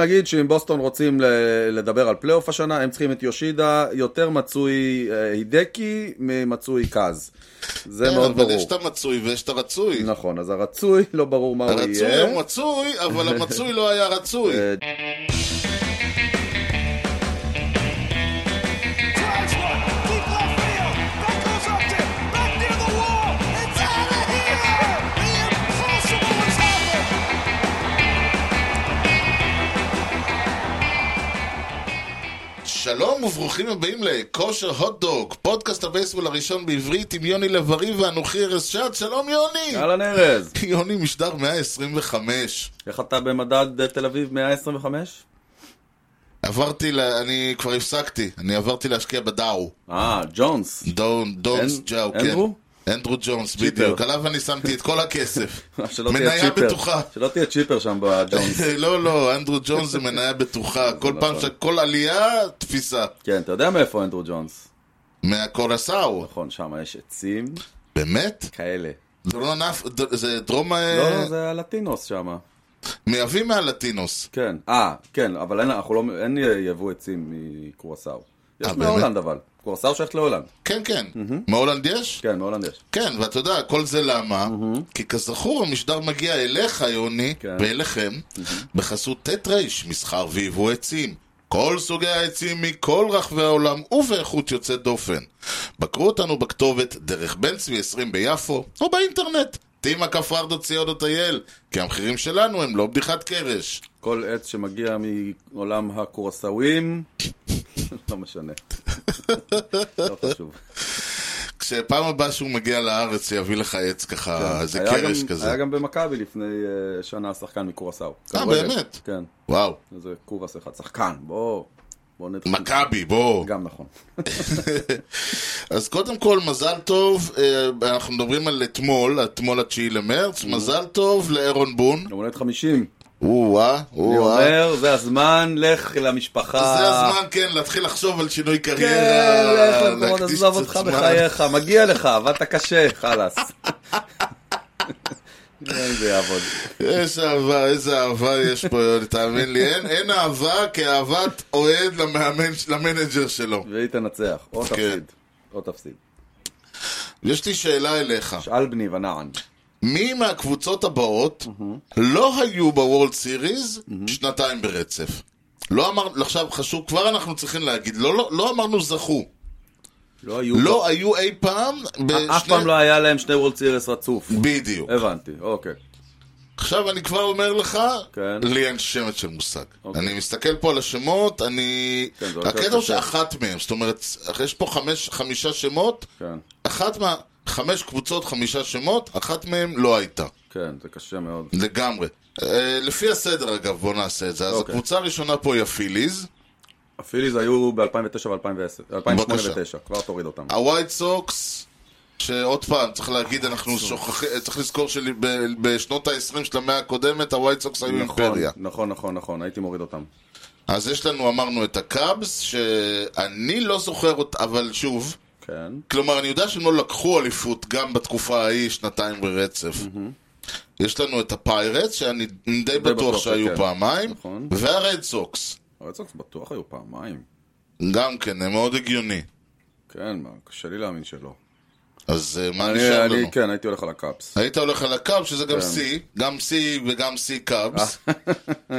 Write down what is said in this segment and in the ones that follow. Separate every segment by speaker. Speaker 1: נגיד שאם בוסטון רוצים לדבר על פלייאוף השנה, הם צריכים את יושידה, יותר מצוי אה, הידקי ממצוי קאז. זה מאוד ברור.
Speaker 2: כן, אבל יש את המצוי ויש את הרצוי.
Speaker 1: נכון, אז הרצוי לא ברור מה הוא
Speaker 2: הרצוי לא
Speaker 1: יהיה.
Speaker 2: הוא מצוי, אבל המצוי לא היה רצוי.
Speaker 1: אה,
Speaker 3: Drives one, deep left field. That goes up to back near the wall. It's out of here. The impossible has happened.
Speaker 2: שלום וברוכים הבאים לכושר הוטדוג, פודקאסט הבייסבול הראשון בעברית עם יוני לב-ארי ואנוכי ארז שעד, שלום יוני!
Speaker 1: אהלן ארז,
Speaker 2: יוני משדר 125.
Speaker 1: איך אתה במדד אה, תל אביב 125?
Speaker 2: עברתי, ל... אני כבר הפסקתי, אני עברתי להשקיע בדאו.
Speaker 1: אה, ג'ונס.
Speaker 2: דון, דונס
Speaker 1: אנ-
Speaker 2: ג'או, כן.
Speaker 1: אנדרו?
Speaker 2: אנדרו ג'ונס,
Speaker 1: צ'יפר.
Speaker 2: בדיוק. עליו אני שמתי את כל הכסף.
Speaker 1: שלא תהיה
Speaker 2: מניה
Speaker 1: צ'יפר.
Speaker 2: בטוחה.
Speaker 1: שלא תהיה צ'יפר שם בג'ונס.
Speaker 2: לא, לא, אנדרו ג'ונס זה מניה בטוחה. כל פעם, ש- כל עלייה, תפיסה.
Speaker 1: כן, אתה יודע מאיפה אנדרו ג'ונס.
Speaker 2: מהקורסאו.
Speaker 1: נכון, שם יש עצים
Speaker 2: באמת?
Speaker 1: כאלה.
Speaker 2: זה לא ענף, ד- זה דרום... אה,
Speaker 1: לא, זה הלטינוס שם.
Speaker 2: מייבאים מהלטינוס.
Speaker 1: כן. אה, כן, אבל אין, אנחנו לא, אין יבוא עצים מקרואסאו. יש
Speaker 2: אה, באמת?
Speaker 1: מהולנד אבל. קרואסאו שייכת להולנד.
Speaker 2: כן, כן. מהולנד יש?
Speaker 1: כן, מהולנד יש.
Speaker 2: כן, ואתה יודע, כל זה למה? כי כזכור, המשדר מגיע אליך, יוני,
Speaker 1: כן.
Speaker 2: ואליכם, בחסות ט' ר', מסחר ויבוא עצים. כל סוגי העצים מכל רחבי העולם ובאיכות יוצאת דופן. בקרו אותנו בכתובת דרך בן צבי 20 ביפו, או באינטרנט. תימא כפרדו ציודו טייל, כי המחירים שלנו הם לא בדיחת קרש.
Speaker 1: כל עץ שמגיע מעולם הקורסאווים, לא משנה. לא חשוב.
Speaker 2: כשפעם הבאה שהוא מגיע לארץ, יביא לך עץ ככה, איזה
Speaker 1: כן. היה
Speaker 2: אה, קרש
Speaker 1: גם-
Speaker 2: כזה.
Speaker 1: היה גם במכבי לפני אה, שנה שחקן מקורסאו.
Speaker 2: אה,
Speaker 1: כדורגל.
Speaker 2: באמת?
Speaker 1: כן,
Speaker 2: וואו,
Speaker 1: איזה קובס אחד. שחקן, בוא. בוא נתחיל.
Speaker 2: מכבי, בוא.
Speaker 1: גם נכון.
Speaker 2: אז קודם כל, מזל טוב, אה, אנחנו מדברים על אתמול, אתמול התשיעי למרץ,
Speaker 1: Mm-hmm.
Speaker 2: מזל טוב לאירון בון.
Speaker 1: יום הולדת 50.
Speaker 2: או-אה,
Speaker 1: אני
Speaker 2: או-אה.
Speaker 1: אומר, זה הזמן, לך למשפחה.
Speaker 2: אה. זה הזמן, כן, להתחיל לחשוב על שינוי קריירה.
Speaker 1: כן, לך למקומות,
Speaker 2: להקדיש
Speaker 1: עזוב
Speaker 2: קצת
Speaker 1: אותך
Speaker 2: זמן.
Speaker 1: בחייך, מגיע לך, עבדת קשה, חלאס. אין זה יעבוד.
Speaker 2: איזה אהבה, איזה אהבה יש פה, יוני, תאמין לי. אין- אין אהבה כאהבת אוהד למאמן- למנג'ר שלו.
Speaker 1: והיא תנצח, או תפסיד. או תפסיד.
Speaker 2: יש לי שאלה אליך.
Speaker 1: שאל בני ונען.
Speaker 2: מי מהקבוצות הבאות לא היו בוורלד סיריז שנתיים ברצף? לא אמרנו, עכשיו חשוב, כבר אנחנו צריכים להגיד, לא, לא, לא אמרנו זכו.
Speaker 1: לא היו...
Speaker 2: לא היו אה, אי פעם בשני...
Speaker 1: אף פעם לא היה להם שני וולד סיריס רצוף.
Speaker 2: בדיוק.
Speaker 1: הבנתי, אוקיי.
Speaker 2: עכשיו אני כבר אומר לך,
Speaker 1: כן.
Speaker 2: לי אין שמץ של מושג.
Speaker 1: אוקיי.
Speaker 2: אני מסתכל פה על השמות, אני...
Speaker 1: כן, זה הולך
Speaker 2: הקטע
Speaker 1: להיות
Speaker 2: הוא
Speaker 1: קשה.
Speaker 2: שאחת מהם, זאת אומרת, יש פה חמש, חמישה שמות,
Speaker 1: כן,
Speaker 2: אחת מה... חמש קבוצות, חמישה שמות, אחת מהם לא הייתה.
Speaker 1: כן, זה קשה מאוד.
Speaker 2: לגמרי. אה, לפי הסדר אגב, בוא נעשה את זה. אז
Speaker 1: אוקיי.
Speaker 2: הקבוצה הראשונה פה היא הפיליז,
Speaker 1: הפיליז היו ב-2009 ו-2010. 2008 ו-2009, כבר תוריד אותם.
Speaker 2: הווייט סוקס, שעוד פעם, צריך להגיד, אנחנו שוכחים, צריך לזכור שבשנות ה-20 של המאה הקודמת, הווייט סוקס היו
Speaker 1: נכון,
Speaker 2: אימפריה.
Speaker 1: נכון, נכון, נכון, הייתי מוריד אותם.
Speaker 2: אז יש לנו, אמרנו, את הקאבס, שאני לא זוכר אותה, אבל שוב,
Speaker 1: כן.
Speaker 2: כלומר, אני יודע שהם לא לקחו אליפות גם בתקופה ההיא, שנתיים ברצף. יש לנו את הפיירטס, שאני די בטוח
Speaker 1: בטוח
Speaker 2: שהיו
Speaker 1: שכן.
Speaker 2: פעמיים,
Speaker 1: נכון.
Speaker 2: והרד סוקס,
Speaker 1: הרצוקס בטוח היו פעמיים.
Speaker 2: גם כן, זה מאוד הגיוני.
Speaker 1: כן, מה, קשה לי להאמין שלא.
Speaker 2: אז אה, מה
Speaker 1: אני,
Speaker 2: נשאר לנו?
Speaker 1: אני, כן, הייתי הולך על הקאפס.
Speaker 2: היית הולך על הקאב, שזה גם
Speaker 1: כן. אה.
Speaker 2: C, גם C וגם C קאבס.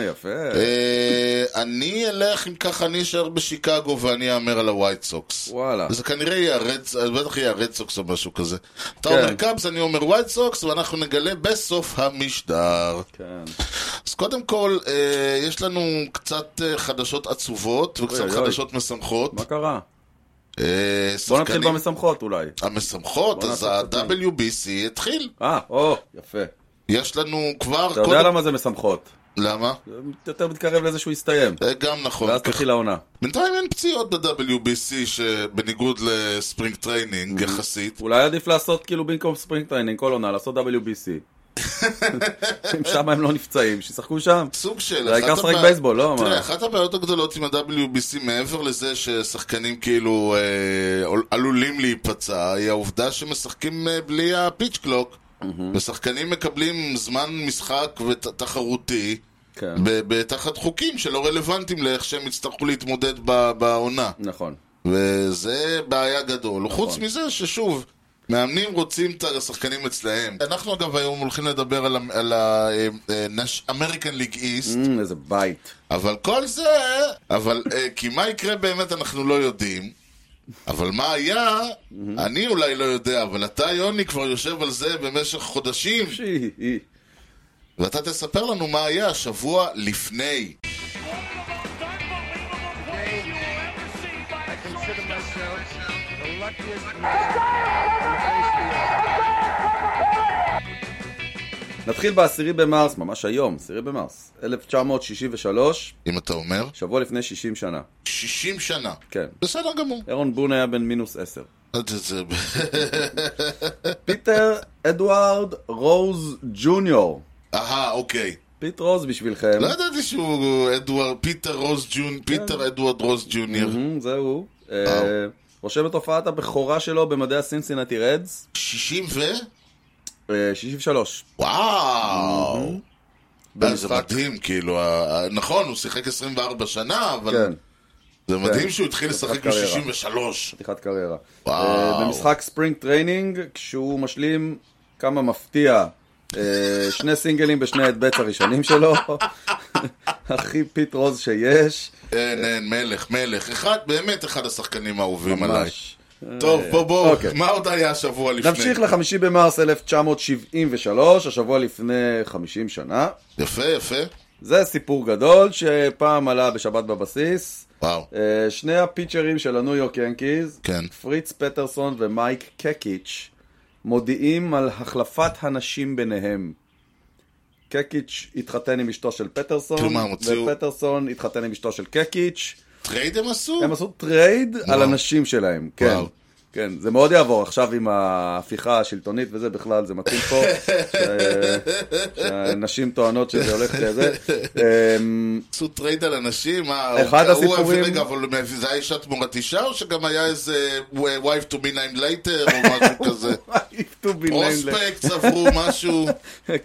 Speaker 1: יפה.
Speaker 2: אה, אני אלך, אם ככה, אני אשאר בשיקגו ואני אאמר על הווייט סוקס.
Speaker 1: וואלה.
Speaker 2: זה כנראה יהיה הרד, בטח יהיה הרד סוקס או משהו כזה. אתה
Speaker 1: כן.
Speaker 2: אומר קאבס, אני אומר ווייט סוקס, ואנחנו נגלה בסוף המשדר.
Speaker 1: כן.
Speaker 2: אז קודם כל, אה, יש לנו קצת אה, חדשות עצובות וקצת
Speaker 1: אוי, אוי.
Speaker 2: חדשות משמחות.
Speaker 1: מה קרה?
Speaker 2: אה,
Speaker 1: בוא נתחיל
Speaker 2: שחקנים-
Speaker 1: במשמחות אולי.
Speaker 2: המשמחות,
Speaker 1: בוא
Speaker 2: אז
Speaker 1: נעשה את זה.
Speaker 2: ה-WBC התחיל.
Speaker 1: אה, או, יפה.
Speaker 2: יש לנו כבר...
Speaker 1: אתה יודע
Speaker 2: קודם-
Speaker 1: למה זה משמחות?
Speaker 2: למה?
Speaker 1: זה יותר מתקרב לזה שהוא יסתיים.
Speaker 2: אה, גם נכון.
Speaker 1: ואז תתחיל העונה.
Speaker 2: בינתיים אין פציעות ב-WBC, שבניגוד לספרינג
Speaker 1: Mm-hmm.
Speaker 2: טריינינג יחסית.
Speaker 1: אולי עדיף לעשות כאילו במקום ספרינג טריינינג כל עונה, לעשות WBC. אם שם הם לא נפצעים, שישחקו שם.
Speaker 2: סוג של...
Speaker 1: זה העיקר
Speaker 2: אחת
Speaker 1: לשחק
Speaker 2: הבע-
Speaker 1: בייסבול, לא?
Speaker 2: תראה,
Speaker 1: מה?
Speaker 2: אחת הבעיות הגדולות עם ה-WBC, מעבר לזה ששחקנים כאילו אה, עלולים להיפצע, היא העובדה שמשחקים אה, בלי
Speaker 1: Mm-hmm.
Speaker 2: הפיץ' קלוק. ושחקנים מקבלים זמן משחק ותחרותי,
Speaker 1: כן,
Speaker 2: ב- ב- תחת חוקים שלא רלוונטיים לאיך שהם יצטרכו להתמודד ב- בעונה.
Speaker 1: נכון.
Speaker 2: וזה בעיה גדול. חוץ מזה ששוב, מאמנים רוצים את השחקנים אצלהם. אנחנו אגב היום הולכים לדבר על ה- אה, על ה-American League East,
Speaker 1: אמ, איזה בית.
Speaker 2: אבל כל זה, אבל אה, כי מה יקרה באמת אנחנו לא יודעים. אבל מה היה, אני אולי לא יודע, אבל אתה, יוני, כבר יושב על זה במשך חודשים,
Speaker 1: שי, אי.
Speaker 2: ואתה תספר לנו מה היה השבוע לפני.
Speaker 4: One of the most unbelievable plays you will ever see by a
Speaker 5: consider
Speaker 4: shortstop.
Speaker 5: myself the luckiest man
Speaker 1: נתחיל בעשירי במרס, ממש היום, עשירי במרס. 1963,
Speaker 2: אם אתה אומר,
Speaker 1: שבוע לפני 60 שנה.
Speaker 2: 60 שנה.
Speaker 1: כן.
Speaker 2: בסדר גמור.
Speaker 1: אירון בון היה בן מינוס 10.
Speaker 2: זה- זה-
Speaker 1: פיטר אדוארד רוז ג'וניור.
Speaker 2: אהה, אוקיי.
Speaker 1: פיט רוז בשבילכם.
Speaker 2: לא ידעתי שהוא אדוארד, פיטר רוז ג'ון,
Speaker 1: כן.
Speaker 2: פיטר אדוארד רוז ג'וניור.
Speaker 1: אמ, זהו. אה, רושם את הופעת הבכורה שלו במדעי הסינסינטי רדס.
Speaker 2: 60 ו...
Speaker 1: אה, 63.
Speaker 2: וואו! אה, זה
Speaker 1: במשחק.
Speaker 2: מדהים, כאילו, ה- ה- נכון, הוא שיחק 24 שנה, אבל
Speaker 1: כן,
Speaker 2: זה
Speaker 1: כן.
Speaker 2: מדהים שהוא התחיל לשחק
Speaker 1: קריירה.
Speaker 2: ב-63.
Speaker 1: פתיחת קריירה.
Speaker 2: וואו.
Speaker 1: אה, במשחק ספרינג טריינינג, כשהוא משלים כמה מפתיע. אה, שני סינגלים בשני ההדבטס הראשונים שלו. הכי פיט רוז שיש.
Speaker 2: אין, אין, מלך, מלך. אחד, באמת אחד השחקנים האהובים עליי.
Speaker 1: ממש.
Speaker 2: טוב, בוא, בוא,
Speaker 1: אוקיי.
Speaker 2: מה עוד היה השבוע לפני?
Speaker 1: נמשיך לחמישי במרס 1973, השבוע לפני 50 שנה.
Speaker 2: יפה, יפה.
Speaker 1: זה סיפור גדול שפעם עלה בשבת בבסיס.
Speaker 2: וואו.
Speaker 1: אה, שני הפיצ'רים של הניו יורק ינקיז,
Speaker 2: כן.
Speaker 1: פריץ פטרסון ומייק קקיץ', מודיעים על החלפת הנשים ביניהם. קקיץ' התחתן עם אשתו של פטרסון,
Speaker 2: כלומר, הם הוציאו-
Speaker 1: ופטרסון התחתן עם אשתו של קקיץ'.
Speaker 2: טרייד הם עשו?
Speaker 1: הם עשו טרייד על הנשים שלהם, כן.
Speaker 2: וואו.
Speaker 1: כן, זה מאוד יעבור עכשיו עם ההפיכה השלטונית וזה בכלל, זה מתאים פה. ש- שהנשים טוענות שזה הולך כזה. אמ,
Speaker 2: עשו טרייד על אנשים, מה, אוקיי,
Speaker 1: אחד
Speaker 2: הוא- הוא-
Speaker 1: הסיפורים-
Speaker 2: רגע, אבל זה היה אישה תמורת אישה, או שגם היה איזה wife to be named later, או משהו כזה?
Speaker 1: If to be named-
Speaker 2: פרוספקט עברו משהו,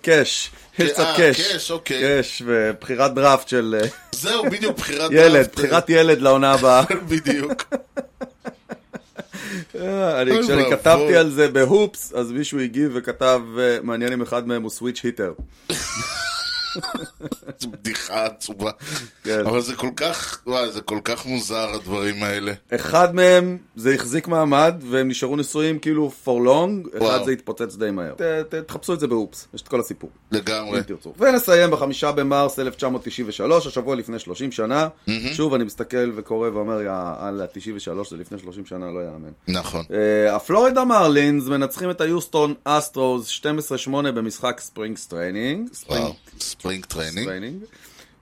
Speaker 1: קאש, יש קצת
Speaker 2: אה,
Speaker 1: קאש.
Speaker 2: קאש, אוקיי.
Speaker 1: קאש ובחירת דראפט של אה,
Speaker 2: זהו, בדיוק בחירת
Speaker 1: ילד,
Speaker 2: דראפט.
Speaker 1: בחירת ילד לעונה הבאה.
Speaker 2: בדיוק.
Speaker 1: אה, אני-
Speaker 2: אוי
Speaker 1: כשאני
Speaker 2: ואבוי.
Speaker 1: כתבתי על זה בהופס, אז מישהו הגיב וכתב, אה, מעניין אם אחד מהם הוא סוויץ' היטר.
Speaker 2: זו בדיחה עצובה.
Speaker 1: כן.
Speaker 2: אבל זה כל כך, וואי, זה כל כך מוזר הדברים האלה.
Speaker 1: אחד מהם זה החזיק מעמד והם נשארו נשואים כאילו for long, אחד
Speaker 2: וואו.
Speaker 1: זה התפוצץ די מהר. אוקיי. ת- ת- תחפשו את זה באופס, יש את כל הסיפור,
Speaker 2: לגמרי.
Speaker 1: אם תרצו. ונסיים בחמישה במרס 1993, השבוע לפני 30 שנה. שוב, אני מסתכל וקורא ואומר, יאללה, 93 זה לפני 30 שנה, לא יאמן.
Speaker 2: נכון.
Speaker 1: אה, הפלורידה מרלינס מנצחים את היוסטון אסטרוס 12-8 במשחק ספרינגס טריינינג.
Speaker 2: וואו. ספרינג טריינינג.
Speaker 1: טריינינג.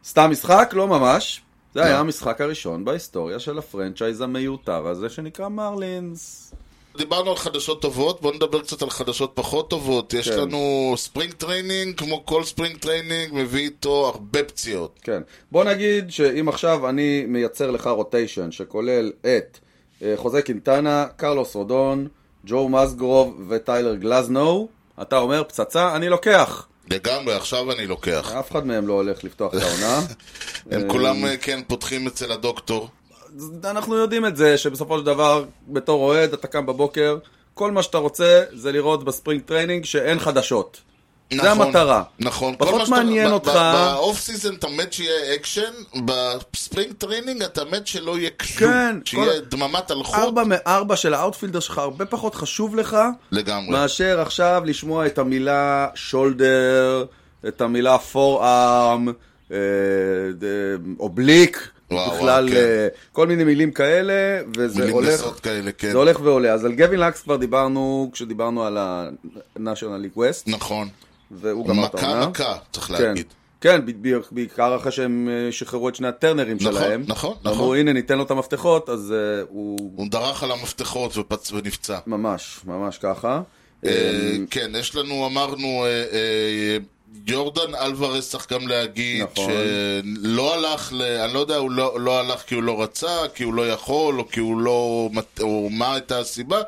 Speaker 1: סתם משחק? לא ממש. זה היה
Speaker 2: אה? לא.
Speaker 1: המשחק הראשון בהיסטוריה של הפרנצ'ייז המיותר הזה שנקרא מרלינס.
Speaker 2: דיברנו על חדשות טובות, בואו נדבר קצת על חדשות פחות טובות. יש
Speaker 1: כן.
Speaker 2: לנו ספרינג טריינינג, כמו כל ספרינג טריינינג, מביא איתו הרבה פציעות.
Speaker 1: כן. בוא נגיד שאם עכשיו אני מייצר לך רוטיישן שכולל את אה, חוזה קינטנה, קרלוס רודון, ג'ו מזגרוב וטיילר גלזנו, אתה אומר פצצה, אני לוקח.
Speaker 2: לגמרי, עכשיו אני לוקח.
Speaker 1: אף אחד מהם לא הולך לפתוח את העונה.
Speaker 2: הם כולם, אה, כן, פותחים אצל הדוקטור.
Speaker 1: אז אנחנו יודעים את זה, שבסופו של דבר, בתור אוהד, אתה קם בבוקר, כל מה שאתה רוצה זה לראות בספרינג טריינינג שאין חדשות. זה
Speaker 2: נכון,
Speaker 1: המטרה.
Speaker 2: נכון.
Speaker 1: פחות
Speaker 2: כל מה שאתה-
Speaker 1: מעניין
Speaker 2: ב- ב-
Speaker 1: אותך.
Speaker 2: באוף סיזן אתה מת שיהיה אקשן, בספרינג טריינינג אתה מת שלא יהיה כלום.
Speaker 1: כן,
Speaker 2: שיהיה
Speaker 1: כל-
Speaker 2: דממת הלכות
Speaker 1: ארבע מארבע של האאוטפילדר שלך הרבה פחות חשוב לך,
Speaker 2: לגמרי.
Speaker 1: מאשר עכשיו לשמוע את המילה שולדר, את המילה פור-ארם, אובליק,
Speaker 2: וואו,
Speaker 1: בכלל
Speaker 2: כן.
Speaker 1: אה, כל מיני מילים כאלה, וזה
Speaker 2: מילים
Speaker 1: הולך...
Speaker 2: גסות כאלה, כן.
Speaker 1: זה הולך ועולה. אז על גווין לקס כבר דיברנו כשדיברנו על ה-National League West,
Speaker 2: נכון.
Speaker 1: והוא גמר את העונה.
Speaker 2: מכה מכה, צריך
Speaker 1: כן,
Speaker 2: להגיד.
Speaker 1: כן, ב- ב- בעיקר אחרי שהם אה, שחררו את שני הטרנרים
Speaker 2: נכון,
Speaker 1: שלהם.
Speaker 2: נכון,
Speaker 1: אמרו,
Speaker 2: נכון.
Speaker 1: הנה, ניתן לו את המפתחות, אז אה, הוא
Speaker 2: הוא דרך על המפתחות ופצ- ונפצע.
Speaker 1: ממש, ממש ככה. אמ,
Speaker 2: אה, כן, יש לנו, אמרנו, אה, אה, יורדן אלוורז צריך גם להגיד,
Speaker 1: נכון.
Speaker 2: שלא הלך, ל... אני לא יודע, הוא לא, לא הלך כי הוא לא רצה, כי הוא לא יכול, או כי הוא לא, מת- או מה הייתה הסיבה,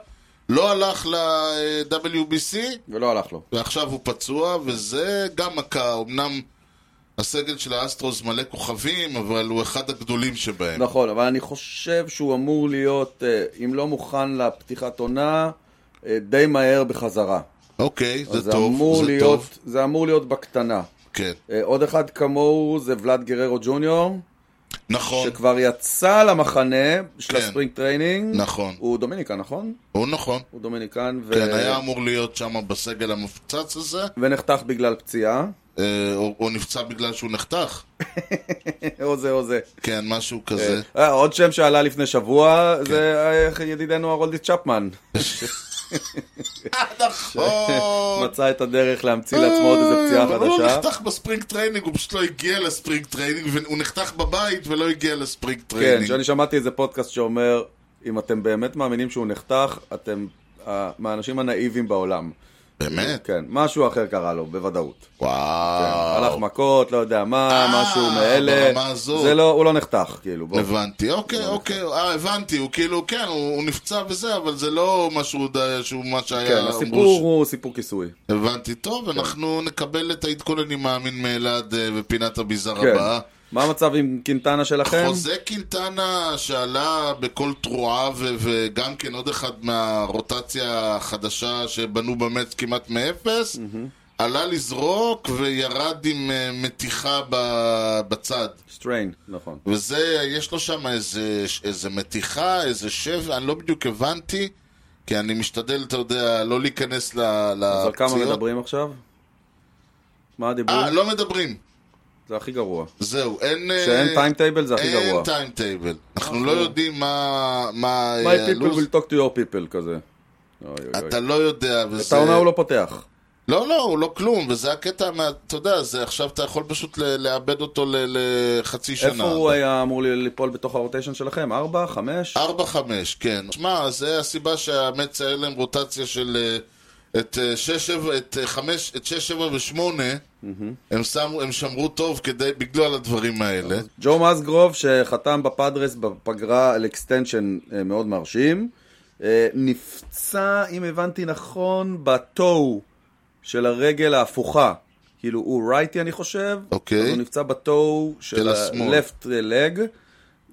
Speaker 2: לא הלך ל-WBC,
Speaker 1: ולא הלך לו.
Speaker 2: ועכשיו הוא פצוע, וזה גם מכה, אמנם הסגל של האסטרוס מלא כוכבים, אבל הוא אחד הגדולים שבהם.
Speaker 1: נכון, אבל אני חושב שהוא אמור להיות, אה, אם לא מוכן לפתיחת עונה, אה, די מהר בחזרה.
Speaker 2: אוקיי,
Speaker 1: אז
Speaker 2: זה טוב,
Speaker 1: אמור
Speaker 2: זה
Speaker 1: להיות,
Speaker 2: טוב.
Speaker 1: זה אמור להיות בקטנה.
Speaker 2: כן,
Speaker 1: אה, עוד אחד כמוהו זה ולאד גררו ג'וניור,
Speaker 2: נכון,
Speaker 1: שכבר יצא למחנה של
Speaker 2: כן.
Speaker 1: הספרינג טריינינג.
Speaker 2: נכון.
Speaker 1: הוא דומיניקן, נכון?
Speaker 2: הוא נכון.
Speaker 1: הוא דומיניקן. ו...
Speaker 2: כן, היה אמור להיות שם בסגל המפוצץ הזה,
Speaker 1: ונחתך בגלל פציעה.
Speaker 2: אה, או או נפצע בגלל שהוא נחתך.
Speaker 1: או זה או זה.
Speaker 2: כן, משהו כזה.
Speaker 1: אה, עוד שם שעלה לפני שבוע
Speaker 2: כן.
Speaker 1: זה אה, ידידנו הרולדי צ'פמן.
Speaker 2: נכון!
Speaker 1: מצא את הדרך להמציא לעצמו עוד איזה פציעה
Speaker 2: אבל אה, הוא
Speaker 1: חדשה.
Speaker 2: נחתך בספרינג טריינינג, הוא פשוט לא הגיע לספרינג טריינינג, והוא נחתך בבית ולא הגיע לספרינג
Speaker 1: כן,
Speaker 2: טריינינג.
Speaker 1: שאני שמעתי איזה פודקאסט שאומר, אם אתם באמת מאמינים שהוא נחתך, אתם אה, מהאנשים הנאיבים בעולם.
Speaker 2: באמת?
Speaker 1: כן, משהו אחר קרה לו, בוודאות. הלך
Speaker 2: אה, וואו.
Speaker 1: מכות, לא יודע מה,
Speaker 2: אה,
Speaker 1: משהו מאלה.
Speaker 2: ברמה הזאת.
Speaker 1: זה לא, הוא לא נחתך, כאילו. בוא.
Speaker 2: הבנתי, אוקיי, אוקיי, אה, הבנתי, הוא כאילו, כן, הוא הוא נפצע וזה, אבל זה לא משהו ד- שהוא מה שהיה...
Speaker 1: כן,
Speaker 2: אמרו
Speaker 1: הסיפור הוא כן. סיפור כיסוי.
Speaker 2: הבנתי, טוב, אנחנו נקבל את העדכון, אני מאמין, מאלעד אה, בפינת הביזאר
Speaker 1: כן.
Speaker 2: הבאה.
Speaker 1: מה המצב עם קינטנה שלכם?
Speaker 2: חוזה קינטנה שעלה בכל תרועה ו- וגם כן עוד אחד מהרוטציה החדשה שבנו באמת כמעט מאפס, עלה לזרוק וירד עם אה, מתיחה ב- בצד.
Speaker 1: סטריין, נכון.
Speaker 2: וזה, יש לו שם איזה, איזה מתיחה, איזה שבע, אני לא בדיוק הבנתי, כי אני משתדל, אתה יודע, לא להיכנס ל-
Speaker 1: אז על כמה
Speaker 2: לפציעות.
Speaker 1: מדברים עכשיו? מה הדיבור?
Speaker 2: אה, לא מדברים.
Speaker 1: זה הכי גרוע.
Speaker 2: זהו, אין... אה,
Speaker 1: כשאין טיימטייבל זה הכי גרוע. אה,
Speaker 2: אין טיימטייבל. אנחנו לא יודעים מה... מה...
Speaker 1: My
Speaker 2: אה,
Speaker 1: people
Speaker 2: הלו"ז.
Speaker 1: will talk to your people כזה. אוי, אוי, אוי.
Speaker 2: אתה לא יודע, וזה...
Speaker 1: את העונה הוא לא פותח.
Speaker 2: לא, לא, הוא לא כלום, וזה הקטע מה... אתה יודע, זה עכשיו אתה יכול פשוט ל- לאבד אותו ל- לחצי שנה.
Speaker 1: איפה הוא היה אמור ל- ליפול בתוך הרוטיישן שלכם? ארבע? חמש?
Speaker 2: ארבע, חמש, כן. שמע, זה הסיבה שהמץ היה להם רוטציה של... אה, את אה, שש, שבע, את אה, חמש, את שש, שבע ושמונה, הם שמו- הם שמרו טוב כדי, בגלל הדברים האלה.
Speaker 1: ג'ו מזגרוב, שחתם בפאדרס בפגרה על אקסטנשן אה, מאוד מרשים, אה, נפצע, אם הבנתי נכון, בטו של הרגל ההפוכה. כאילו, הוא רייטי, אני חושב.
Speaker 2: אוקיי.
Speaker 1: אז הוא נפצע בטו של
Speaker 2: של השמאל.
Speaker 1: ה-left אה, leg.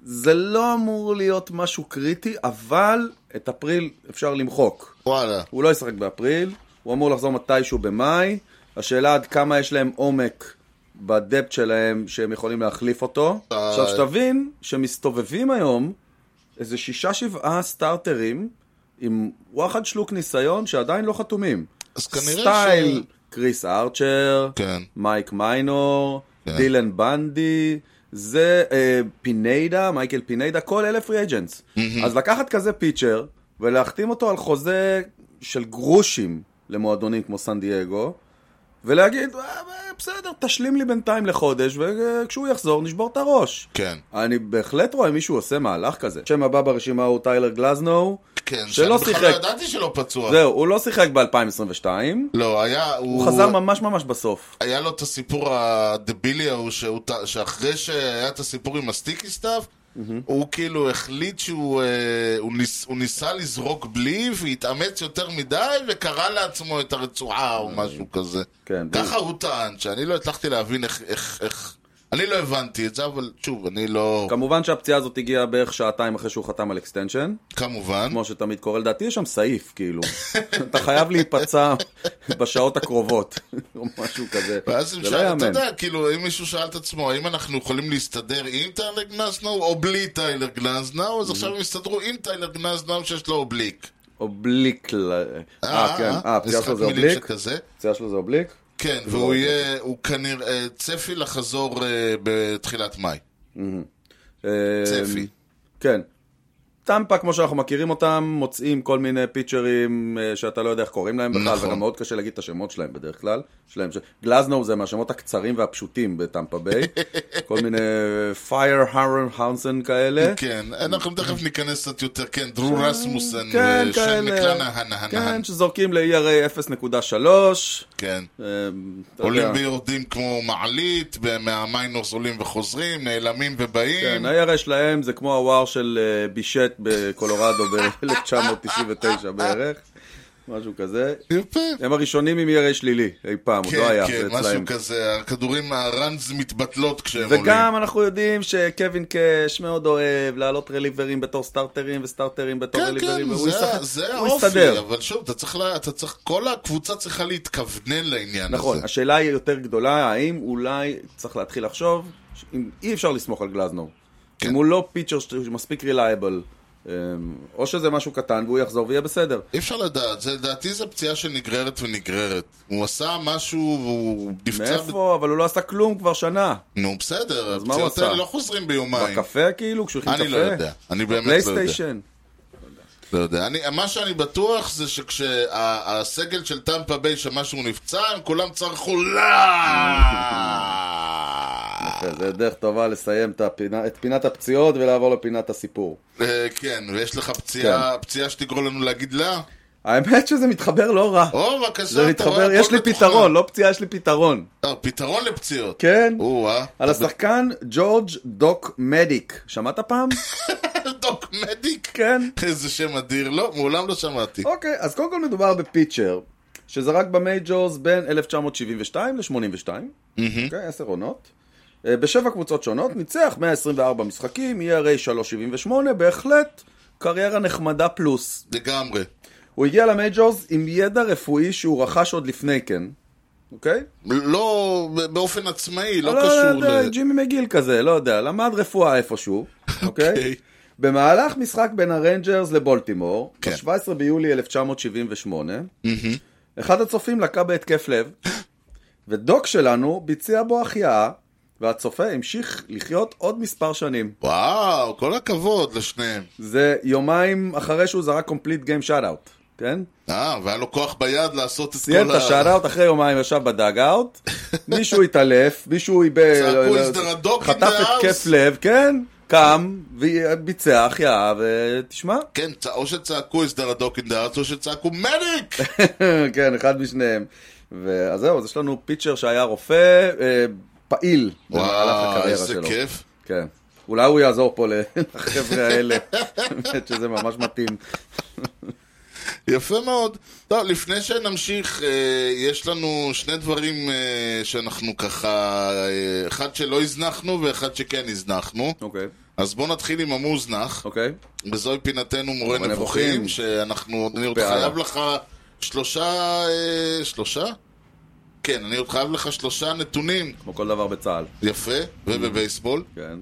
Speaker 1: זה לא אמור להיות משהו קריטי, אבל את אפריל אפשר למחוק.
Speaker 2: וואלה.
Speaker 1: הוא לא ישחק באפריל, הוא אמור לחזור מתישהו במאי. השאלה עד כמה יש להם עומק בדפט שלהם שהם יכולים להחליף אותו. עכשיו
Speaker 2: אה,
Speaker 1: שתבין שמסתובבים היום איזה שישה שבעה סטארטרים עם וואחד שלוק ניסיון שעדיין לא חתומים.
Speaker 2: אז כנראה
Speaker 1: סטייל,
Speaker 2: ש-
Speaker 1: קריס ארצ'ר,
Speaker 2: כן.
Speaker 1: מייק מיינור,
Speaker 2: כן.
Speaker 1: דילן בנדי, זה אה, פיניידה, מייקל פיניידה, כל אלה פרי אג'נס. אז לקחת כזה פיצ'ר ולהחתים אותו על חוזה של גרושים למועדונים כמו סן דייגו, ולהגיד, "אה, אה, בסדר, תשלים לי בינתיים לחודש, וכשהוא יחזור נשבור את הראש.
Speaker 2: כן.
Speaker 1: אני בהחלט רואה מישהו עושה מהלך כזה. השם הבא ברשימה הוא טיילר גלזנו,
Speaker 2: כן,
Speaker 1: שלא
Speaker 2: שאני בכלל לא
Speaker 1: שיחק.
Speaker 2: ידעתי שלא פצוע.
Speaker 1: זהו, הוא לא שיחק ב-2022,
Speaker 2: לא, היה...
Speaker 1: הוא חזר ממש ממש בסוף.
Speaker 2: היה לו את הסיפור הדבילי ההוא, שהוא, ת- שאחרי שהיה את הסיפור עם הסטיקי סטאפ, הוא כאילו החליט שהוא אה, הוא ניס, הוא ניסה לזרוק בלי, והתאמץ יותר מדי, וקרע לעצמו את הרצועה או משהו כזה.
Speaker 1: כן,
Speaker 2: ככה הוא טען, שאני לא הצלחתי להבין איך... איך, איך... אני לא הבנתי את זה, אבל שוב, אני לא...
Speaker 1: כמובן שהפציעה הזאת הגיעה בערך שעתיים אחרי שהוא חתם על אקסטנשן,
Speaker 2: כמובן.
Speaker 1: כמו שתמיד קורה, לדעתי יש שם סעיף, כאילו. אתה חייב להיפצע בשעות הקרובות, או משהו כזה.
Speaker 2: ואז הם
Speaker 1: זה לא
Speaker 2: שאלו, אתה
Speaker 1: יאמן.
Speaker 2: יודע, כאילו, אם מישהו שאל את עצמו, האם אנחנו יכולים להסתדר עם טיילר גנזנאו או בלי טיילר גנזנאו,
Speaker 1: Mm-hmm.
Speaker 2: אז עכשיו הם הסתדרו עם טיילר גנזנאו שיש לו אובליק.
Speaker 1: אובליק. ל- אה, כן, אה, הפציעה שלו זה
Speaker 2: משחק מילים
Speaker 1: אובליק? לא אוקיי.
Speaker 2: שכזה.
Speaker 1: הפציעה שלו זה אובליק?
Speaker 2: כן, והוא יהיה, הוא כנראה, צפי לחזור אה, בתחילת מאי.
Speaker 1: אה,
Speaker 2: צפי.
Speaker 1: כן. טמפה, כמו שאנחנו מכירים אותם, מוצאים כל מיני פיצ'רים אה, שאתה לא יודע איך קוראים להם בכלל,
Speaker 2: נכון.
Speaker 1: וגם מאוד קשה להגיד את השמות שלהם בדרך כלל. שלהם ש... גלזנו זה מהשמות הקצרים והפשוטים בטמפה ביי. כל מיני אה, פייר הרן הונסן כאלה.
Speaker 2: כן, אנחנו תכף ניכנס קצת יותר, כן, דרור רסמוסן,
Speaker 1: כן,
Speaker 2: אה, שנקלע
Speaker 1: כאלה.
Speaker 2: נהן, נהן, נהן.
Speaker 1: כן, שזורקים ל-ERA 0.3.
Speaker 2: כן.
Speaker 1: אה, אתה
Speaker 2: עולים
Speaker 1: יודע.
Speaker 2: ויורדים כמו מעלית, מהמיינוס עולים וחוזרים, נעלמים ובאים.
Speaker 1: כן, ה-ERA שלהם זה כמו הוואר של אה, בישט בקולורדו ב-1999 בערך. משהו כזה.
Speaker 2: יפה.
Speaker 1: הם הראשונים עם ERA שלילי אי פעם, עוד לא
Speaker 2: כן,
Speaker 1: היה,
Speaker 2: כן,
Speaker 1: זה
Speaker 2: משהו
Speaker 1: אצלהם.
Speaker 2: כזה, הכדורים, הראנז מתבטלות כשהם עולים.
Speaker 1: וגם אנחנו יודעים שקווין קאש מאוד אוהב לעלות רליברים בתור סטארטרים וסטארטרים בתור
Speaker 2: כן,
Speaker 1: רליברים,
Speaker 2: כן,
Speaker 1: והוא
Speaker 2: זה,
Speaker 1: ישחק-
Speaker 2: זה
Speaker 1: הוא
Speaker 2: האופי,
Speaker 1: יסתדר.
Speaker 2: אבל שוב, אתה צריך, לה, אתה צריך, כל הקבוצה צריכה להתכוונן לעניין
Speaker 1: נכון,
Speaker 2: הזה.
Speaker 1: השאלה היא יותר גדולה, האם אולי צריך להתחיל לחשוב, ש- אם אי אפשר לסמוך על גלזנור.
Speaker 2: כן.
Speaker 1: אם הוא לא פיצ'ר שמספיק רילייבל, אמ, או שזה משהו קטן והוא יחזור ויהיה בסדר.
Speaker 2: אי אפשר לדעת, זה- לדעתי זו פציעה שנגררת ונגררת. הוא עשה משהו, והוא נפצע... ב...
Speaker 1: מאיפה? אבל הוא לא עשה כלום כבר שנה.
Speaker 2: נו, בסדר,
Speaker 1: אז מה הוא
Speaker 2: הפציעות
Speaker 1: עשה?
Speaker 2: האלה לא חוזרים ביומיים.
Speaker 1: בקפה כאילו, כשהוא הכין קפה?
Speaker 2: אני לא יודע, אני באמת לא יודע.
Speaker 1: פלייסטיישן.
Speaker 2: לא יודע. אני, מה שאני בטוח זה שכשהסגל של טמפה ביי שמע שהוא נפצע, הם כולם צרחו "לא!"
Speaker 1: יפה, כן, זה דרך טובה לסיים את הפינה- את פינת הפציעות ולעבור לפינת הסיפור.
Speaker 2: אה, כן, ויש לך פציעה,
Speaker 1: כן.
Speaker 2: פציעה שתגרום לנו להגיד לה?
Speaker 1: האמת שזה מתחבר לא רע.
Speaker 2: או, בבקשה,
Speaker 1: זה
Speaker 2: אוקיי, אתה רואה,
Speaker 1: מתחבר,
Speaker 2: הכל
Speaker 1: יש לי
Speaker 2: מתוכנן.
Speaker 1: פתרון, לא פציעה, יש לי פתרון.
Speaker 2: אה, פתרון לפציעות. אה.
Speaker 1: כן?
Speaker 2: או-אה.
Speaker 1: על השחקן ג'ורג' דוק מדיק. שמעת פעם?
Speaker 2: דוק מדיק.
Speaker 1: כן.
Speaker 2: איזה שם אדיר. לא, מעולם לא שמעתי.
Speaker 1: אוקיי, אז קודם כל מדובר בפיצ'ר, שזרק במייג'ורס בין 1972 ל-82, אוקיי, עשר עונות. אה, בשבע קבוצות שונות, ניצח 124 משחקים, ERA 378, בהחלט קריירה נחמדה פלוס.
Speaker 2: לגמרי.
Speaker 1: הוא הגיע למייג'ורס עם ידע רפואי שהוא רכש עוד לפני כן, אוקיי?
Speaker 2: לא באופן עצמאי, לא
Speaker 1: לא
Speaker 2: קשור
Speaker 1: יודע,
Speaker 2: ל...
Speaker 1: ג'ימי מגיל כזה, לא יודע, למד רפואה איפשהו, אוקיי?
Speaker 2: אוקיי.
Speaker 1: במהלך משחק בין הרנג'רס לבולטימור,
Speaker 2: כן.
Speaker 1: ב-17 ביולי 1978, אחד הצופים לקה בהתקף לב, ודוק שלנו ביצע בו החייאה, והצופה המשיך לחיות עוד מספר שנים.
Speaker 2: וואו, כל הכבוד לשניהם.
Speaker 1: זה יומיים אחרי שהוא זרק קומפליט גיים שאט-אאוט, כן?
Speaker 2: אה, והיה לו כוח ביד לעשות את כל
Speaker 1: סיים את השאט-אאוט, אחרי יומיים ישב בדאג-אאוט, מישהו התעלף, מישהו איבד... לא
Speaker 2: צעקו, "Is there a dog in
Speaker 1: חטף
Speaker 2: the
Speaker 1: התקף
Speaker 2: house?"
Speaker 1: לב, כן, קם, וביצע החייאה, ותשמע,
Speaker 2: כן, צ- או שצעקו הסדר הדוקין דארץ, או שצעקו מדיק!
Speaker 1: כן, אחד משניהם. ו- אז זהו, אז יש לנו פיצ'ר שהיה רופא אה, פעיל במהלך
Speaker 2: וואו,
Speaker 1: הקריירה
Speaker 2: איזה
Speaker 1: שלו.
Speaker 2: כיף.
Speaker 1: כן. אולי הוא יעזור פה לחבר'ה האלה, באמת שזה ממש מתאים.
Speaker 2: יפה מאוד. טוב, לפני שנמשיך, אה, יש לנו שני דברים אה, שאנחנו ככה, אה, אחד שלא הזנחנו ואחד שכן הזנחנו.
Speaker 1: אוקיי,
Speaker 2: אז בואו נתחיל עם המוזנח,
Speaker 1: אוקיי.
Speaker 2: וזוהי פינתנו מורה
Speaker 1: מורה נבוכים.
Speaker 2: נבוכים, שאנחנו, אני עוד
Speaker 1: פעלה.
Speaker 2: חייב לך שלושה, אה, שלושה? כן, אני עוד חייב לך שלושה נתונים,
Speaker 1: כמו כל דבר בצה"ל,
Speaker 2: יפה, ובבייסבול.
Speaker 1: כן.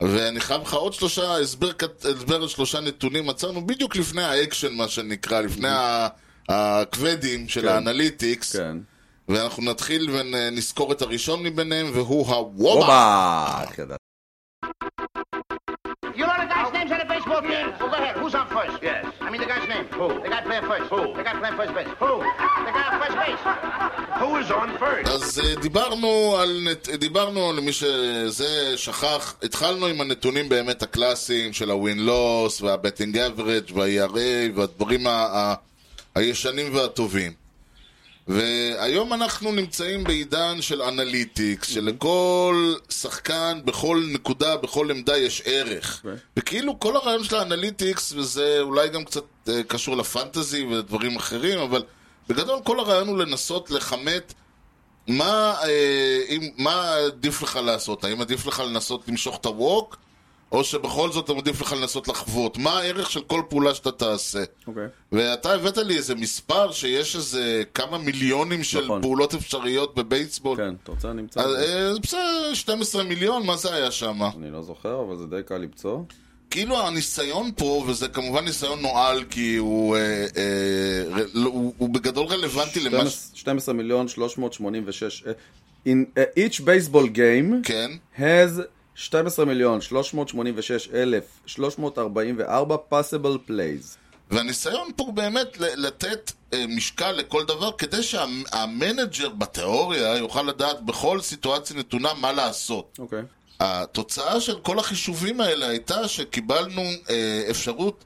Speaker 2: ואני חייב לך עוד שלושה, הסבר, קט- הסבר על שלושה נתונים מצאנו בדיוק לפני האקשן, מה שנקרא, לפני ה- הכבדים של
Speaker 1: כן.
Speaker 2: האנליטיקס,
Speaker 1: כן.
Speaker 2: ואנחנו נתחיל ונזכור את הראשון מביניהם, והוא הוובה.
Speaker 1: הופה! איך ידעתי?
Speaker 6: You know the guy's names on the baseball team? Well, go ahead. Who's on first? Yes. I mean the guy's name. Who? The guy playing first. Who? The guy playing first base. Who? The guy on first base. Who is on first?
Speaker 2: אז אה, דיברנו על, נת- דיברנו למי שזה שכח, התחלנו עם הנתונים באמת הקלאסיים של הווין-לוס, והבטינג אברג' וה-ERA, והדברים ה- ה- הישנים והטובים. והיום אנחנו נמצאים בעידן של אנליטיקס, שלכל שחקן, בכל נקודה, בכל עמדה יש ערך.
Speaker 1: אוקיי.
Speaker 2: וכאילו כל הרעיון של האנליטיקס, וזה אולי גם קצת אה, קשור לפנטזי ודברים אחרים, אבל בגדול כל הרעיון הוא לנסות לכמת מה, אה, אם, מה עדיף לך לעשות. האם עדיף לך לנסות למשוך את הווק, או שבכל זאת עדיף לך לנסות לחוות. מה הערך של כל פעולה שאתה תעשה.
Speaker 1: אוקיי.
Speaker 2: ואתה הבאת לי איזה מספר שיש איזה כמה מיליונים של
Speaker 1: נכון.
Speaker 2: נכון. פעולות אפשריות בבייסבול. כן.
Speaker 1: כן, אתה רוצה? אני אמצא.
Speaker 2: אז
Speaker 1: את זה.
Speaker 2: אה, בסדר, 12 מיליון, מה זה היה שם?
Speaker 1: אני לא זוכר, אבל זה די קל למצוא.
Speaker 2: כאילו הניסיון פה, וזה כמובן ניסיון נואל, כי הוא, אה, אה, ר- לא, הוא, הוא בגדול רלוונטי למה ש...
Speaker 1: 12 מיליון 386... אה, In uh, each baseball game
Speaker 2: כן.
Speaker 1: has 12 מיליון 386,344 possible plays.
Speaker 2: והניסיון פה הוא באמת ל- לתת אה, משקל לכל דבר, כדי שהמנג'ר בתיאוריה יוכל לדעת בכל סיטואציה נתונה מה לעשות.
Speaker 1: אוקיי.
Speaker 2: התוצאה של כל החישובים האלה הייתה שקיבלנו אה, אפשרות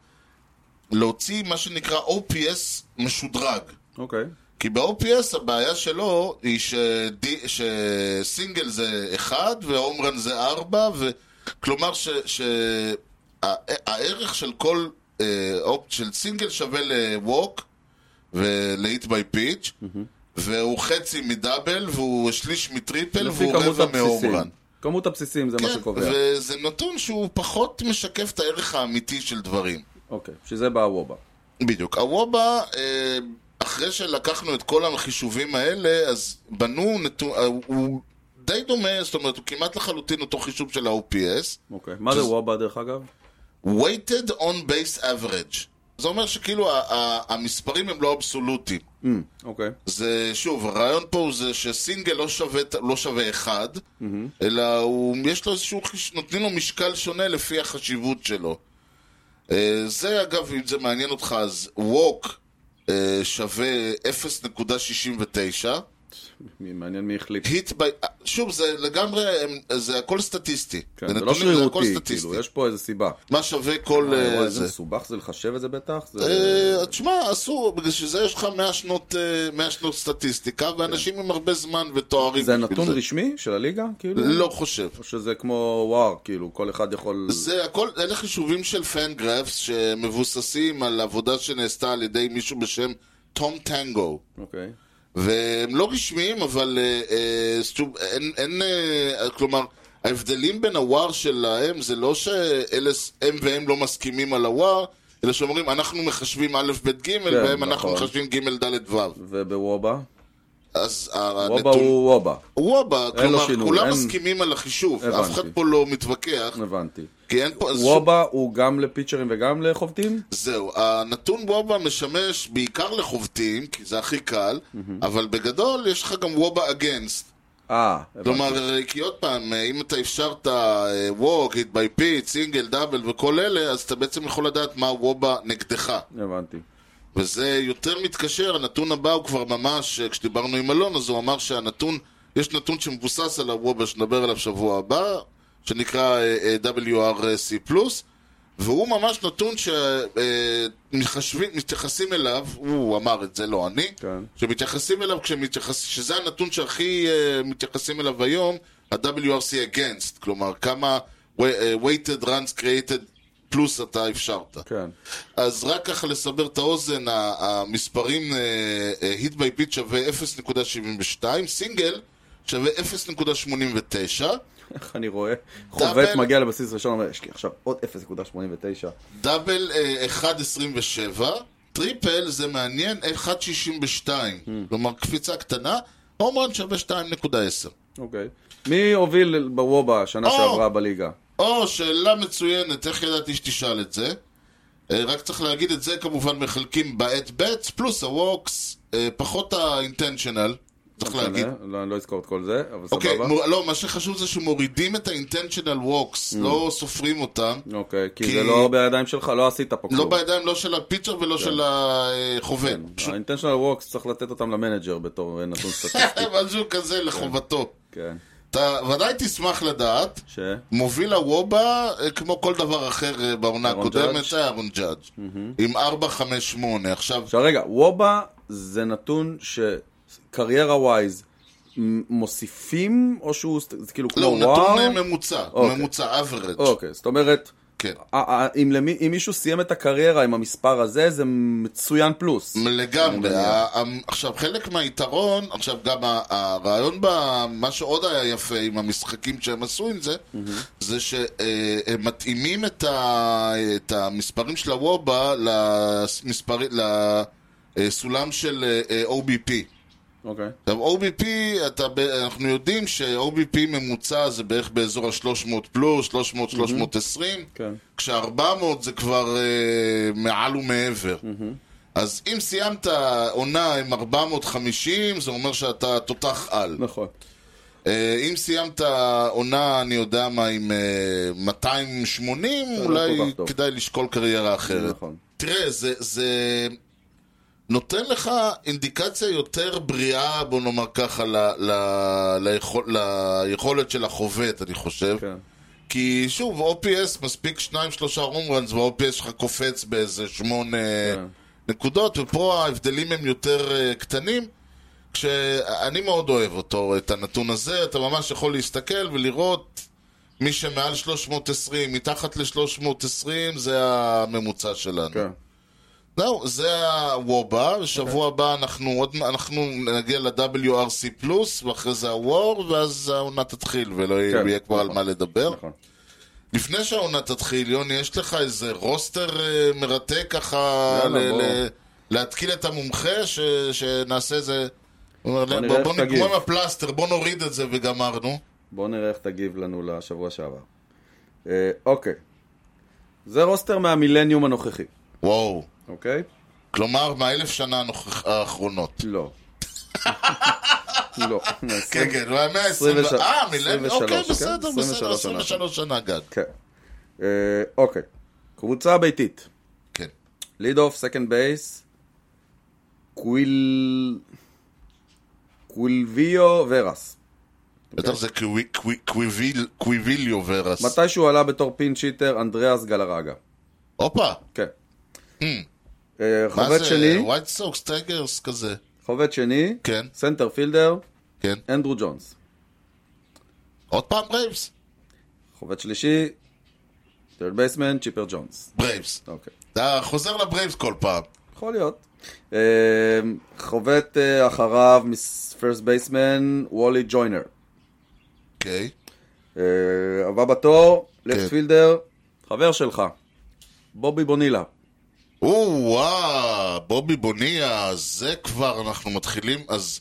Speaker 2: להוציא מה שנקרא OPS משודרג.
Speaker 1: אוקיי.
Speaker 2: כי ב-OPS הבעיה שלו היא שד- שסינגל זה 1 והום רן זה 4, ו... כלומר שהערך של כל אה, אופ... של סינגל שווה לווק ול-hit by pitch, והוא חצי מדאבל, והוא שליש מטריפל,
Speaker 1: לפי
Speaker 2: כן, והוא
Speaker 1: כמות
Speaker 2: רבע מהום
Speaker 1: הבסיסים.
Speaker 2: רן.
Speaker 1: כמות הבסיסים זה מה
Speaker 2: כן,
Speaker 1: שקובע.
Speaker 2: וזה נתון שהוא פחות משקף את הערך האמיתי של דברים.
Speaker 1: אוקיי, בשביל זה בא הוובה.
Speaker 2: בדיוק. הוובה, אה, אחרי שלקחנו את כל החישובים האלה, אז בנו נתון, אה, הוא די דומה, זאת אומרת, הוא כמעט לחלוטין אותו חישוב של ה-OPS,
Speaker 1: אוקיי. מה זה וובה דרך אגב?
Speaker 2: weighted on base average. זה אומר שכאילו ה- ה- המספרים הם לא אבסולוטיים.
Speaker 1: אוקיי.
Speaker 2: זה, שוב, הרעיון פה הוא זה שסינגל לא שווה, לא שווה אחד, mm-hmm. אלא הוא, יש לו איזשהו, חיש- נותנים לו משקל שונה לפי החשיבות שלו. אה, זה אגב, אם זה מעניין אותך, אז ווק אה, שווה 0.69,
Speaker 1: מי- מעניין מי החליט.
Speaker 2: היט בי... אה, שוב, זה לגמרי, הם- זה הכל סטטיסטי.
Speaker 1: כן,
Speaker 2: זה
Speaker 1: זה לא
Speaker 2: נתונים, זה הכל
Speaker 1: שרירותי,
Speaker 2: סטטיסטי.
Speaker 1: כאילו, יש פה איזה סיבה.
Speaker 2: מה שווה כל אה,
Speaker 1: וואי, איזה
Speaker 2: זה.
Speaker 1: מסובך זה לחשב את זה בטח? זה-
Speaker 2: אה, תשמע, אסור, בגלל שזה יש לך 100 שנות, אה, 100 שנות סטטיסטיקה, ואנשים עם הרבה זמן ותוארים.
Speaker 1: זה
Speaker 2: בשביל
Speaker 1: נתון רשמי של הליגה? כאילו?
Speaker 2: לא חושב.
Speaker 1: או שזה כמו וואר, כאילו, כל אחד יכול...
Speaker 2: זה הכל, אלה חישובים של פנגרפס שמבוססים על עבודה שנעשתה על ידי מישהו בשם תום טנגו.
Speaker 1: אוקיי.
Speaker 2: והם לא רשמיים, אבל אה, אה, שוב, אין, אין אה, כלומר, ההבדלים בין הוואר שלהם זה לא שאלה, הם והם לא מסכימים על הוואר, אלא שאומרים, אנחנו מחשבים א', ב', ג', כן, והם
Speaker 1: נכון.
Speaker 2: אנחנו מחשבים ג', ד', ו'.
Speaker 1: ובוובה?
Speaker 2: אז
Speaker 1: וובה
Speaker 2: הנתון...
Speaker 1: הוא וובה,
Speaker 2: וובה, כלומר,
Speaker 1: שינוי,
Speaker 2: כולם
Speaker 1: אין-
Speaker 2: מסכימים על החישוב, אף
Speaker 1: הבנתי.
Speaker 2: אחד פה לא מתווכח,
Speaker 1: הבנתי.
Speaker 2: כי אין פה... אז שוב,
Speaker 1: וובה הוא גם לפיצ'רים וגם לחובטים?
Speaker 2: זהו, הנתון וובה משמש בעיקר לחובטים, כי זה הכי קל, אבל בגדול יש לך גם וובה אגנסט.
Speaker 1: אה, הבנתי.
Speaker 2: כלומר, כי עוד פעם, אה, אם אתה אפשרת ווק, hit by pitch, סינגל, דאבל וכל אלה, אז אתה בעצם יכול לדעת מה וובה נגדך.
Speaker 1: הבנתי.
Speaker 2: וזה יותר מתקשר, הנתון הבא הוא כבר ממש, אה, כשדיברנו עם אלון, אז הוא אמר שהנתון, יש נתון שמבוסס על הוובה שנדבר עליו שבוע הבא, שנקרא אה, אה, WRC+, והוא ממש נתון שמתייחסים אליו, הוא אמר את זה, לא אני,
Speaker 1: כן.
Speaker 2: שמתייחסים אליו, כשמתייחס, שזה הנתון שהכי אה, מתייחסים אליו היום, ה-WRC against, כלומר כמה wa- אה, weighted runs created פלוס אתה אפשרת.
Speaker 1: כן.
Speaker 2: אז רק ככה לסבר את האוזן, ה- המספרים, אה, אה, hit by pitch שווה 0.72, סינגל שווה 0.89,
Speaker 1: איך אני רואה? חובט מגיע לבסיס ראשון, אומר, יש לי עכשיו עוד 0.89.
Speaker 2: דאבל אה, 1.27, טריפל זה מעניין 1.62, כלומר קפיצה קטנה, הום רן שווה 2.10.
Speaker 1: אוקיי. מי הוביל בוובה שנה
Speaker 2: או!
Speaker 1: שעברה בליגה?
Speaker 2: או, שאלה מצוינת, איך ידעתי שתשאל את זה? אה, רק צריך להגיד את זה כמובן מחלקים ב-at bets פלוס ה-walks, אה, פחות ה-intentional, צריך להגיד.
Speaker 1: לא, אני לא אזכור את כל זה, אבל
Speaker 2: אוקיי,
Speaker 1: סבבה.
Speaker 2: מור- לא, מה שחשוב זה שמורידים את ה-intentional
Speaker 1: Mm.
Speaker 2: walks, לא סופרים אותם.
Speaker 1: אוקיי, כי
Speaker 2: כי-
Speaker 1: זה לא בידיים שלך, לא עשית פה
Speaker 2: לא
Speaker 1: כלום.
Speaker 2: בידיים לא של הפיצ'ר ולא
Speaker 1: כן.
Speaker 2: של החובד. פשוט
Speaker 1: ה-intentional walks צריך לתת אותם למנג'ר בתור אה, נתון סטטיסטי.
Speaker 2: משהו כזה לחובתו.
Speaker 1: כן.
Speaker 2: אתה ודאי תשמח לדעת,
Speaker 1: ש?
Speaker 2: מוביל הוובה, אה, כמו כל דבר אחר אה, בעונה
Speaker 1: אהרון
Speaker 2: הקודמת,
Speaker 1: ג'אדג'?
Speaker 2: היה אהרון ג'אדג'. עם 4-5-8. עכשיו,
Speaker 1: עכשיו רגע, וובה זה נתון שקריירה ווייז מוסיפים, או שהוא, סט- זה כאילו כמו
Speaker 2: לא, הוא
Speaker 1: וואו?
Speaker 2: נתון אה, ממוצע,
Speaker 1: אוקיי.
Speaker 2: ממוצע average.
Speaker 1: אוקיי, זאת אומרת,
Speaker 2: כן.
Speaker 1: אה, אה, אם, למי, אם מישהו סיים את הקריירה עם המספר הזה, זה מצוין פלוס.
Speaker 2: לגמרי.
Speaker 1: אני מניח.
Speaker 2: ה- ה- עכשיו, חלק מהיתרון, עכשיו גם ה- הרעיון, ב- מה שעוד היה יפה עם המשחקים שהם עשו עם זה, זה שהם מתאימים את ה- את המספרים של הוובה למספר- לסולם של אה, אה, OBP.
Speaker 1: אוקיי,
Speaker 2: עכשיו, OBP, אתה, ב- אנחנו יודעים ש-OBP ממוצע זה בערך באזור ה-300 פלוס, 300, 320.
Speaker 1: כן.
Speaker 2: כש-400 זה כבר אה, מעל ומעבר. אז אם סיימת עונה עם 450, זה אומר שאתה תותח על.
Speaker 1: נכון.
Speaker 2: אה, אם סיימת עונה, אני יודע מה, עם אה, 280, אולי
Speaker 1: לא כל כך טוב.
Speaker 2: כדאי לשקול קריירה אחרת.
Speaker 1: נכון.
Speaker 2: תראה, זה, זה נותן לך אינדיקציה יותר בריאה, בוא נאמר ככה, ל, ל, ליכול, ליכולת של החובט, אני חושב.
Speaker 1: כן.
Speaker 2: כי שוב, OPS מספיק שניים שלושה רומרנס וה-OPS שלך קופץ באיזה שמונה
Speaker 1: כן.
Speaker 2: נקודות, ופה ההבדלים הם יותר אה, קטנים. כשאני מאוד אוהב אותו, את הנתון הזה, אתה ממש יכול להסתכל ולראות מי שמעל 320, מתחת ל-320 זה הממוצע שלנו.
Speaker 1: כן. אוקיי.
Speaker 2: זהו, זה הוובה, בשבוע הבא אנחנו עוד, אנחנו נגיע ל-WRC פלוס, ואחרי זה הוור, ואז העונה תתחיל, ולא יהיה-
Speaker 1: כן,
Speaker 2: יהיה כבר על
Speaker 1: נכון.
Speaker 2: מה לדבר.
Speaker 1: נכון.
Speaker 2: לפני שהעונה תתחיל, יוני, יש לך איזה רוסטר אה, מרתק ככה,
Speaker 1: יאללה,
Speaker 2: ל-
Speaker 1: בוא.
Speaker 2: ל- להתקיל את המומחה, ש- שנעשה איזה... הוא אומר להם,
Speaker 1: נראה
Speaker 2: בוא
Speaker 1: איך
Speaker 2: בוא
Speaker 1: תגיב."
Speaker 2: נגמור עם הפלסטר, בוא נוריד את זה וגמרנו.
Speaker 1: בואו נראה איך תגיב לנו לשבוע שעבר. אה, אוקיי. זה רוסטר מהמילניום הנוכחי,
Speaker 2: וואו.
Speaker 1: אוקיי?
Speaker 2: כלומר, מהאלף שנה הנוכח- האחרונות.
Speaker 1: לא. לא.
Speaker 2: כן, כן, מהמאה
Speaker 1: עשרים
Speaker 2: ה-20...
Speaker 1: ושלוש.
Speaker 2: אה, מילניום,
Speaker 1: עשרים
Speaker 2: אוקיי,
Speaker 1: ושלוש,
Speaker 2: בסדר,
Speaker 1: כן,
Speaker 2: בסדר,
Speaker 1: 23 שנה.
Speaker 2: 23 שנה גג.
Speaker 1: כן. אה, אוקיי. קבוצה ביתית.
Speaker 2: כן.
Speaker 1: ליד אוף, סקנד בייס, קוויל... קווילביו ורס. כן.
Speaker 2: בטח זה קווי- קווי- קוויביל- קוויביליו ורס.
Speaker 1: מתי שהוא עלה בתור פין שיטר, אנדריאס גלרגה.
Speaker 2: הופה,
Speaker 1: כן.
Speaker 2: Hmm.
Speaker 1: אה,
Speaker 2: מה
Speaker 1: חובד
Speaker 2: זה?
Speaker 1: שני,
Speaker 2: ווייט סוקס, טייגרס כזה.
Speaker 1: חובד שני,
Speaker 2: כן.
Speaker 1: סנטר פילדר,
Speaker 2: כן.
Speaker 1: אנדרו ג'ונס.
Speaker 2: עוד פעם ברייבס?
Speaker 1: חובד שלישי, טרד בייסמן, צ'יפר ג'ונס.
Speaker 2: ברייבס.
Speaker 1: אוקיי.
Speaker 2: אתה חוזר לברייבס כל פעם.
Speaker 1: יכול להיות. אה, חובט אה, אחריו, פרסט בייסמן, וולי ג'וינר.
Speaker 2: אוקיי.
Speaker 1: אה, הבא בתור, לפטפילדר, חבר שלך, בובי בונילה.
Speaker 2: או וואו, בובי בוניה, זה כבר אנחנו מתחילים, אז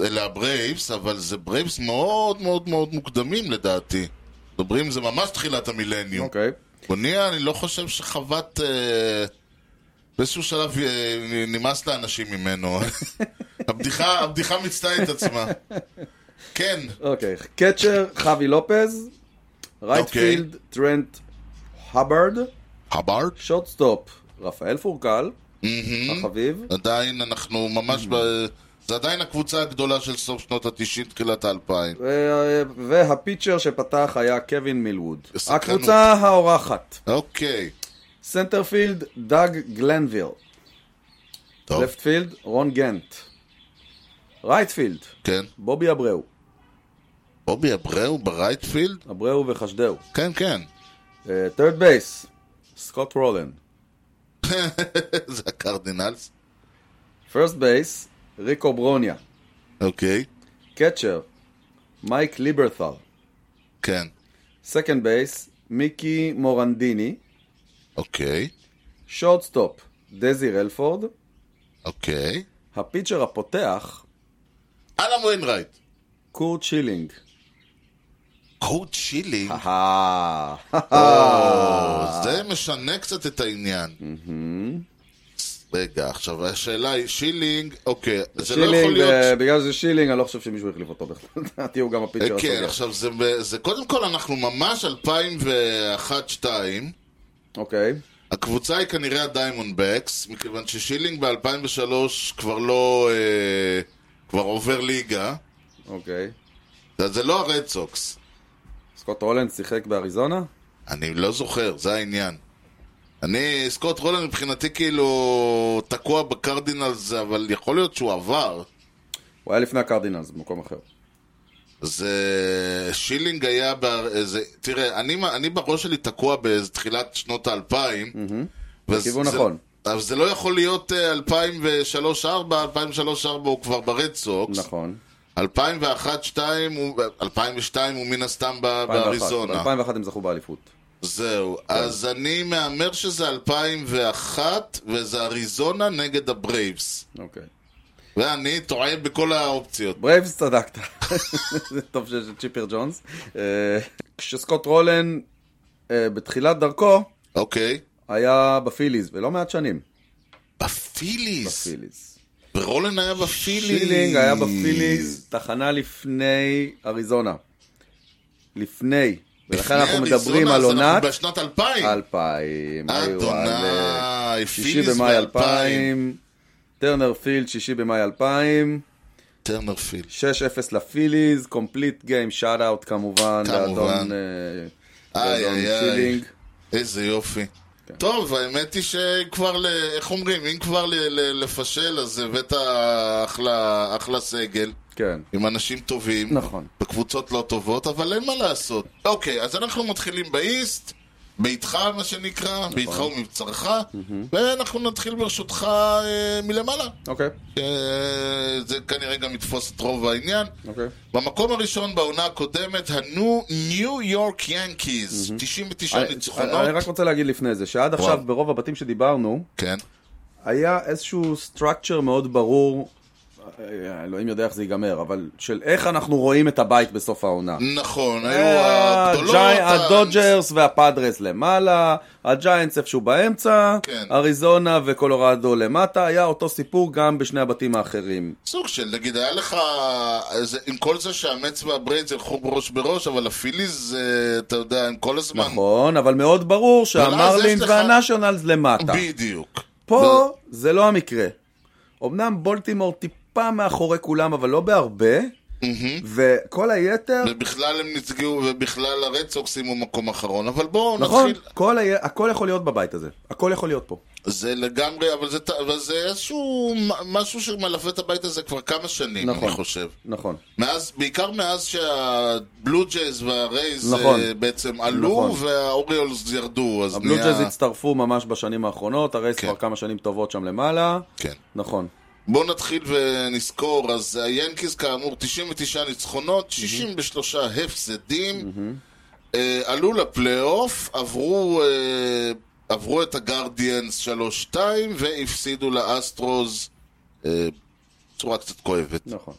Speaker 2: אלה הברייבס, אבל זה ברייבס מאוד מאוד מאוד מוקדמים לדעתי. מדברים, זה ממש תחילת המילניום.
Speaker 1: אוקיי.
Speaker 2: בוניה, אני לא חושב שחוות... אה, באיזשהו שלב אה, נמאס לאנשים ממנו. הבדיחה, הבדיחה מיצתה את עצמה. כן,
Speaker 1: אוקיי. קצ'ר, חבי לופז, רייטפילד, טרנט הברד,
Speaker 2: הבארד?
Speaker 1: שורטסטופ, רפאל פורקל, החביב,
Speaker 2: עדיין אנחנו ממש ב... זה עדיין הקבוצה הגדולה של סוף שנות התשעים, תחילת האלפיים.
Speaker 1: ו- אה, והפיצ'ר שפתח היה קווין מילווד.
Speaker 2: סקרנות.
Speaker 1: הקבוצה האורחת,
Speaker 2: אוקיי,
Speaker 1: סנטרפילד, דאג גלנביל,
Speaker 2: טוב,
Speaker 1: לפטפילד, רון גנט, רייטפילד,
Speaker 2: כן.
Speaker 1: בובי אברהו,
Speaker 2: בובי אברהו ברייטפילד?
Speaker 1: אברהו וחשדהו. Uh,
Speaker 2: כן, כן.
Speaker 1: טרד בייס, סקוט רולן.
Speaker 2: זה הקרדינלס.
Speaker 1: פרסט בייס, ריקו ברוניה.
Speaker 2: אוקיי,
Speaker 1: קצ'ר, מייק ליברת'ל.
Speaker 2: כן.
Speaker 1: סקנד בייס, מיקי מורנדיני.
Speaker 2: אוקיי,
Speaker 1: שורטסטופ, דזי רלפורד.
Speaker 2: אוקיי.
Speaker 1: הפיצ'ר הפותח,
Speaker 2: אלם ווינרייט.
Speaker 1: קורט
Speaker 2: אה,
Speaker 1: שילינג.
Speaker 2: קוד שילי.
Speaker 1: אהה.
Speaker 2: לא זה משנה קצת את העניין. רגע, עכשיו השאלה היא שילינג, אוקיי, זה לא יכול
Speaker 1: שילינג,
Speaker 2: להיות...
Speaker 1: אה, בגלל שזה שילינג, אני לא חושב שמישהו החליף אותו בכלל. לדעתי הוא גם הפיצ'ר
Speaker 2: כן,
Speaker 1: הסוגר.
Speaker 2: עכשיו זה, זה קודם כל אנחנו ממש 2001-2002
Speaker 1: אוקיי.
Speaker 2: הקבוצה היא כנראה הדיימונד בקס מכיוון ששילינג ב-2003 כבר לא... אה, כבר עובר ליגה
Speaker 1: אוקיי.
Speaker 2: זה, זה לא הרד סוקס
Speaker 1: סקוט רולנד שיחק באריזונה?
Speaker 2: אני לא זוכר, זה העניין אני, סקוט רולן מבחינתי כאילו תקוע בקרדינלס אבל יכול להיות שהוא עבר
Speaker 1: הוא היה לפני הקרדינלס, במקום אחר.
Speaker 2: זה שילינג היה, ב... זה... תראה, אני, אני בראש שלי תקוע בתחילת שנות האלפיים. וזה-
Speaker 1: בכיוון
Speaker 2: זה-
Speaker 1: נכון.
Speaker 2: אבל זה לא יכול להיות אה, 2003-2004, 2003-2004 הוא כבר ברד סוקס.
Speaker 1: נכון.
Speaker 2: 2001-2002 הוא, 2002 הוא מן הסתם ב-
Speaker 1: 2001.
Speaker 2: באריזונה.
Speaker 1: 2001 הם זכו באליפות.
Speaker 2: זהו,
Speaker 1: כן.
Speaker 2: אז אני מהמר שזה 2001 וזה אריזונה נגד הברייבס.
Speaker 1: אוקיי.
Speaker 2: ואני טועה בכל האופציות.
Speaker 1: ברייבס צדקת. זה טוב שיש את צ'יפר ג'ונס. אה, כשסקוט רולן אה, בתחילת דרכו
Speaker 2: אוקיי.
Speaker 1: היה בפיליז, ולא מעט שנים
Speaker 2: בפיליס.
Speaker 1: בפיליז.
Speaker 2: ורולן היה בפיליס.
Speaker 1: שילינג היה בפיליז, תחנה לפני אריזונה. לפני. ולכן
Speaker 2: לפני
Speaker 1: אנחנו
Speaker 2: אריזונה,
Speaker 1: מדברים
Speaker 2: אז
Speaker 1: על
Speaker 2: אנחנו
Speaker 1: עונת
Speaker 2: בשנת 2000.
Speaker 1: 2000. היו על, אה,
Speaker 2: אדוני,
Speaker 1: שישי
Speaker 2: פיליס
Speaker 1: במאי
Speaker 2: ב-2000.
Speaker 1: 2000. טרנר פילד, שישי במאי 2000.
Speaker 2: טרנר פיל.
Speaker 1: 6-0 לפיליז, קומפליט גיים, שאט אאוט כמובן,
Speaker 2: כמובן.
Speaker 1: לאדון אה,
Speaker 2: איי,
Speaker 1: לאדון
Speaker 2: איי,
Speaker 1: שילינג.
Speaker 2: איזה יופי.
Speaker 1: כן.
Speaker 2: טוב, האמת היא שכבר, ל... איך אומרים, אם כבר ל... ל... לפשל, אז הבאת אחלה, אחלה סגל.
Speaker 1: כן.
Speaker 2: עם אנשים טובים,
Speaker 1: נכון.
Speaker 2: בקבוצות לא טובות, אבל אין מה לעשות. אוקיי, אז אנחנו מתחילים באיסט, ביתך, מה שנקרא,
Speaker 1: נכון.
Speaker 2: ביתך ומבצרך, ואנחנו נתחיל ברשותך אה, מלמעלה.
Speaker 1: אוקיי,
Speaker 2: אה, זה כנראה גם יתפוס את רוב העניין.
Speaker 1: אוקיי.
Speaker 2: במקום הראשון בעונה הקודמת, הניו יורק ינקיז, 99
Speaker 1: אני- אני אה, רק
Speaker 2: ניצחונות.
Speaker 1: רוצה להגיד לפני זה, שעד עכשיו
Speaker 2: וואו.
Speaker 1: ברוב הבתים שדיברנו,
Speaker 2: כן.
Speaker 1: היה איזשהו structure מאוד ברור, אה, אלוהים יודע איך זה ייגמר, אבל של איך אנחנו רואים את הבית בסוף העונה.
Speaker 2: נכון, היו
Speaker 1: אה,
Speaker 2: הגדולות,
Speaker 1: הג'י-
Speaker 2: ה-
Speaker 1: הדודג'רס והפאדרס למעלה, הג'יינטס איפשהו באמצע,
Speaker 2: כן.
Speaker 1: אריזונה וקולורדו למטה, היה אותו סיפור גם בשני הבתים האחרים.
Speaker 2: סוג של, נגיד, היה לך, זה, עם כל זה שהמץ והבריידס ילכו בראש בראש, אבל הפיליז, אה, אתה יודע, הם כל הזמן...
Speaker 1: נכון, אבל מאוד ברור
Speaker 2: יש
Speaker 1: שהמרלינס
Speaker 2: לך-
Speaker 1: והנשיונלס למטה.
Speaker 2: בדיוק.
Speaker 1: פה זה לא המקרה. אמנם בולטימור טיפה מאחורי כולם, אבל לא בהרבה, וכל היתר,
Speaker 2: ובכלל הם נצגעו, ובכלל הרד סוקס סיימו מקום אחרון, אבל בואו
Speaker 1: נכון,
Speaker 2: נתחיל.
Speaker 1: כל ה- הכל יכול להיות בבית הזה, הכל יכול להיות פה.
Speaker 2: זה לגמרי, אבל זה, ת- אבל זה איזשהו מ- משהו שמלווה את הבית הזה כבר כמה שנים,
Speaker 1: נכון.
Speaker 2: אני חושב.
Speaker 1: נכון.
Speaker 2: מאז, בעיקר מאז שהבלו ג'ייז והרייז
Speaker 1: נכון.
Speaker 2: אה, בעצם עלו,
Speaker 1: נכון.
Speaker 2: והאוריולס ירדו, אז
Speaker 1: הבלו
Speaker 2: נהיה-
Speaker 1: ג'אז הצטרפו ממש בשנים האחרונות, הרי
Speaker 2: כן.
Speaker 1: כבר כמה שנים טובות שם למעלה.
Speaker 2: כן.
Speaker 1: נכון.
Speaker 2: בואו נתחיל ונזכור, אז היאנקיז כאמור 99 ניצחונות,
Speaker 1: Mm-hmm.
Speaker 2: 63 הפסדים, אה, עלו לפלייאוף, עברו, אה, עברו את הגרדיאנס 3-2 והפסידו לאסטרוז אה, בצורה קצת כואבת.
Speaker 1: נכון.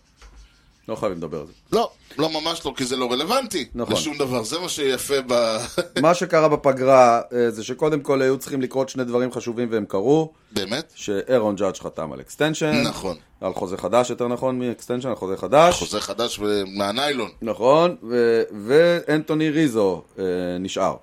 Speaker 1: לא חייבים לדבר על זה.
Speaker 2: לא, לא ממש לא, כי זה לא רלוונטי
Speaker 1: נכון.
Speaker 2: לשום דבר, זה מה שיפה ב...
Speaker 1: מה שקרה בפגרה אה, זה שקודם כל היו צריכים לקרות שני דברים חשובים והם קרו,
Speaker 2: באמת?
Speaker 1: שאירון ג'אדג' חתם על אקסטנשן.
Speaker 2: נכון.
Speaker 1: על חוזה חדש, יותר נכון, מאקסטנשן על חוזה חדש.
Speaker 2: חוזה חדש אה, מהניילון.
Speaker 1: נכון, ו- ואנטוני ריזו אה, נשאר.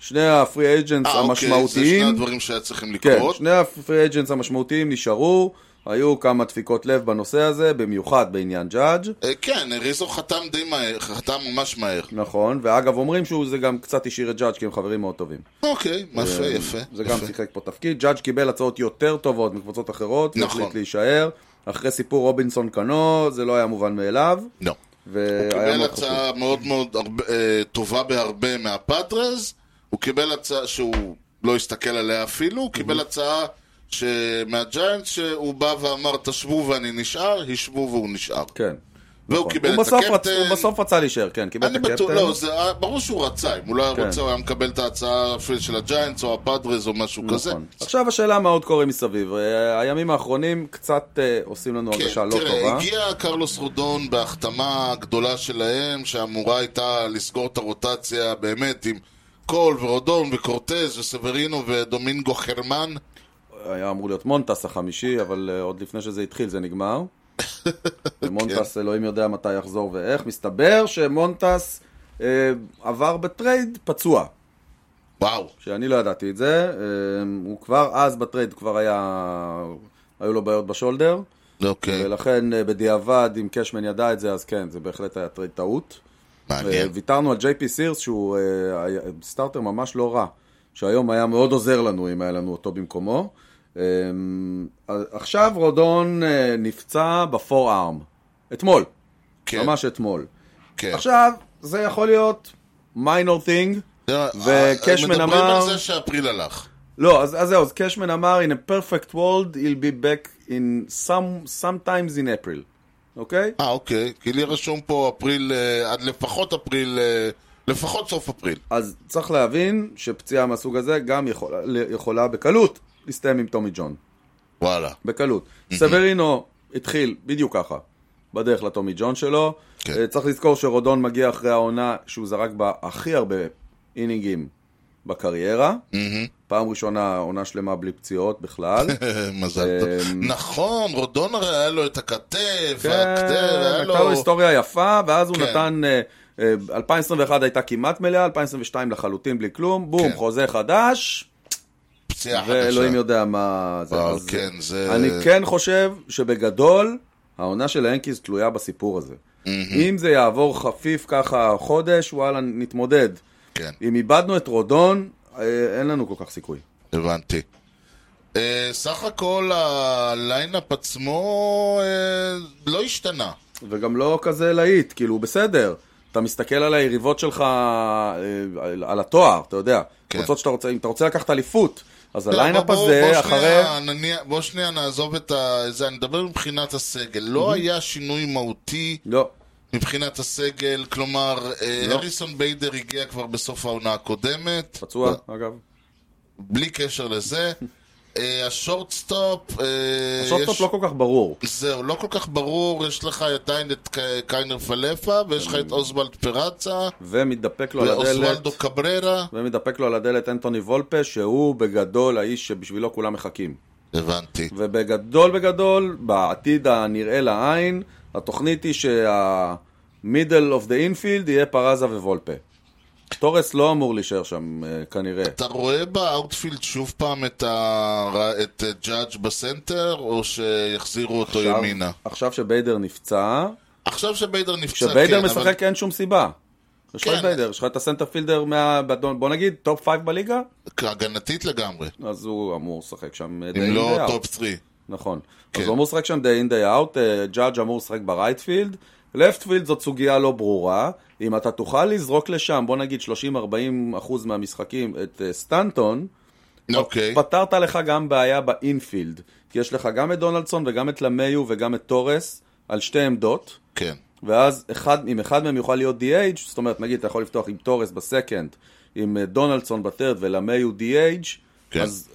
Speaker 1: שני הפרי אייג'נס
Speaker 2: אה, אוקיי, זה שני
Speaker 1: המשמעותיים.
Speaker 2: הדברים שהיה צריכים
Speaker 1: כן,
Speaker 2: לקרות.
Speaker 1: שני הפרי אייג'נס המשמעותיים נשארו, היו כמה דפיקות לב בנושא הזה, במיוחד בעניין ג'אדג'.
Speaker 2: אה, כן, ריזו חתם די מהר, חתם ממש מהר.
Speaker 1: נכון, ואגב אומרים שהוא זה גם קצת השאיר את ג'אדג' כי הם חברים מאוד טובים.
Speaker 2: אוקיי, יפה, יפה.
Speaker 1: אה, זה גם
Speaker 2: יפה.
Speaker 1: שיחק פה תפקיד, ג'אדג' קיבל הצעות יותר טובות מקבוצות אחרות,
Speaker 2: נכון.
Speaker 1: והחליט להישאר. אחרי סיפור רובינסון קנו, זה לא היה מובן מאליו,
Speaker 2: לא. הוא
Speaker 1: והיה
Speaker 2: קיבל
Speaker 1: מאוד חשוב.
Speaker 2: הצעה מאוד מאוד הרבה- אה, טובה בהרבה מהפאדרז, הוא קיבל הצעה שהוא לא הסתכל עליה אפילו, הוא
Speaker 1: Mhm.
Speaker 2: קיבל הצעה ש- מהג'יינט שהוא בא ואמר, תשבו ואני נשאר, השבו והוא נשאר.
Speaker 1: כן.
Speaker 2: והוא
Speaker 1: נכון.
Speaker 2: קיבל
Speaker 1: הוא
Speaker 2: את
Speaker 1: בסוף רצ-
Speaker 2: הקפטן.
Speaker 1: הוא בסוף רצה להישאר, כן, קיבל את
Speaker 2: אני בטוח,
Speaker 1: הקפטן.
Speaker 2: לא, זה היה- ברור שהוא רצה, אם הוא לא היה
Speaker 1: כן.
Speaker 2: רוצה הוא היה מקבל את ההצעה אפילו של הג'יינטס או הפאדרז או משהו כזה.
Speaker 1: נכון. עכשיו השאלה מה עוד קורה מסביב. אה, הימים האחרונים קצת אה, עושים לנו הרגשה
Speaker 2: כן,
Speaker 1: לא
Speaker 2: תראה,
Speaker 1: טובה.
Speaker 2: הגיע קרלוס רודון בהחתמה הגדולה שלהם, שאמורה הייתה לסגור את הרוטציה באמת עם קול ורודון וקורטז וסברינו ודומינגו חרמן.
Speaker 1: היה אמור להיות מונטס החמישי, אבל אה, עוד לפני שזה התחיל זה נגמר. ומונטס, אלוהים יודע מתי יחזור ואיך. מסתבר שמונטס אה, עבר בטרייד פצוע,
Speaker 2: וואו,
Speaker 1: שאני לא ידעתי את זה. אה, הוא כבר אז בטרייד כבר היה... היו לו בעיות בשולדר,
Speaker 2: אוקיי,
Speaker 1: ולכן אה, בדיעבד, אם קשמן ידע את זה, אז כן, זה בהחלט היה טרייד טעות.
Speaker 2: מעניין.
Speaker 1: אה, ויתרנו על ג'יי פי סירס, שהוא אה, היה- סטארטר ממש לא רע, שהיום היה מאוד עוזר לנו אם היה לנו אותו במקומו. אה, עכשיו רודון אה, נפצע בפור ארם. אתמול,
Speaker 2: כן,
Speaker 1: ממש אתמול.
Speaker 2: כן.
Speaker 1: עכשיו, זה יכול להיות מיינור תינג.
Speaker 2: תראה,
Speaker 1: וקשמן
Speaker 2: אה, מדברים
Speaker 1: אמר-
Speaker 2: על זה שאפריל הלך.
Speaker 1: לא, אז אז זהו, אז קשמן אמר, in a perfect world, he'll be back in some, sometimes in April, אוקיי?
Speaker 2: אה, אוקיי, כי לי רשום פה אפריל, אה, עד לפחות אפריל, אה, לפחות סוף אפריל.
Speaker 1: אז צריך להבין שפציעה מהסוג הזה גם יכולה, יכולה בקלות להסתיים עם טומי ג'ון.
Speaker 2: וואלה.
Speaker 1: בקלות. סברינו התחיל בדיוק ככה, בדרך לטומי ג'ון שלו.
Speaker 2: כן.
Speaker 1: אה, צריך לזכור שרודון מגיע אחרי העונה שהוא זרק בה הכי הרבה אינינגים בקריירה. פעם ראשונה עונה שלמה בלי פציעות בכלל. כן,
Speaker 2: מזל טוב. נכון, רודון הרי היה לו את הכתף,
Speaker 1: אמ- כן,
Speaker 2: הכתף, היה
Speaker 1: הייתה לו היסטוריה יפה, ואז הוא
Speaker 2: כן.
Speaker 1: נתן... אה, אה, 2021 הייתה כמעט מלאה, 2022 לחלוטין בלי כלום, בום,
Speaker 2: כן.
Speaker 1: חוזה חדש,
Speaker 2: פציעה חדשה.
Speaker 1: ואלוהים יודע מה זה.
Speaker 2: אה, וואו,
Speaker 1: אז-
Speaker 2: כן, זה...
Speaker 1: אני כן חושב שבגדול, העונה של האנקיז תלויה בסיפור הזה. אם זה יעבור חפיף ככה חודש, וואלה, נתמודד.
Speaker 2: כן,
Speaker 1: אם איבדנו את רודון, אה, אין לנו כל כך סיכוי.
Speaker 2: הבנתי. אה, סך הכל הליינאפ עצמו אה, לא השתנה.
Speaker 1: וגם לא כזה להיט, כאילו, בסדר. אתה מסתכל על היריבות שלך, אה, על- על התואר, אתה יודע.
Speaker 2: כן.
Speaker 1: קבוצות שאתה רוצה, אם אתה רוצה לקחת אליפות, אז
Speaker 2: לא,
Speaker 1: הליינאפ
Speaker 2: בוא- בוא-
Speaker 1: הזה,
Speaker 2: בוא
Speaker 1: אחרי...
Speaker 2: שנייה נניע- בוא שנייה נעזוב את ה... זה, אני מדבר מבחינת הסגל. לא היה שינוי מהותי
Speaker 1: לא.
Speaker 2: מבחינת הסגל, כלומר, אה,
Speaker 1: לא.
Speaker 2: אריסון ביידר הגיע כבר בסוף העונה הקודמת.
Speaker 1: פצוע, אגב.
Speaker 2: אה, בלי קשר לזה. אה, השורטסטופ... אה,
Speaker 1: השופטופ
Speaker 2: יש-
Speaker 1: לא כל כך ברור.
Speaker 2: זהו, לא כל כך ברור, יש לך עדיין את ק- קיינר פלפה, ויש לך את אוסוולד פרצה,
Speaker 1: ומתדפק לו על הדלת,
Speaker 2: ואוסוולדו קבררה.
Speaker 1: ומתדפק לו על הדלת אנטוני וולפה, שהוא בגדול האיש שבשבילו כולם מחכים.
Speaker 2: הבנתי.
Speaker 1: ובגדול בגדול, בעתיד הנראה לעין, התוכנית היא שהמידל אוף דה אינפילד יהיה פרזה ווולפה. תורס לא אמור להישאר שם אה, כנראה.
Speaker 2: אתה רואה באאוטפילד שוב פעם את, ה... את אה, ג'אדג' בסנטר, או שיחזירו אותו עכשיו... ימינה?
Speaker 1: עכשיו שביידר נפצע,
Speaker 2: עכשיו שביידר נפצע,
Speaker 1: כשביידר
Speaker 2: כן,
Speaker 1: משחק אין שום סיבה. יש לך
Speaker 2: כן.
Speaker 1: את ביידר, יש לך את הסנטרפילדר, מה... בוא נגיד, טופ פייב בליגה,
Speaker 2: אבל הגנתית לגמרי,
Speaker 1: אז הוא אמור לשחק שם אה, די
Speaker 2: אם
Speaker 1: אין די
Speaker 2: לא
Speaker 1: אאוט.
Speaker 2: טופ 3.
Speaker 1: נכון.
Speaker 2: כן.
Speaker 1: אז הוא אמור לשחק שם די אין די אאוט, אה, ג'אג' אמור לשחק ברייטפילד. לפטפילד זאת סוגיה לא ברורה. אם אתה תוכל לזרוק לשם, בוא נגיד 30-40 אחוז מהמשחקים, את אה, סטנטון,
Speaker 2: אוקיי,
Speaker 1: פתרת לך גם בעיה באינפילד. כי יש לך גם את דונלדסון וגם את למיו וגם את תורס על שתי עמדות.
Speaker 2: כן.
Speaker 1: ואז אחד, אם אחד מהם יוכל להיות DH, זאת אומרת, נגיד, אתה יכול לפתוח עם תורס בסקנד, עם אה, דונלדסון בטרד ולמי הוא DH,
Speaker 2: כן.
Speaker 1: אז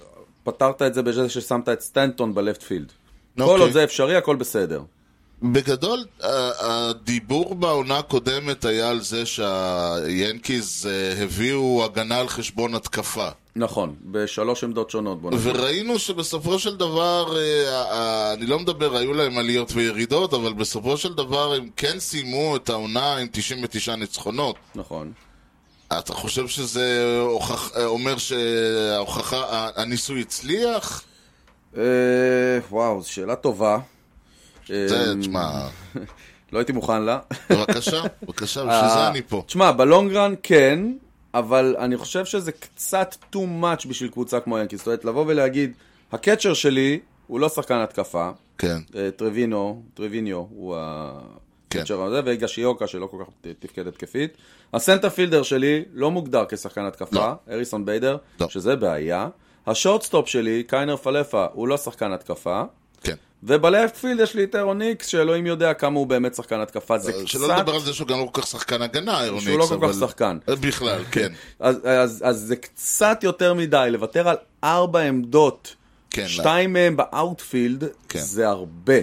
Speaker 1: פתרת את זה בזה ששמת את סטנטון בלפט פילד.
Speaker 2: אוקיי.
Speaker 1: כל עוד זה אפשרי, הכל בסדר.
Speaker 2: בגדול, ה- הדיבור בעונה הקודמת היה על זה שהיאנקיז אה, הביאו הגנה על חשבון התקפה.
Speaker 1: נכון, בשלוש עמדות שונות, בוא נגיד.
Speaker 2: וראינו שבסופו של דבר, אה, אה, אני לא מדבר, היו להם עליות וירידות, אבל בסופו של דבר הם כן סיימו את העונה עם 99 ניצחונות.
Speaker 1: נכון.
Speaker 2: אתה חושב שזה הוכח, אה, אומר שההוכחה, ה- הניסוי הצליח?
Speaker 1: אה, וואו, זו שאלה טובה. אה,
Speaker 2: זה, תשמע,
Speaker 1: לא הייתי מוכן לה.
Speaker 2: בבקשה, בבקשה, בשביל זה אני פה.
Speaker 1: אה, תשמע, בלונגרן כן, אבל אני חושב שזה קצת too much בשביל קבוצה כמו ינקיס. זאת אומרת, לבוא ולהגיד, הקצ'ר שלי הוא לא שחקן התקפה,
Speaker 2: כן,
Speaker 1: אה, טרווינו, טרוויניו הוא
Speaker 2: כן.
Speaker 1: הקצ'ר הזה, וגישיוקה שלא כל כך ת- תפקד התקפית. הסנטרפילדר שלי לא מוגדר כשחקן התקפה, אריסון ביידר,
Speaker 2: לא.
Speaker 1: שזה בעיה. השורטסטופ שלי, קיינר פלפה, הוא לא שחקן התקפה.
Speaker 2: כן.
Speaker 1: ובלפט פילד יש לי את אירון ניקס, שאלוהים יודע כמה הוא באמת שחקן התקפה. זה קצת...
Speaker 2: אה, שלא לדבר על זה שהוא גם לא כל כך שחקן הגנה, אירוניקס,
Speaker 1: שהוא לא כל כך
Speaker 2: אבל-
Speaker 1: שחקן.
Speaker 2: אה, בכלל, כן.
Speaker 1: אז, אז, אז זה קצת יותר מדי, לוותר על ארבע עמדות,
Speaker 2: כן,
Speaker 1: שתיים מהם באאוטפילד,
Speaker 2: כן.
Speaker 1: זה הרבה.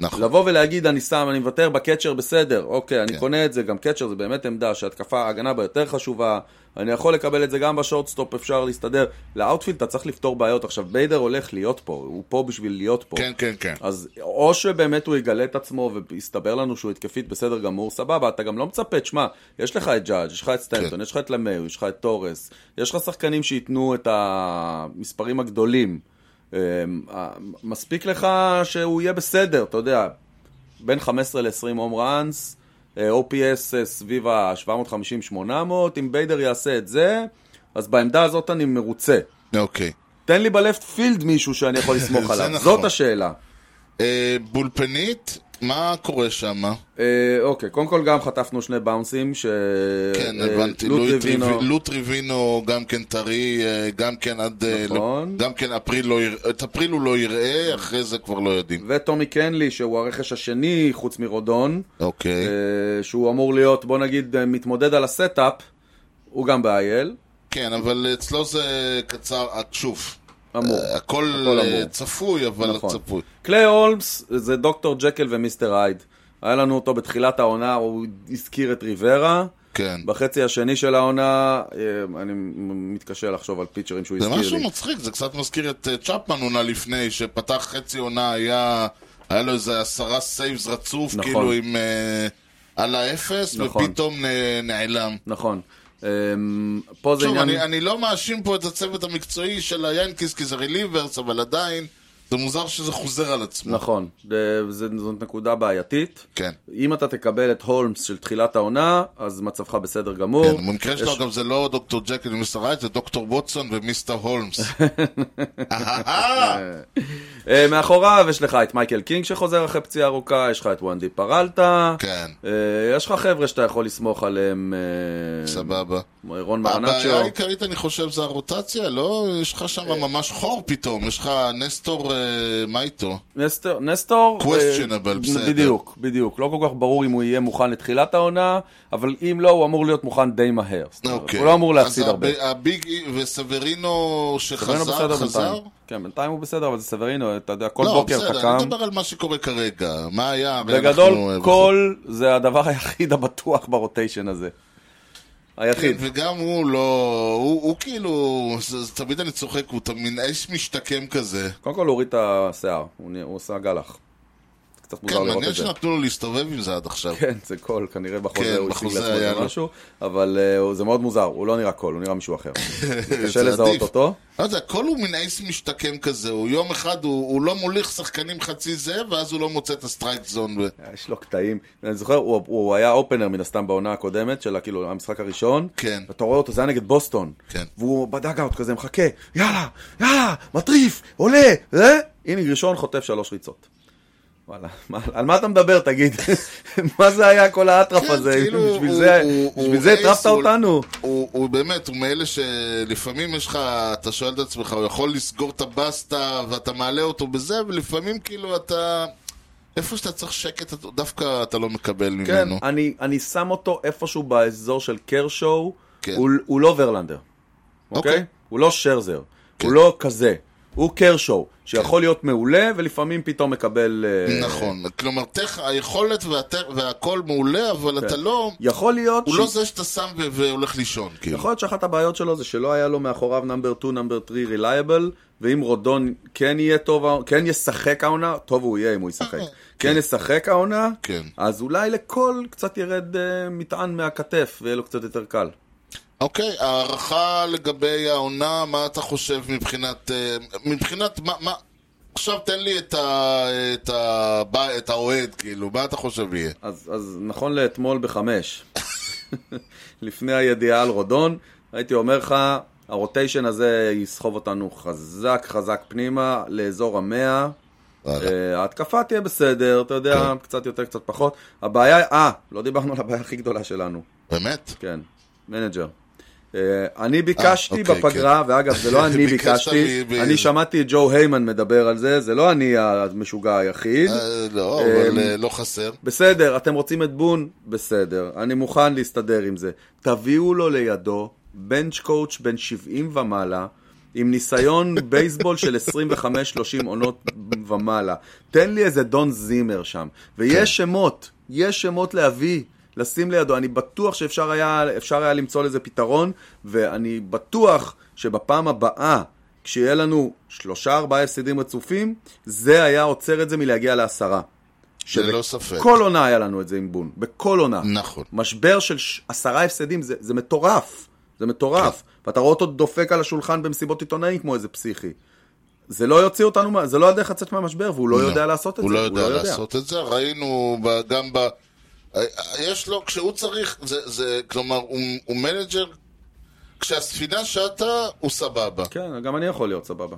Speaker 2: נכון.
Speaker 1: לבוא ולהגיד, אני שם, אני מוותר בקצ'ר, בסדר, אוקיי, אני
Speaker 2: כן.
Speaker 1: קונה את זה, גם קצ'ר זה באמת עמדה שהתקפה, ההגנה בה יותר חשובה, אני יכול לקבל את זה גם בשורטסטופ, אפשר להסתדר. לאאוטפילד אתה צריך לפתור בעיות. עכשיו, ביידר הולך להיות פה, הוא פה בשביל להיות פה.
Speaker 2: כן, כן, כן.
Speaker 1: אז או שבאמת הוא יגלה את עצמו ויסתבר לנו שהוא התקפית בסדר גמור, סבבה, אתה גם לא מצפה, תשמע, יש לך את ג'אג', יש לך את סטנטון,
Speaker 2: כן.
Speaker 1: יש לך את למיו, יש לך את תורס, יש לך שחקנים שייתנו את המספרים הגדולים. אמ, ה- מספיק לך שהוא יהיה בסדר, אתה יודע, בין 15 ל-20 הום ראנס, אה, OPS אה, סביב ה-750-800, אם ביידר יעשה את זה, אז בעמדה הזאת אני מרוצה.
Speaker 2: אוקיי.
Speaker 1: תן לי בלפט פילד מישהו שאני יכול לסמוך
Speaker 2: זה
Speaker 1: עליו,
Speaker 2: נכון.
Speaker 1: זאת השאלה.
Speaker 2: אה, בולפנית, מה קורה שם?
Speaker 1: אה, אוקיי, קודם כל גם חטפנו שני באונסים, ש...
Speaker 2: כן,
Speaker 1: אה,
Speaker 2: הבנתי,
Speaker 1: לוט
Speaker 2: לואי
Speaker 1: טריווינו-
Speaker 2: טריווינו- לוט טריווינו גם כן טרי, אה, גם כן עד... אה,
Speaker 1: נכון.
Speaker 2: לא- גם כן אפריל לא יראה, את אפריל הוא לא יראה, אחרי זה כבר לא יודעים.
Speaker 1: וטומי קנלי, שהוא הרכש השני חוץ מרודון,
Speaker 2: אוקיי,
Speaker 1: אה, שהוא אמור להיות, בוא נגיד, אה, מתמודד על הסטאפ, הוא גם באייל,
Speaker 2: כן, אבל אצלו זה קצר, עצוף.
Speaker 1: אמור.
Speaker 2: אה, הכל
Speaker 1: הכל
Speaker 2: אה,
Speaker 1: אמור.
Speaker 2: צפוי, אבל
Speaker 1: נכון.
Speaker 2: צפוי.
Speaker 1: קליי הולמס זה דוקטור ג'קל ומיסטר הייד. היה לנו אותו בתחילת העונה, הוא הזכיר את ריברה.
Speaker 2: כן.
Speaker 1: בחצי השני של העונה, אה, אני מתקשה לחשוב על פיצ'רים שהוא
Speaker 2: זה
Speaker 1: הזכיר לי.
Speaker 2: משהו מצחיק, זה קצת מזכיר את אה, צ'פמן עונה לפני, שפתח חצי עונה, היה היה לו איזה עשרה סייבס רצוף,
Speaker 1: נכון.
Speaker 2: כאילו עם... אה, על האפס,
Speaker 1: נכון.
Speaker 2: ופתאום אה, נעלם.
Speaker 1: נכון. אה, פה זה
Speaker 2: שוב,
Speaker 1: עניין...
Speaker 2: אני, אני לא מאשים פה את הצוות המקצועי של היאנקיס, כי זה רליברס, אבל עדיין, זה מוזר שזה חוזר על עצמו.
Speaker 1: נכון, זה- זה- זאת נקודה בעייתית.
Speaker 2: כן.
Speaker 1: אם אתה תקבל את הולמס של תחילת העונה, אז מצבך בסדר גמור.
Speaker 2: כן, במקרה שלו
Speaker 1: לא, יש-
Speaker 2: גם זה לא דוקטור ג'קל ומיסטר רייט, זה דוקטור ווטסון ומיסטר הולמס. אהה.
Speaker 1: אה, מאחוריו יש לך את מייקל קינג שחוזר אחרי פציעה ארוכה, יש לך את וואנדי פרלטה.
Speaker 2: כן.
Speaker 1: אה, יש לך חבר'ה שאתה יכול לסמוך עליהם. אה,
Speaker 2: סבבה.
Speaker 1: רון מרנצ'ו.
Speaker 2: הבעיה העיקרית, אני חושב, זה הרוטציה, לא? יש לך שם
Speaker 1: אה.
Speaker 2: ממש חור פתאום, יש לך נסטור, אה, מה איתו?
Speaker 1: נסטור, נסטור,
Speaker 2: Questionable,
Speaker 1: אה,
Speaker 2: בסדר.
Speaker 1: בדיוק, בדיוק. לא כל כך ברור אם הוא יהיה מוכן לתחילת העונה, אבל אם לא, הוא אמור להיות מוכן די מהר. זאת אומרת,
Speaker 2: אוקיי.
Speaker 1: הוא לא אמור
Speaker 2: אז
Speaker 1: להפסיד הרבה.
Speaker 2: הב- הביג אי- וסברינו
Speaker 1: סברינו
Speaker 2: שחזר,
Speaker 1: בסדר
Speaker 2: חזר?
Speaker 1: בינתיים. כן, בינתיים הוא בסדר, אבל זה סברינו, אתה יודע, כל
Speaker 2: לא,
Speaker 1: בוקר אתה
Speaker 2: בסדר, אני
Speaker 1: קם.
Speaker 2: מדבר על מה שקורה כרגע. מה היה? הרי
Speaker 1: בגדול,
Speaker 2: אנחנו- אה,
Speaker 1: כל זה הדבר היחיד הבטוח ברוטיישן הזה. היחיד.
Speaker 2: וגם הוא לא... הוא הוא כאילו... זה- זה- תמיד אני צוחק, הוא תמיד אש משתקם כזה.
Speaker 1: קודם כל הוא הוריד את השיער, הוא נהיה- הוא עשה גלח. זה קצת
Speaker 2: כן,
Speaker 1: מוזר לא לראות
Speaker 2: מעניין
Speaker 1: את זה.
Speaker 2: שנתנו לו להסתובב עם זה עד עכשיו.
Speaker 1: כן, זה קול, כנראה בחוזה
Speaker 2: כן,
Speaker 1: הוא השיג
Speaker 2: בחוזה
Speaker 1: לעצמו
Speaker 2: היה
Speaker 1: איזה
Speaker 2: לו.
Speaker 1: משהו, אבל אה, הוא- זה מאוד מוזר, הוא לא נראה קול, הוא נראה מישהו אחר. קשה
Speaker 2: זה
Speaker 1: לזהות
Speaker 2: עדיף.
Speaker 1: אותו.
Speaker 2: לא יודע, הכל הוא מין אייס משתקם כזה, הוא יום אחד, הוא, הוא לא מוליך שחקנים חצי זה, ואז הוא לא מוצא את הסטרייק זון. ו...
Speaker 1: יש לו קטעים, אני זוכר, הוא, הוא היה אופנר מן הסתם בעונה הקודמת, של כאילו המשחק הראשון,
Speaker 2: כן.
Speaker 1: ואתה רואה אותו, זה היה נגד בוסטון,
Speaker 2: כן.
Speaker 1: והוא בדאגאוט כזה מחכה, יאללה, יאללה, מטריף, עולה, זה, אינינג ראשון חוטף שלוש ריצות. וואלה, מה, על מה אתה מדבר תגיד? מה זה היה כל האטרף
Speaker 2: כן,
Speaker 1: הזה?
Speaker 2: כאילו,
Speaker 1: בשביל
Speaker 2: הוא-
Speaker 1: זה,
Speaker 2: הוא-
Speaker 1: בשביל
Speaker 2: הוא
Speaker 1: זה
Speaker 2: אייס,
Speaker 1: הטרפת
Speaker 2: הוא-
Speaker 1: אותנו?
Speaker 2: הוא, הוא באמת, הוא מאלה שלפעמים יש לך, אתה שואל את עצמך, הוא יכול לסגור את הבסטה, ואתה מעלה אותו בזה, ולפעמים כאילו אתה... איפה שאתה צריך שקט, אתה- דווקא אתה לא מקבל
Speaker 1: כן,
Speaker 2: ממנו.
Speaker 1: אני, אני שם אותו איפשהו באזור של קרשו,
Speaker 2: כן.
Speaker 1: הוא, הוא לא ורלנדר, אוקיי?
Speaker 2: אוקיי. כן.
Speaker 1: הוא לא שרזר, הוא לא כזה, הוא קרשו, שיכול להיות מעולה ולפעמים פתאום מקבל... אה,
Speaker 2: נכון, כלומר, תכ... היכולת והת- והכל מעולה, אבל
Speaker 1: כן.
Speaker 2: אתה לא...
Speaker 1: יכול להיות,
Speaker 2: הוא לא זה שאתה שם ו- והולך לישון, כאילו.
Speaker 1: יכול להיות שאחת הבעיות שלו זה שלא היה לו מאחוריו נאמבר 2, נאמבר 3 רילייבל, ואם רודון כן יהיה טוב, כן ישחק העונה, טוב הוא יהיה אם הוא ישחק, כן ישחק העונה,
Speaker 2: אה, כן.
Speaker 1: אז אולי לכל קצת ירד אה, מטען מהכתף ויהיה לו קצת יותר קל.
Speaker 2: אוקיי, הערכה לגבי העונה, מה אתה חושב מבחינת... אה, מבחינת מה... מה... עכשיו תן לי את, ה, את, ה, ב- את האוהד, כאילו, מה אתה חושב יהיה?
Speaker 1: אז, אז נכון לאתמול בחמש, לפני הידיעה על רודון, הייתי אומר לך, הרוטיישן הזה יסחוב אותנו חזק חזק פנימה לאזור המאה.
Speaker 2: וואלה.
Speaker 1: אה, ההתקפה תהיה בסדר, אתה יודע, קצת יותר, קצת פחות. הבעיה, אה, לא דיברנו על הבעיה הכי גדולה שלנו,
Speaker 2: באמת?
Speaker 1: כן, מנג'ר. אה, אני ביקשתי
Speaker 2: אוקיי,
Speaker 1: בפגרה, ואגב, זה לא אני
Speaker 2: ביקשת
Speaker 1: ביקשתי,
Speaker 2: מ- מ-
Speaker 1: אני שמעתי את ג'ו היימן מדבר על זה, זה לא אני המשוגע היחיד.
Speaker 2: אה, לא,
Speaker 1: אמ.
Speaker 2: אבל אה, לא חסר.
Speaker 1: בסדר, אתם רוצים את בון? בסדר, אני מוכן להסתדר עם זה. תביאו לו לידו בנץ' קואוץ' בן 70 ומעלה, עם ניסיון בייסבול של 25-30 עונות ומעלה. תן לי איזה דון זימר שם. ויש שמות, יש שמות להביא. לשים לידו, אני בטוח שאפשר היה, אפשר היה למצוא לזה פתרון, ואני בטוח שבפעם הבאה, כשיהיה לנו שלושה ארבעה הפסדים רצופים, זה היה עוצר את זה מלהגיע לעשרה.
Speaker 2: ללא ספק.
Speaker 1: כל עונה היה לנו את זה עם בון, בכל עונה.
Speaker 2: נכון.
Speaker 1: משבר של ש- עשרה הפסדים, זה, זה מטורף. זה מטורף.
Speaker 2: כן.
Speaker 1: ואתה רואה אותו דופק על השולחן במסיבות עיתונאים כמו איזה פסיכי. זה לא יוציא אותנו, מה- זה לא הדרך לצאת מהמשבר, והוא לא יודע לעשות את
Speaker 2: הוא
Speaker 1: זה.
Speaker 2: לא יודע לעשות את זה, ראינו ב- גם ב... אה, יש לו, כשהוא צריך, זה, זה כלומר, הוא, הוא מנג'ר, כשהספינה שטה, הוא סבבה.
Speaker 1: כן, גם אני יכול להיות סבבה.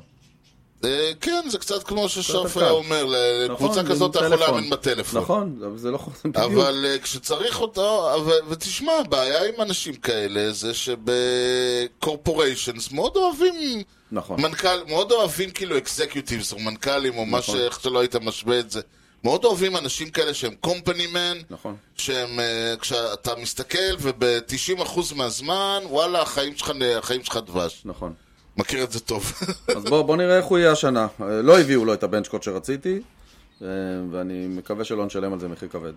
Speaker 2: אה, כן, זה קצת כמו ששרף
Speaker 1: קל.
Speaker 2: היה אומר, לקבוצה
Speaker 1: נכון,
Speaker 2: כזאת
Speaker 1: עם
Speaker 2: אתה יכול
Speaker 1: טלפון.
Speaker 2: לאמן בטלפון.
Speaker 1: נכון, אבל זה לא חוזר בדיוק.
Speaker 2: אבל אה, כשצריך אותו, אבל- ותשמע, הבעיה עם אנשים כאלה זה שבקורפוריישנס מאוד אוהבים
Speaker 1: נכון.
Speaker 2: מנכ"ל, מאוד אוהבים כאילו אקזקיוטיבס או מנכ"לים או מה
Speaker 1: נכון.
Speaker 2: ש... איך שלא היית משווה את זה. מאוד אוהבים אנשים כאלה שהם קומפני מן,
Speaker 1: נכון.
Speaker 2: שהם, אה, כשאתה מסתכל וב-90% מהזמן, וואלה, החיים שלך, נ- החיים שלך דבש.
Speaker 1: נכון.
Speaker 2: מכיר את זה טוב.
Speaker 1: אז בוא, בוא נראה איך הוא יהיה השנה. אה, לא הביאו לו את הבנצ'קוט שרציתי, אה, ואני מקווה שלא נשלם על זה מחיר כבד.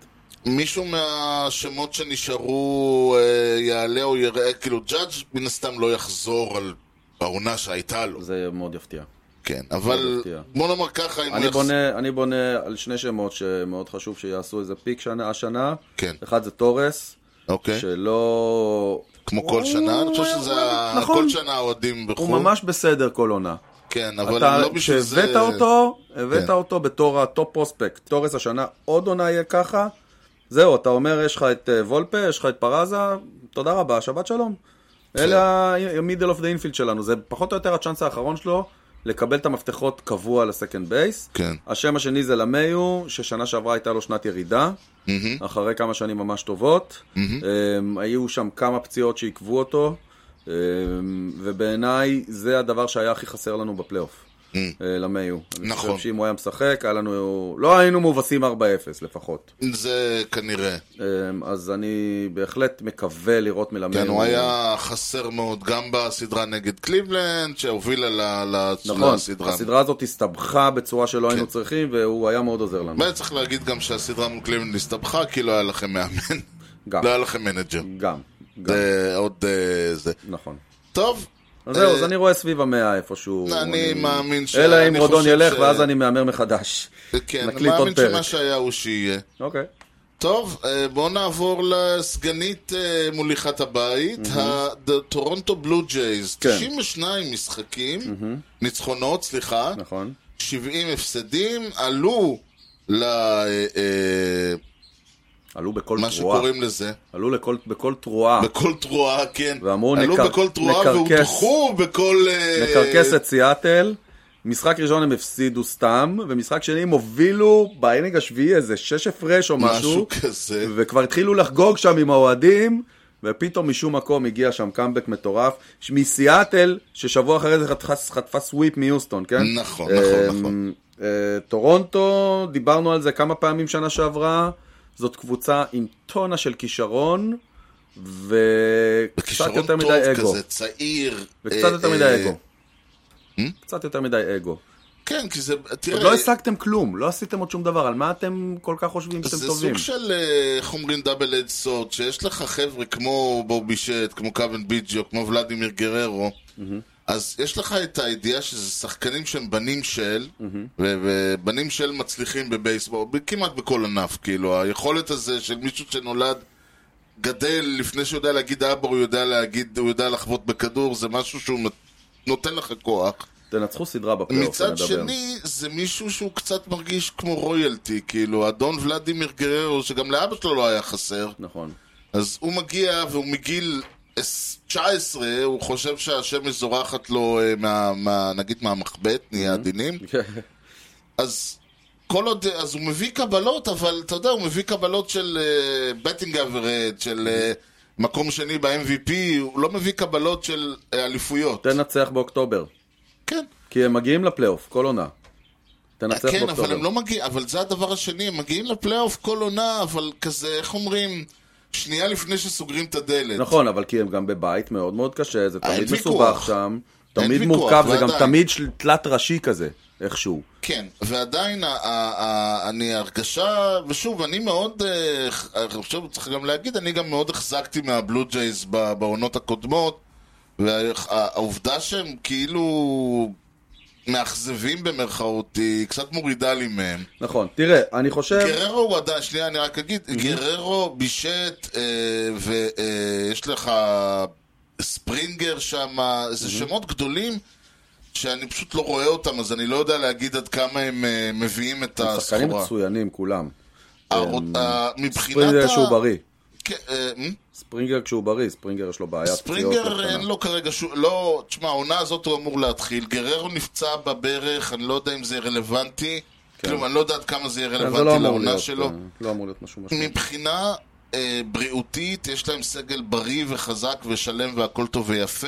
Speaker 2: מישהו מהשמות שנשארו אה, יעלה או יראה, כאילו ג'אדג' מן הסתם לא יחזור על העונה שהייתה לו,
Speaker 1: זה מאוד יפתיע.
Speaker 2: כן, אבל
Speaker 1: מפתיע.
Speaker 2: בוא נאמר ככה, אם הוא
Speaker 1: אני
Speaker 2: יחזור,
Speaker 1: בונה, אני בונה על שני שמות שמאוד חשוב שיעשו איזה פיק שנה, השנה.
Speaker 2: כן.
Speaker 1: אחד זה תורס,
Speaker 2: אוקיי,
Speaker 1: שלא...
Speaker 2: כמו כל שנה, אני חושב שזה ה-
Speaker 1: נכון.
Speaker 2: כל שנה האוהדים
Speaker 1: הוא
Speaker 2: בחו"ל,
Speaker 1: ממש בסדר כל עונה.
Speaker 2: כן, אבל
Speaker 1: אתה,
Speaker 2: לא בשביל זה...
Speaker 1: כשהבאת אותו, הבאת
Speaker 2: כן.
Speaker 1: אותו בתור הטופ פרוספקט. תורס השנה עוד עונה יהיה ככה, זהו, אתה אומר, יש לך את אה, וולפה, יש לך את פרזה, תודה רבה, שבת שלום.
Speaker 2: כן.
Speaker 1: אלה ה-middle of the infield שלנו, זה פחות או יותר הצ'אנס האחרון שלו לקבל את המפתחות קבוע לסקנד בייס.
Speaker 2: כן.
Speaker 1: השם השני זה למיו, ששנה שעברה הייתה לו שנת ירידה,
Speaker 2: Mm-hmm.
Speaker 1: אחרי כמה שנים ממש טובות. אמ, היו שם כמה פציעות שעיכבו אותו, אמ, ובעיניי זה הדבר שהיה הכי חסר לנו בפלייאוף. אה, למיו. אני
Speaker 2: Mm. נכון.
Speaker 1: חושב שאם הוא היה משחק, היה לנו... לא היינו מאובסים 4-0 לפחות.
Speaker 2: זה כנראה.
Speaker 1: אמ, אז אני בהחלט מקווה לראות מלמד.
Speaker 2: כן, הוא היה חסר מאוד גם בסדרה נגד קליבלנד, שהובילה ל- ל-
Speaker 1: נכון,
Speaker 2: לסדרה.
Speaker 1: הסדרה הזאת הסתבכה בצורה שלא היינו
Speaker 2: כן.
Speaker 1: צריכים, והוא היה מאוד עוזר לנו.
Speaker 2: באמת צריך להגיד גם שהסדרה מול קליבלנד הסתבכה, כי לא היה לכם מאמן.
Speaker 1: גם.
Speaker 2: לא היה לכם מנג'ר.
Speaker 1: גם, גם,
Speaker 2: זה עוד אה, זה.
Speaker 1: נכון.
Speaker 2: טוב.
Speaker 1: אז זהו,
Speaker 2: אה,
Speaker 1: אז אני רואה סביב המאה איפשהו.
Speaker 2: אני מאמין ש-
Speaker 1: ש... אלא אם
Speaker 2: אני
Speaker 1: רודון
Speaker 2: חושב
Speaker 1: ילך,
Speaker 2: ש-
Speaker 1: ואז אני מהמר מחדש.
Speaker 2: כן,
Speaker 1: נקליט עוד
Speaker 2: מאמין שמה
Speaker 1: פרק.
Speaker 2: שהיה הוא שיהיה.
Speaker 1: אוקיי.
Speaker 2: טוב, אה, בואו נעבור לסגנית אה, מוליכת הבית, הטורונטו בלו ג'ייז.
Speaker 1: כן.
Speaker 2: 92 משחקים, ניצחונות, סליחה,
Speaker 1: נכון.
Speaker 2: 70 הפסדים, עלו ל... אה, אה,
Speaker 1: עלו בכל
Speaker 2: מה
Speaker 1: תרועה.
Speaker 2: שקוראים לזה,
Speaker 1: עלו לכל- בכל תרועה.
Speaker 2: בכל תרועה, כן.
Speaker 1: ואמרו,
Speaker 2: עלו
Speaker 1: נקר-
Speaker 2: בכל תרועה
Speaker 1: נקרקס-
Speaker 2: והוטחו בכל... אה,
Speaker 1: לקרקס את סיאטל. משחק ראשון הם הפסידו סתם, ומשחק שני הם הובילו באינינג השביעי איזה שש הפרש או משהו,
Speaker 2: משהו כזה.
Speaker 1: וכבר התחילו לחגוג שם עם האוהדים, ופתאום משום מקום הגיע שם קאמבק מטורף, ש- מסיאטל, ששבוע אחרי זה חטפה, חטפה סוויפ מיוסטון, כן?
Speaker 2: נכון, נכון,
Speaker 1: אמ,
Speaker 2: נכון.
Speaker 1: אה, טורונטו, דיברנו על זה כמה פעמים שנה שעברה, זאת קבוצה עם טונה של כישרון, וקצת
Speaker 2: כישרון
Speaker 1: יותר
Speaker 2: טוב
Speaker 1: מדי אגו.
Speaker 2: כזה, צעיר.
Speaker 1: וקצת
Speaker 2: אה,
Speaker 1: יותר
Speaker 2: אה,
Speaker 1: מדי אגו. קצת יותר מדי אגו.
Speaker 2: כן, כי זה...
Speaker 1: עוד
Speaker 2: תראה,
Speaker 1: לא השגתם כלום, לא עשיתם עוד שום דבר, על מה אתם כל כך חושבים שאתם
Speaker 2: זה
Speaker 1: טובים?
Speaker 2: סוג של, אה, איך אומרים, דאבל אד סוד, שיש לך חבר'ה כמו בובי שט, כמו קווין ביג'ו, כמו ולדימיר גררו,
Speaker 1: Mm-hmm.
Speaker 2: אז יש לך את הידיעה שזה שחקנים שהם בנים של,
Speaker 1: Mm-hmm.
Speaker 2: ו- ובנים של מצליחים בבייסבול, ב- כמעט בכל ענף, כאילו, היכולת הזה של מישהו שנולד... גדל לפני שהוא יודע להגיד אבא, הוא יודע להגיד, הוא יודע לחבוט בכדור, זה משהו שהוא נות- נותן לך כוח.
Speaker 1: תנצחו סדרה בפלייאוף,
Speaker 2: מצד
Speaker 1: נדבר.
Speaker 2: שני, זה מישהו שהוא קצת מרגיש כמו רויאלטי, כאילו, אדון ולדימיר גררו, שגם לאבא שלו לא היה חסר,
Speaker 1: נכון.
Speaker 2: אז הוא מגיע, והוא מגיל עש- 19, הוא חושב שהשמש זורחת לו, אה, מה, מה, נגיד מהמחבט, נהיה עדינים, אז כל עוד, אז הוא מביא קבלות, אבל אתה יודע, הוא מביא קבלות של בטינג uh, אברד, של אה, מקום שני ב-MVP, הוא לא מביא קבלות של uh, אליפויות.
Speaker 1: תנצח באוקטובר,
Speaker 2: כן.
Speaker 1: כי הם מגיעים לפלייאוף, כל עונה. תנצח
Speaker 2: כן,
Speaker 1: באוקטובר.
Speaker 2: אבל הם לא מגיעים, אבל זה הדבר השני, הם מגיעים לפלייאוף כל עונה, אבל כזה, איך אומרים, שנייה לפני שסוגרים את הדלת.
Speaker 1: נכון, אבל כי הם גם בבית מאוד מאוד קשה, זה
Speaker 2: אין
Speaker 1: תמיד
Speaker 2: ויכוח.
Speaker 1: מסובך שם,
Speaker 2: אין
Speaker 1: תמיד
Speaker 2: ויכוח,
Speaker 1: מורכב, זה גם
Speaker 2: ועדיין.
Speaker 1: תמיד של- תלת ראשי כזה, איכשהו.
Speaker 2: כן, ועדיין, ה- ה- ה- אני הרגשה, ושוב, אני מאוד, אה, אני חושב, צריך גם להגיד, אני גם מאוד החזקתי מהבלו ג'ייז ב- בעונות הקודמות, והעובדה שהם כאילו מאכזבים במרכאות, היא קצת מורידה לי מהם.
Speaker 1: נכון, תראה, אני חושב...
Speaker 2: גררו הוא עדיין, שנייה, אני רק אגיד, גררו, בישט, אה, ויש לך ספרינגר שם,
Speaker 1: Mhm.
Speaker 2: זה שמות גדולים שאני פשוט לא רואה אותם, אז אני לא יודע להגיד עד כמה הם אה, מביאים את
Speaker 1: שחקנים
Speaker 2: הסחורה.
Speaker 1: מצוינים כולם.
Speaker 2: הרו- ה- מבחינת
Speaker 1: ספרינגר שהוא בריא.
Speaker 2: כן, אה, מ?
Speaker 1: ספרינגר כשהוא בריא, ספרינגר יש לו בעיה.
Speaker 2: ספרינגר אין לו כרגע שום... לא, תשמע, העונה הזאת הוא אמור להתחיל. גררו נפצע בברך, אני לא יודע אם זה רלוונטי. כלום, אני לא יודע עד כמה זה יהיה
Speaker 1: כן. זה לא
Speaker 2: רלוונטי
Speaker 1: אמור
Speaker 2: לעונה
Speaker 1: להיות,
Speaker 2: שלו.
Speaker 1: אה, לא אמור להיות משהו משהו.
Speaker 2: מבחינה אה, בריאותית, יש להם סגל בריא וחזק ושלם והכל טוב ויפה,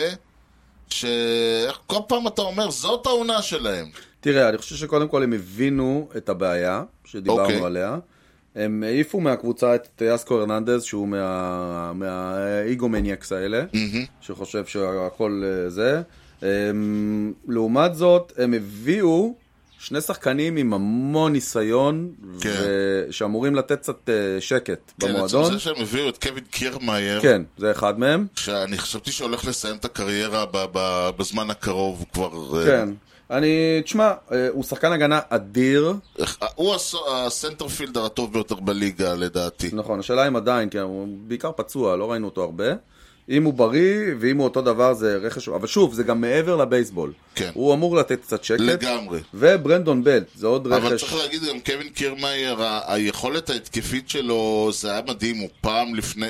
Speaker 2: שכל פעם אתה אומר, זאת העונה שלהם.
Speaker 1: תראה, אני חושב שקודם כל הם הבינו את הבעיה
Speaker 2: אוקיי.
Speaker 1: שדיברנו עליה. הם העיפו מהקבוצה את יסקו הרננדז, שהוא מה- מהאיגומניאקס האלה, שחושב שהכל אה, זה. הם, לעומת זאת, הם הביאו שני שחקנים עם המון ניסיון,
Speaker 2: כן.
Speaker 1: ו- שאמורים לתת קצת אה, שקט
Speaker 2: כן,
Speaker 1: במועדון.
Speaker 2: עצם זה שהם הביאו את קווין קירמאייר,
Speaker 1: כן, זה אחד מהם.
Speaker 2: שאני חשבתי שהולך לסיים את הקריירה ב- ב- בזמן הקרוב, הוא כבר... אה,
Speaker 1: כן. אני, תשמע, אה, הוא שחקן הגנה אדיר,
Speaker 2: אה, הוא הס- הסנטרפילדר הטוב ביותר בליגה, לדעתי.
Speaker 1: נכון, השאלה אם עדיין, כי הוא בעיקר פצוע, לא ראינו אותו הרבה. אם הוא בריא, ואם הוא אותו דבר זה רכש... אבל שוב, זה גם מעבר לבייסבול.
Speaker 2: כן.
Speaker 1: הוא אמור לתת קצת שקט.
Speaker 2: לגמרי.
Speaker 1: וברנדון בלט, זה עוד
Speaker 2: אבל
Speaker 1: רכש.
Speaker 2: צריך להגיד גם קווין קירמאייר, ה- היכולת ההתקפית שלו, זה היה מדהים, הוא פעם לפני,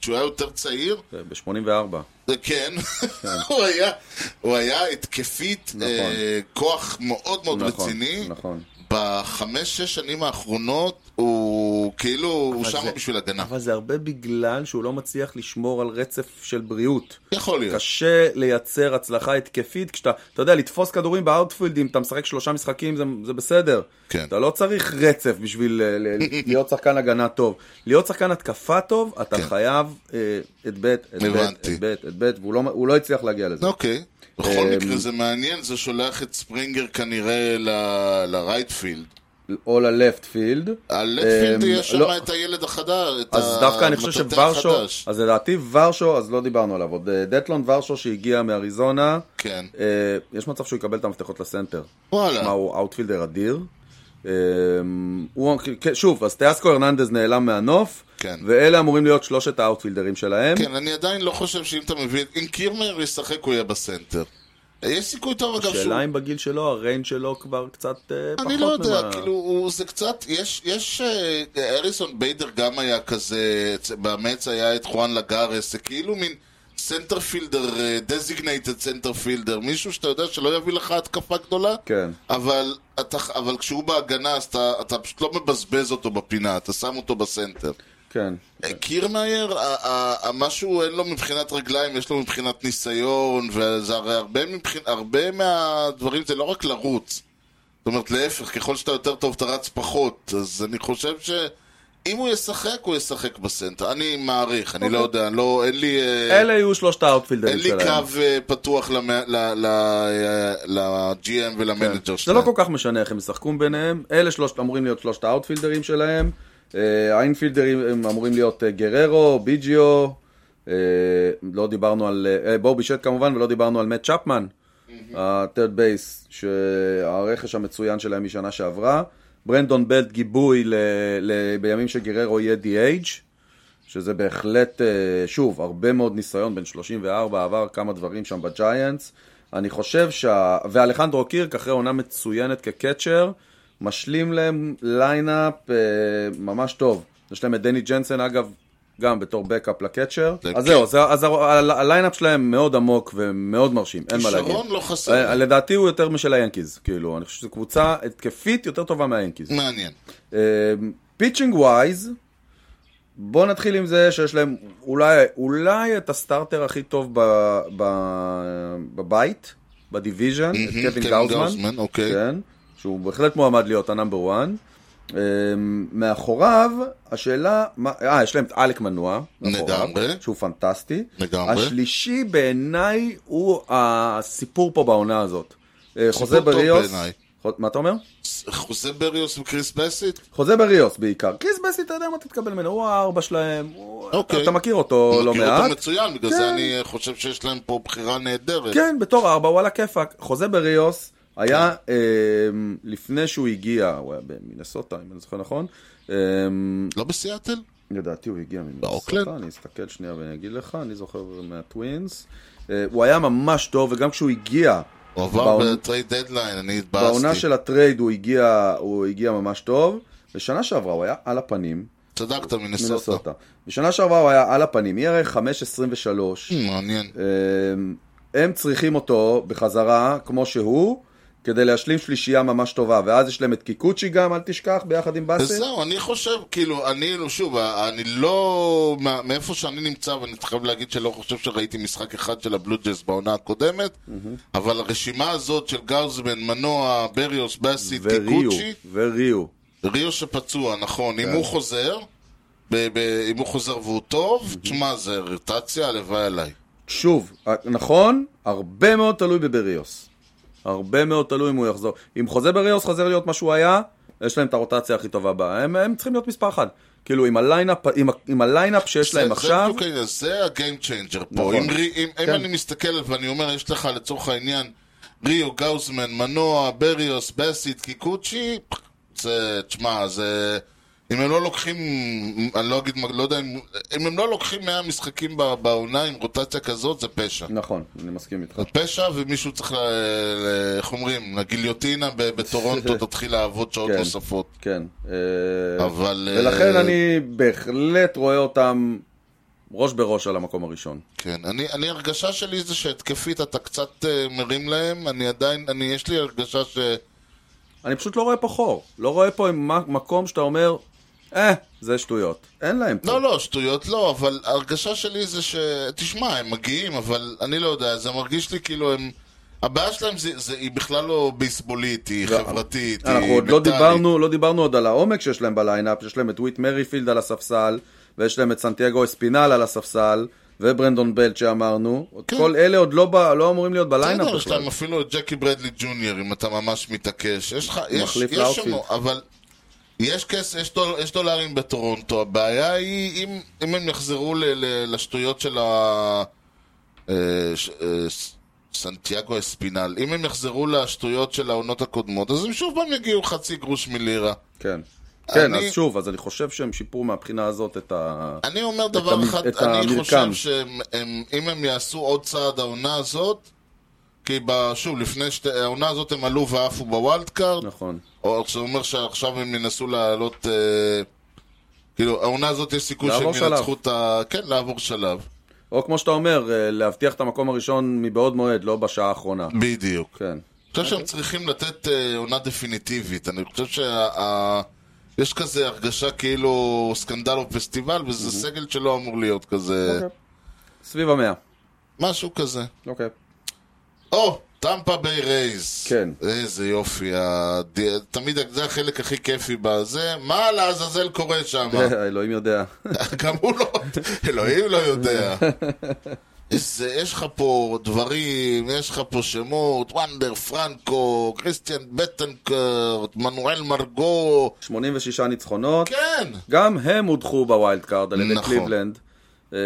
Speaker 2: כשהוא היה יותר צעיר,
Speaker 1: אה, ב-84.
Speaker 2: זה כן, הוא היה- הוא היה התקפית,
Speaker 1: נכון.
Speaker 2: אה, כוח מאוד מאוד
Speaker 1: נכון,
Speaker 2: רציני.
Speaker 1: נכון.
Speaker 2: בחמש-שש שנים האחרונות הוא כאילו, הוא
Speaker 1: אבל
Speaker 2: שם
Speaker 1: זה-
Speaker 2: בשביל הגנה.
Speaker 1: אבל זה הרבה בגלל שהוא לא מצליח לשמור על רצף של בריאות.
Speaker 2: יכול להיות.
Speaker 1: קשה לייצר הצלחה התקפית כשאתה, אתה יודע, לתפוס כדורים באאוטפילדים, אתה משחק שלושה משחקים, זה, זה בסדר.
Speaker 2: כן.
Speaker 1: אתה לא צריך רצף בשביל אה, ל- ל- להיות שחקן הגנה טוב. להיות שחקן התקפה טוב, אתה
Speaker 2: כן.
Speaker 1: חייב אה, את בית, את בית,
Speaker 2: הבנתי.
Speaker 1: את בית, את בית, והוא לא, הוא לא הצליח להגיע לזה.
Speaker 2: אוקיי. בכל
Speaker 1: אמ,
Speaker 2: מקרה זה מעניין, זה שולח את ספרינגר כנראה ל- לרייטפילד.
Speaker 1: או ללפט פילד.
Speaker 2: הלפילד
Speaker 1: אמ,
Speaker 2: יש שם
Speaker 1: לא.
Speaker 2: את הילד החדר, את
Speaker 1: אז דווקא אני חושב
Speaker 2: המטאטא
Speaker 1: שוורשו,
Speaker 2: החדש.
Speaker 1: אז לדעתי ורשו, אז לא דיברנו עליו עוד. אה, דטלון ורשו שהגיע מאריזונה,
Speaker 2: כן.
Speaker 1: אה, יש מצב שהוא יקבל את המפתחות לסנטר.
Speaker 2: וואלה.
Speaker 1: מה, הוא אאוטפילדר אדיר. אה, הוא, כן, שוב, אז טיאסקו הרננדז נעלם מהנוף,
Speaker 2: כן.
Speaker 1: ואלה אמורים להיות שלושת האאוטפילדרים שלהם.
Speaker 2: כן, אני עדיין לא חושב שאם אתה מביא... אם קירמר ישחק הוא יהיה בסנטר. יש סיכוי טוב אגב שהוא...
Speaker 1: שאלה אם בגיל שלו, הריינג שלו כבר קצת אה, פחות
Speaker 2: אני לא יודע,
Speaker 1: ממה-
Speaker 2: כאילו, הוא- זה קצת, יש, יש, אה, אליסון ביידר גם היה כזה, אצ- באמץ היה את חואן לגארס, זה כאילו מין סנטרפילדר, דזיגנייטד סנטרפילדר, מישהו שאתה יודע שלא יביא לך התקפה גדולה,
Speaker 1: כן.
Speaker 2: אבל, אתה, אבל כשהוא בהגנה, אז אתה, אתה פשוט לא מבזבז אותו בפינה, אתה שם אותו בסנטר.
Speaker 1: כן.
Speaker 2: אה, קירמאייר, ה- ה- ה- משהו אין לו מבחינת רגליים, יש לו מבחינת ניסיון, וזה הרי הרבה, מבחינ... הרבה מהדברים זה לא רק לרוץ. זאת אומרת, להפך, ככל שאתה יותר טוב, אתה רץ פחות. אז אני חושב ש... אם הוא ישחק, הוא ישחק בסנטר. אני מעריך, אני לא יודע, לא, אין לי... אה,
Speaker 1: אוקיי. אלה יהיו שלושת האאוטפילדרים
Speaker 2: אין לי
Speaker 1: שלהם.
Speaker 2: קו אה, פתוח למ- ל- ל- אה, ל-GM ולמנג'ר
Speaker 1: זה
Speaker 2: שלהם.
Speaker 1: לא כל כך משנה איך הם ישחקו ביניהם, אלה שלושת, אמורים להיות שלושת האאוטפילדרים שלהם, אה, האינפילדרים הם אמורים להיות אה, גררו, ביג'יו, אה, לא דיברנו על אה, בובי שט כמובן, ולא דיברנו על מאט צ'פמן, ה-third base, שהרכש המצוין שלהם משנה שעברה, ברנדון בלט גיבוי ל- ל- בימים שגררו יהיה DH, שזה בהחלט, אה, שוב, הרבה מאוד ניסיון, בין 34, עבר כמה דברים שם בג'יינטס. אני חושב שה... ואלחנדרו קירק, אחרי עונה מצוינת כקצ'ר, משלים להם ליינאפ אה, ממש טוב. יש להם את דני ג'נסן, אגב, גם בתור בקאפ לקצ'ר.
Speaker 2: זה
Speaker 1: אז
Speaker 2: כן.
Speaker 1: זהו, זה, אז ה- ה- הליינאפ שלהם מאוד עמוק ומאוד מרשים, אין מה להגיד.
Speaker 2: כישרון לא חסר.
Speaker 1: אה, לדעתי הוא יותר משל היאנקיז, כאילו, אני חושב שזו קבוצה התקפית יותר טובה מהיאנקיז.
Speaker 2: מעניין.
Speaker 1: כן, פיצ'ינג ווייז, אמ, בוא נתחיל עם זה שיש להם אולי, אולי את הסטארטר הכי טוב ב, ב, בבית, בדיוויז'ן, את
Speaker 2: מהמם,
Speaker 1: קווין
Speaker 2: Mhm, קווין
Speaker 1: גאוזמן,
Speaker 2: גאוזמן, אוקיי.
Speaker 1: כן, שהוא בהחלט מועמד להיות הנאמבר 1. מאחוריו, השאלה, מה- אה, יש להם את אלק מנוע, מאחוריו,
Speaker 2: לגמרי.
Speaker 1: שהוא פנטסטי.
Speaker 2: לגמרי.
Speaker 1: השלישי בעיניי הוא הסיפור פה בעונה הזאת. אה, חוזה
Speaker 2: טוב
Speaker 1: בריאוס,
Speaker 2: בעיניי.
Speaker 1: חו- מה אתה אומר? כן.
Speaker 2: חוזה בריוס וקריס בסיט?
Speaker 1: חוזה בריאוס בעיקר. קריס בסי, אתה יודע מה תתקבל ממנו, הוא הארבע שלהם, הוא-
Speaker 2: אוקיי.
Speaker 1: אתה- אתה מכיר אותו לא
Speaker 2: מכיר אותו
Speaker 1: מעט.
Speaker 2: מצוין, בגלל
Speaker 1: כן.
Speaker 2: זה אני אה, חושב שיש להם פה בחירה נהדרת.
Speaker 1: כן, בתור ארבע, וואלה כיפאק. חוזה בריאוס היה, אמ, לפני שהוא הגיע, הוא היה במינסוטה, אם אני זוכר נכון, אמ,
Speaker 2: לא בסיאטל?
Speaker 1: לדעתי הוא הגיע
Speaker 2: באוקלנד?
Speaker 1: ממינסוטה, אני אסתכל שנייה ואני אגיד לך, אני זוכר מהטווינס. אה, הוא היה ממש טוב, וגם כשהוא הגיע,
Speaker 2: הוא עבר
Speaker 1: בעונה-
Speaker 2: בטרייד דדליין, אני התבאסתי.
Speaker 1: בעונה של הטרייד הוא הגיע, הוא הגיע ממש טוב. בשנה שעברה הוא היה על הפנים,
Speaker 2: צדקת,
Speaker 1: אה,
Speaker 2: מנסוטה.
Speaker 1: מנסוטה. בשנה שעברה הוא היה על הפנים, ERA 5.23.
Speaker 2: Hmm, מעניין.
Speaker 1: אמ, הם צריכים אותו בחזרה, כמו שהוא, כדי להשלים שלישייה ממש טובה. ואז יש להם את קיקוצ'י גם, אל תשכח, ביחד עם באסל.
Speaker 2: וזהו, אני חושב, כאילו, אני, שוב, אני לא, מה- מאיפה שאני נמצא, ואני חייב להגיד שלא חושב שראיתי משחק אחד של הבלו ג'אז בעונה הקודמת, אבל הרשימה הזאת של גאוזמן, מנוע, בריוס, באסי,
Speaker 1: וריו,
Speaker 2: טיקוצ'י,
Speaker 1: וריו.
Speaker 2: ריו שפצוע, נכון,
Speaker 1: כן.
Speaker 2: אם הוא חוזר, ב- ב- אם הוא חוזר והוא טוב, תשמע, זה רוטציה, הלוואי עליי.
Speaker 1: שוב, נכון, הרבה מאוד תלוי בבריוס. הרבה מאוד תלוי אם הוא יחזור. אם חוזה בריוס חזר להיות מה שהוא היה, יש להם את הרוטציה הכי טובה הבאה. הם, הם צריכים להיות מספר אחד. כאילו, עם הליינאפ, עם, ה- עם הליינאפ שיש
Speaker 2: זה-
Speaker 1: להם
Speaker 2: זה
Speaker 1: עכשיו...
Speaker 2: בדיוק העניין, זה הגיים צ'יינג'ר פה.
Speaker 1: נכון.
Speaker 2: אם רי- אם- אם
Speaker 1: כן.
Speaker 2: אני מסתכל ואני אומר, יש לך לצורך העניין ריו, גאוזמן, מנוע, בריוס, בסיט, קיקוצ'י, זה, תשמע, זה... אם הם לא לוקחים, אני לא אגיד, לא יודע, אם, אם הם לא לוקחים 100 משחקים ב- בעונה עם רוטציה כזאת, זה פשע.
Speaker 1: נכון, אני מסכים איתך.
Speaker 2: זה פשע ומישהו צריך, ל- ל- איך אומרים, לגיליוטינה ב- בטורונטו תתחיל לעבוד שעות
Speaker 1: כן.
Speaker 2: נוספות.
Speaker 1: כן. אה,
Speaker 2: אבל... אה,
Speaker 1: ולכן אני בהחלט רואה אותם ראש בראש על המקום הראשון.
Speaker 2: כן, אני, אני הרגשה שלי זה שהתקפית אתה קצת אה, מרים להם, אני עדיין, אני, יש לי הרגשה ש...
Speaker 1: אני פשוט לא רואה פה חור. לא רואה פה מ- מקום שאתה אומר, אה, זה שטויות. אין להם פה.
Speaker 2: לא, לא, שטויות לא, אבל ההרגשה שלי זה ש... תשמע, הם מגיעים, אבל אני לא יודע, זה מרגיש לי כאילו הם... הבעיה שלהם זה, זה, היא בכלל לא בייסבולית, היא
Speaker 1: לא,
Speaker 2: חברתית, היא
Speaker 1: אנחנו עוד לא
Speaker 2: מנטלית.
Speaker 1: דיברנו, לא דיברנו עוד על העומק שיש להם בליינאפ, שיש להם את וויט מריפילד על הספסל, ויש להם את סנטיאגו אספינל על הספסל, וברנדון בלט שאמרנו.
Speaker 2: כן.
Speaker 1: כל אלה עוד לא, ב- לא אמורים להיות בליינאפ
Speaker 2: בסדר, יש
Speaker 1: בכלל.
Speaker 2: להם אפילו את ג'קי ברדלי ג'וניור, אם אתה ממש מתעקש. יש לך, יש,
Speaker 1: מחליף
Speaker 2: יש
Speaker 1: לאוטפילד.
Speaker 2: שם, אבל יש כסף, יש, דול, יש דולרים בטורונטו, הבעיה היא אם, אם הם יחזרו ל, ל, לשטויות של ה... אה, ש- אה, ס- סנטיאגו אספינל, אם הם יחזרו לשטויות של העונות הקודמות, אז הם שוב פעם יגיעו חצי גרוש מלירה.
Speaker 1: כן. כן,
Speaker 2: אני-
Speaker 1: אז שוב, אז אני חושב שהם שיפרו מהבחינה הזאת את ה...
Speaker 2: אני אומר דבר
Speaker 1: המ-
Speaker 2: אחד,
Speaker 1: את
Speaker 2: אני
Speaker 1: המרקם.
Speaker 2: חושב שאם הם יעשו עוד צעד העונה הזאת, כי ב- שוב, לפני שתי... העונה הזאת הם עלו ועפו בוואלד קארד,
Speaker 1: נכון.
Speaker 2: או זה אומר שעכשיו הם ינסו לעלות... אה, כאילו, העונה הזאת יש סיכוי שהם
Speaker 1: לעבור שלב.
Speaker 2: ינצחו את ה... כן, לעבור שלב.
Speaker 1: או כמו שאתה אומר, אה, להבטיח את המקום הראשון מבעוד מועד, לא בשעה האחרונה.
Speaker 2: בדיוק.
Speaker 1: כן.
Speaker 2: אני חושב שהם צריכים לתת אה, עונה דפיניטיבית. אני חושב שה... ה- יש כזה הרגשה כאילו סקנדל או פסטיבל, וזה סגל שלא אמור להיות כזה...
Speaker 1: סביב המאה.
Speaker 2: משהו כזה.
Speaker 1: אוקיי.
Speaker 2: או, טמפה ביי רייז.
Speaker 1: כן.
Speaker 2: איזה יופי, הד... תמיד זה החלק הכי כיפי בזה. מה לעזאזל קורה שם?
Speaker 1: אלוהים יודע.
Speaker 2: גם הוא לא, אלוהים לא יודע. איזה, יש לך פה דברים, יש לך פה שמות, וונדר פרנקו, קריסטיאן בטנקרט, מנואל מרגו.
Speaker 1: 86 ניצחונות.
Speaker 2: כן,
Speaker 1: גם הם הודחו בווילד קארד על ידי
Speaker 2: נכון.
Speaker 1: קליבלנד. אה,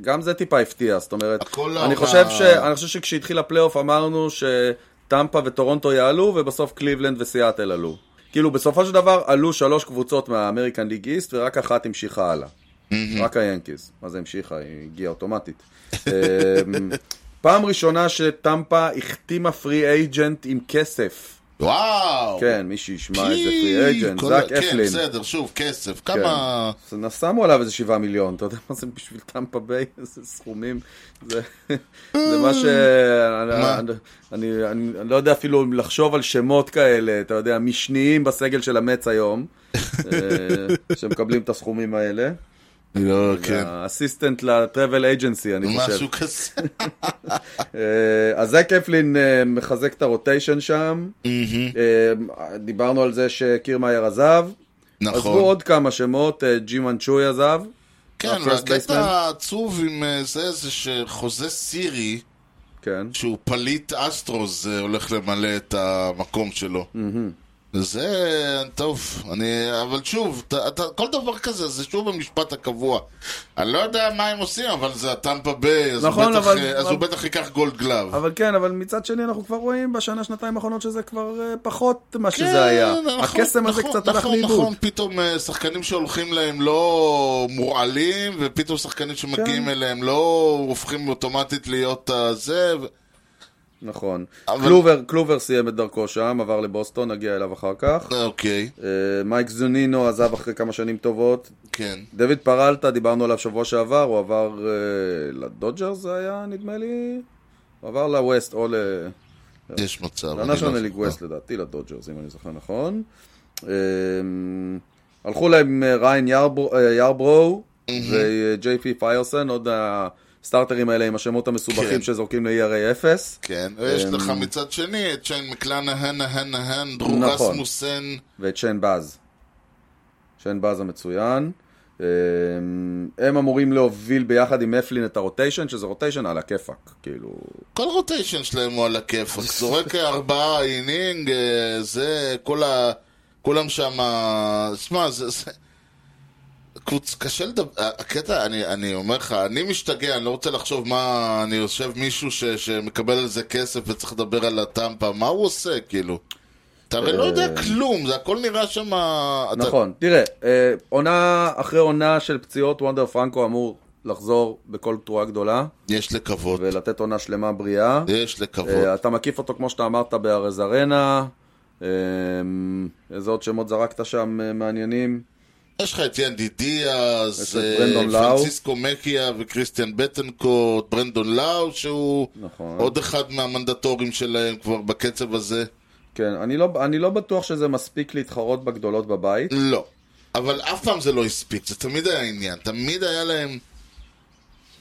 Speaker 1: גם זה טיפה הפתיע, זאת אומרת,
Speaker 2: הכל
Speaker 1: אני
Speaker 2: ה-
Speaker 1: חושב, ש... אני חושב שכשהתחיל הפלייאוף אמרנו שטמפה וטורונטו יעלו ובסוף קליבלנד וסיאטל עלו. כאילו בסופו של דבר עלו שלוש קבוצות מהאמריקן ליג איסט ורק אחת המשיכה הלאה. רק היאנקיז. מה זה המשיכה? היא הגיעה אוטומטית. אה, פעם ראשונה שטמפה החתימה פרי אייג'נט עם כסף.
Speaker 2: וואו.
Speaker 1: כן, מי שישמע
Speaker 2: כי-
Speaker 1: את זה פרי אייג'נט,
Speaker 2: כל-
Speaker 1: זאק
Speaker 2: כן,
Speaker 1: אפלין. כן.
Speaker 2: בסדר, שוב, כסף. כמה...
Speaker 1: אז נ- שמו עליו איזה שבעה מיליון, אתה יודע מה זה בשביל טמפה ביי, איזה סכומים, זה זה מה ש...
Speaker 2: מה?
Speaker 1: אני- אני אני- אני לא יודע אפילו אם לחשוב על שמות כאלה, אתה יודע, משניים בסגל של המץ היום, אה, שמקבלים את הסכומים האלה.
Speaker 2: לא, כן.
Speaker 1: האסיסטנט לטרבל אייג'נסי, אני חושב.
Speaker 2: משהו כזה.
Speaker 1: אה, אז זק אפלין אה, מחזק את הרוטיישן שם, אה, דיברנו על זה שקירמאייר עזב, עזבו
Speaker 2: נכון.
Speaker 1: עוד כמה שמות, אה, ג'י מנצ'וי עזב.
Speaker 2: כן,
Speaker 1: ה-first
Speaker 2: והקטע
Speaker 1: baseman.
Speaker 2: העצוב עם אה, זה, זה שחוזה סירי,
Speaker 1: כן.
Speaker 2: שהוא פליט אסטרוס, אה, הולך למלא את המקום שלו. זה טוב, אני, אבל שוב, אתה, אתה, כל דבר כזה זה שוב המשפט הקבוע. אני לא יודע מה הם עושים, אבל זה הטמפה ביי, אז,
Speaker 1: נכון,
Speaker 2: הוא, בטח,
Speaker 1: אבל-
Speaker 2: אה, אז הוא בטח ייקח גולד גלאב.
Speaker 1: אבל כן, אבל מצד שני אנחנו כבר רואים בשנה, שנתיים האחרונות שזה כבר אה, פחות מה
Speaker 2: כן,
Speaker 1: שזה היה.
Speaker 2: נכון,
Speaker 1: הקסם הזה
Speaker 2: נכון,
Speaker 1: קצת הלך
Speaker 2: נכון,
Speaker 1: לאיבוד.
Speaker 2: נכון, פתאום אה, שחקנים שהולכים להם לא מורעלים, ופתאום שחקנים שמגיעים
Speaker 1: כן.
Speaker 2: אליהם לא הופכים אוטומטית להיות אה, זה. ו-
Speaker 1: נכון.
Speaker 2: אבל-
Speaker 1: קלובר- קלובר סיים את דרכו שם, עבר לבוסטון, נגיע אליו אחר כך.
Speaker 2: אוקיי,
Speaker 1: אה, מייק זונינו עזב אחרי כמה שנים טובות.
Speaker 2: כן.
Speaker 1: דויד פרלטה, דיברנו עליו שבוע שעבר, הוא עבר אה, לדודג'ר זה היה, נדמה לי? הוא עבר לווסט או ל... אה.
Speaker 2: יש מצב. אני לא
Speaker 1: לנשיונל ליג
Speaker 2: זוכר.
Speaker 1: ווסט לדעתי, לדודג'רס, אם אני זוכר נכון. אה, הלכו להם אה, ריין ירברו- אה, ירברו וג'יי פי פיירסן, עוד הסטארטרים האלה עם השמות
Speaker 2: כן.
Speaker 1: המסובכים שזורקים ל-ERA 0.
Speaker 2: כן, ויש
Speaker 1: אמ,
Speaker 2: לך מצד שני את שיין מקלנהן, נהן, נהן, דרו
Speaker 1: נכון.
Speaker 2: רסמוסן.
Speaker 1: ואת שן באז. שן באז המצוין. אה, הם אמורים להוביל ביחד עם אפלין את הרוטיישן, שזה רוטיישן על הכיפאק, כאילו...
Speaker 2: כל רוטיישן שלהם הוא על הכיפאק. זורק ארבעה אינינג, אה, זה, כל ה... כולם שם... אה, שמע, זה... זה... קבוצ- קשה לדבר, אה, הקטע, אני, אני אומר לך, אני משתגע, אני לא רוצה לחשוב מה, אני יושב מישהו ש, שמקבל על זה כסף וצריך לדבר על הטמפה, מה הוא עושה, כאילו? אתה הרי לא יודע כלום, זה הכל נראה שם... אתה-
Speaker 1: אה, נכון, תראה, אה, עונה אחרי עונה של פציעות, וונדר פרנקו אמור לחזור בכל תרועה גדולה,
Speaker 2: יש לקוות,
Speaker 1: ולתת עונה שלמה בריאה.
Speaker 2: יש לקוות.
Speaker 1: אה, אתה מקיף אותו, כמו שאתה אמרת, בארז ארנה. אה, איזה עוד שמות זרקת שם אה, מעניינים?
Speaker 2: יש לך את ינדי דיאז,
Speaker 1: יש את
Speaker 2: אה,
Speaker 1: ברנדון לאו.
Speaker 2: פרנסיסקו מקיה וקריסטיאן בטנקוט, ברנדון לאו שהוא
Speaker 1: נכון.
Speaker 2: עוד אחד מהמנדטורים שלהם כבר בקצב הזה.
Speaker 1: כן, אני לא, אני לא בטוח שזה מספיק להתחרות בגדולות בבית.
Speaker 2: לא. אבל אף פעם זה לא הספיק, זה תמיד היה עניין, תמיד היה להם...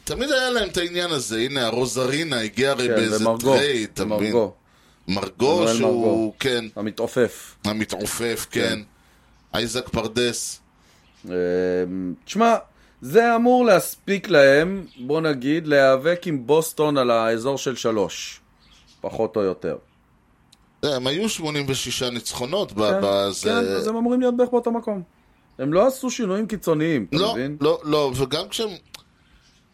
Speaker 2: תמיד היה להם את העניין הזה, הנה הרוזרינה הגיע הרי
Speaker 1: כן,
Speaker 2: באיזה
Speaker 1: ומרגו,
Speaker 2: טרייד, אתה מבין?
Speaker 1: מרגו,
Speaker 2: מרגו
Speaker 1: מנואל
Speaker 2: שהוא,
Speaker 1: מרגו.
Speaker 2: כן,
Speaker 1: המתעופף.
Speaker 2: המתעופף, כן, אייזק פרדס,
Speaker 1: אה, תשמע, זה אמור להספיק להם, בוא נגיד, להיאבק עם בוסטון על האזור של שלוש, פחות או יותר.
Speaker 2: אה, הם היו 86 ניצחונות, ב-
Speaker 1: כן,
Speaker 2: בזה-
Speaker 1: כן, אז הם אמורים להיות בערך באותו מקום. הם לא עשו שינויים קיצוניים, אתה
Speaker 2: לא,
Speaker 1: מבין?
Speaker 2: לא, לא, וגם כשהם...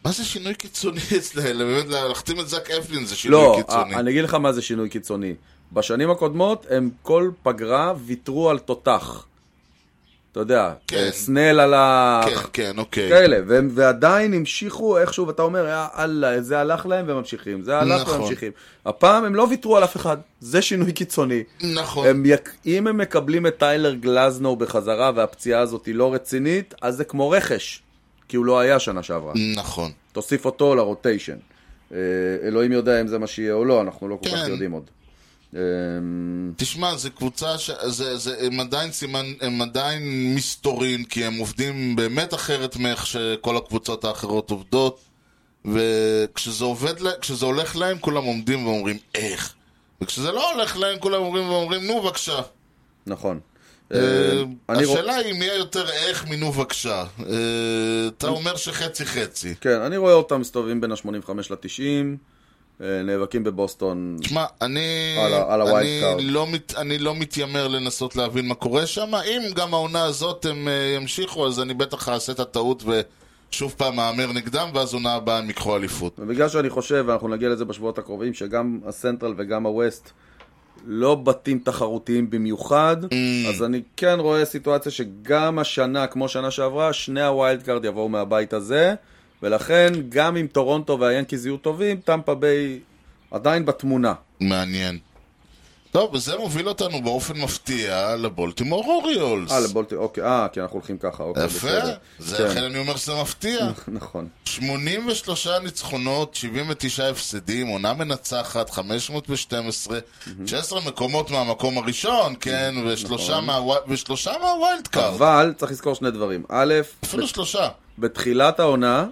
Speaker 2: מה זה שינוי קיצוני אצלהם? באמת, להחתים את זאק אפלין זה שינוי
Speaker 1: לא,
Speaker 2: קיצוני.
Speaker 1: אה, אני אגיד לך מה זה שינוי קיצוני. בשנים הקודמות הם כל פגרה ויתרו על תותח. אתה יודע,
Speaker 2: כן.
Speaker 1: אה, סנל הלך,
Speaker 2: כן, כן, אוקיי.
Speaker 1: כאלה, והם ועדיין המשיכו איכשהו, ואתה אומר, יאללה, זה הלך להם וממשיכים, זה הלך
Speaker 2: נכון.
Speaker 1: וממשיכים. הפעם הם לא ויתרו על אף אחד, זה שינוי קיצוני.
Speaker 2: נכון.
Speaker 1: הם יק... אם הם מקבלים את טיילר גלזנו בחזרה והפציעה הזאת היא לא רצינית, אז זה כמו רכש, כי הוא לא היה שנה שעברה.
Speaker 2: נכון.
Speaker 1: תוסיף אותו לרוטיישן. אה, אלוהים יודע אם זה מה שיהיה או לא, אנחנו לא כל כך
Speaker 2: כן.
Speaker 1: יודעים עוד. אה,
Speaker 2: תשמע, זו קבוצה ש... זה, זה, הם עדיין סימן, הם עדיין מסתורין, כי הם עובדים באמת אחרת מאיך שכל הקבוצות האחרות עובדות, וכשזה עובד, לה- כשזה הולך להם, כולם עומדים ואומרים, איך? וכשזה לא הולך להם, כולם עומדים ואומרים, נו, בבקשה.
Speaker 1: נכון.
Speaker 2: אה,
Speaker 1: אה, אני רוצ-
Speaker 2: השאלה היא אם יהיה יותר איך מנו בבקשה. אה, אתה אומר שחצי חצי.
Speaker 1: כן, אני רואה אותם מסתובבים בין ה-85 ל-90, אה, נאבקים בבוסטון.
Speaker 2: תשמע, אני,
Speaker 1: על ה- על הווילד
Speaker 2: אני,
Speaker 1: קארד.
Speaker 2: לא מת, אני לא מתיימר לנסות להבין מה קורה שם. אם גם העונה הזאת הם אה, ימשיכו, אז אני בטח אעשה את הטעות ושוב פעם אאמר נגדם, ואז עונה הבאה הם ייקחו אליפות.
Speaker 1: ובגלל שאני חושב, ואנחנו נגיע לזה בשבועות הקרובים, שגם הסנטרל וגם הווסט לא בתים תחרותיים במיוחד,
Speaker 2: Mm.
Speaker 1: אז אני כן רואה סיטואציה שגם השנה, כמו שנה שעברה, שני הווילד קארד יבואו מהבית הזה, ולכן גם אם טורונטו והיאנקיז יהיו טובים, טמפה ביי עדיין בתמונה.
Speaker 2: מעניין. טוב, וזה מוביל אותנו באופן מפתיע לבולטימור אוריולס.
Speaker 1: אה, לבולטי, אוקיי, אה, כי אנחנו הולכים ככה, אוקיי,
Speaker 2: יפה,
Speaker 1: בסדר.
Speaker 2: זה
Speaker 1: כן.
Speaker 2: לכן אני אומר שזה מפתיע.
Speaker 1: נכון.
Speaker 2: 83 ניצחונות, 79 הפסדים, עונה מנצחת, 512, 19 מקומות מהמקום הראשון, כן, ושלושה מהווי- ושלושה מהווילד קארד,
Speaker 1: נכון. אבל צריך לזכור שני דברים. א',
Speaker 2: אפילו שלושה.
Speaker 1: בתחילת העונה,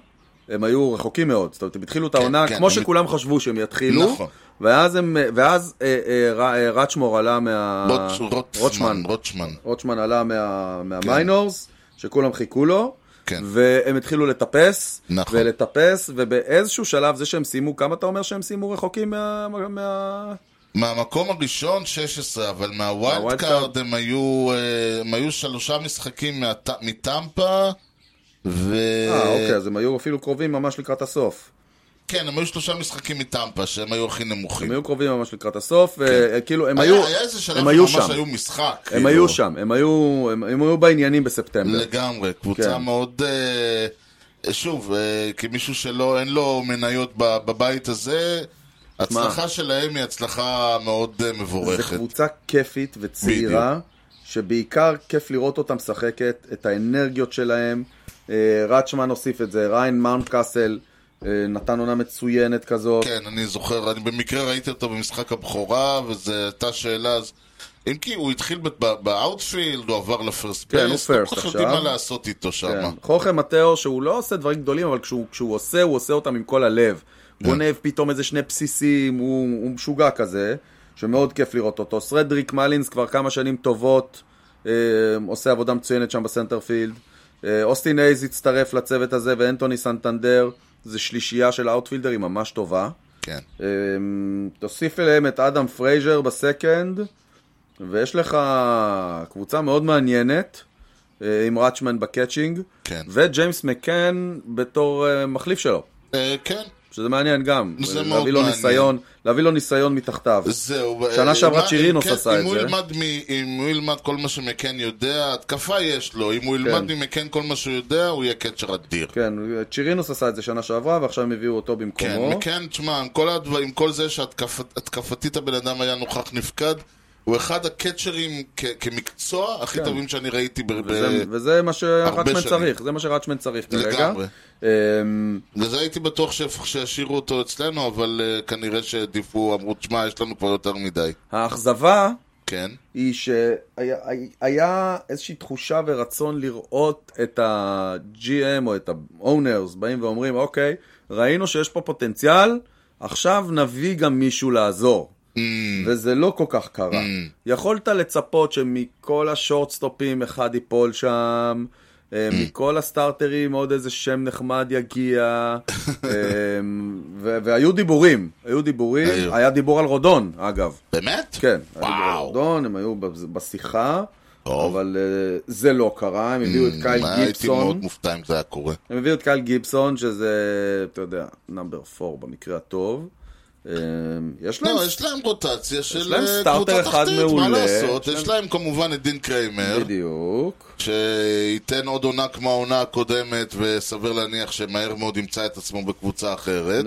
Speaker 1: הם היו רחוקים מאוד. זאת אומרת, הם התחילו את העונה
Speaker 2: כן,
Speaker 1: כמו
Speaker 2: הם-
Speaker 1: שכולם חשבו שהם יתחילו.
Speaker 2: נכון.
Speaker 1: ואז הם, ואז אה, אה, ר- אה, רצ'מור עלה מה...
Speaker 2: רוטש- רוטשמן, רוטשמן.
Speaker 1: רוטשמן עלה מה- מהמיינורס, שכולם חיכו לו.
Speaker 2: כן.
Speaker 1: והם התחילו לטפס,
Speaker 2: נכון.
Speaker 1: ולטפס, ובאיזשהו שלב זה שהם סיימו, כמה אתה אומר שהם סיימו רחוקים מה... מה...
Speaker 2: מהמקום הראשון 16, אבל מהווילד
Speaker 1: מהווילד
Speaker 2: קארד
Speaker 1: קארד.
Speaker 2: הם היו, אה, הם היו שלושה משחקים מהט- מטמפה, ו...
Speaker 1: אה, אוקיי, אז הם היו אפילו קרובים ממש לקראת הסוף.
Speaker 2: כן, הם היו שלושה משחקים מטמפה, שהם היו הכי נמוכים.
Speaker 1: הם היו קרובים ממש לקראת הסוף, וכאילו, הם
Speaker 2: כן. היה-
Speaker 1: היו
Speaker 2: היה איזה שלב
Speaker 1: הם היו
Speaker 2: שממש
Speaker 1: שם.
Speaker 2: היו משחק.
Speaker 1: הם
Speaker 2: כאילו.
Speaker 1: היו שם, הם היו, הם, הם היו בעניינים בספטמבר.
Speaker 2: לגמרי, קבוצה כן.
Speaker 1: כן.
Speaker 2: מאוד... אה, שוב, אה, כמישהו שלא, אין לו מניות ב- בבית הזה, הצלחה שלהם היא הצלחה מאוד אה,
Speaker 1: זו
Speaker 2: מבורכת.
Speaker 1: קבוצה כיפית וצעירה, שבעיקר כיף לראות אותה משחקת, את האנרגיות שלהם. אה, רצ'מן הוסיף את זה, ריין מאונטקאסל אה, נתן עונה מצוינת כזאת.
Speaker 2: כן, אני זוכר, אני במקרה ראיתי אותו במשחק הבכורה, וזו הייתה שאלה אז... אם כי הוא התחיל ב- ב- באאוטפילד, הוא עבר לפרסט
Speaker 1: כן, הוא
Speaker 2: בייס,
Speaker 1: first
Speaker 2: לא כל כך יודעים מה
Speaker 1: עכשיו.
Speaker 2: לעשות איתו שם.
Speaker 1: כן. חוכם מטאו, שהוא לא עושה דברים גדולים, אבל כשהוא, כשהוא עושה, הוא עושה אותם עם כל הלב. גונב פתאום איזה שני בסיסים, הוא, הוא משוגע כזה, שמאוד כיף לראות אותו. סרדריק מלינס כבר כמה שנים טובות, אה, עושה עבודה מצוינת שם בסנטרפילד. אה, אוסטין אייז הצטרף לצוות הזה, ואנטוני סנטנדר, זה שלישייה של האוטפילדרים ממש טובה.
Speaker 2: כן.
Speaker 1: אה, תוסיף אליהם את אדם פרייזר בסקנד, ויש לך קבוצה מאוד מעניינת. אה, עם ראצ'מן בקאצ'ינג,
Speaker 2: כן.
Speaker 1: וג'יימס מקן בתור אה, מחליף שלו,
Speaker 2: אה, כן.
Speaker 1: שזה מעניין גם.
Speaker 2: זה מאוד
Speaker 1: להביא לו
Speaker 2: מעניין.
Speaker 1: ניסיון, להביא לו ניסיון מתחתיו.
Speaker 2: זהו.
Speaker 1: שנה
Speaker 2: אה,
Speaker 1: שעברה
Speaker 2: אם-
Speaker 1: צ'ירינוס
Speaker 2: כן,
Speaker 1: עשה
Speaker 2: אם
Speaker 1: את
Speaker 2: הוא
Speaker 1: זה.
Speaker 2: ילמד מ- אם הוא ילמד כל מה שמקן יודע, התקפה יש לו. אם הוא ילמד ממקן כל מה שהוא יודע, הוא יהיה קצ'ר אדיר.
Speaker 1: כן, צ'ירינוס עשה את זה שנה שעברה, ועכשיו הם הביאו אותו
Speaker 2: כן,
Speaker 1: במקומו.
Speaker 2: מכן, תשמע, עם כל, הדבר, עם כל זה שהתקפתית הבן אדם היה נוכח נפקד, הוא אחד הקצ'רים כ- כמקצוע הכי
Speaker 1: כן.
Speaker 2: טובים שאני ראיתי ב...
Speaker 1: וזה-
Speaker 2: ב-
Speaker 1: וזה מה שראצ'מן
Speaker 2: אה, שנים.
Speaker 1: צריך, זה מה שראצ'מן צריך כרגע.
Speaker 2: לגמרי.
Speaker 1: אמ,
Speaker 2: לזה הייתי בטוח שיפ- שישאירו אותו אצלנו, אבל uh, כנראה שהעדיפו, אמרו, תשמע, יש לנו כבר יותר מדי.
Speaker 1: האכזבה
Speaker 2: כן.
Speaker 1: היא שהיה איזושהי תחושה ורצון לראות את ה-GM או את ה-Owners באים ואומרים, אוקיי, ראינו שיש פה פוטנציאל, עכשיו נביא גם מישהו לעזור. וזה לא כל כך קרה. יכולת לצפות שמכל השורטסטופים אחד ייפול שם, אה, מכל הסטארטרים עוד איזה שם נחמד יגיע, אה, ו- והיו דיבורים, היו דיבורים,
Speaker 2: היו.
Speaker 1: היה דיבור על רודון, אגב.
Speaker 2: באמת?
Speaker 1: כן, היה דיבור על
Speaker 2: וואו.
Speaker 1: רודון, הם היו בז- בשיחה,
Speaker 2: טוב. Mm,
Speaker 1: אבל אה, זה לא קרה, הם הביאו את קייל
Speaker 2: מה, הייתי מאוד
Speaker 1: גיבסון,
Speaker 2: מופתע אם זה היה קורה.
Speaker 1: הם הביאו את קייל גיבסון, שזה, אתה יודע, נאמבר 4 במקרה הטוב. אה, יש להם
Speaker 2: לא, יש להם רוטציה של
Speaker 1: להם
Speaker 2: אה,
Speaker 1: סטארטר
Speaker 2: קבוצה
Speaker 1: אחד
Speaker 2: תחתית, מה
Speaker 1: מעולה.
Speaker 2: לעשות?
Speaker 1: יש להם-
Speaker 2: יש להם כמובן את דין קריימר,
Speaker 1: בדיוק.
Speaker 2: שייתן עוד עונה כמו העונה הקודמת, וסביר להניח שמהר מאוד ימצא את עצמו בקבוצה אחרת.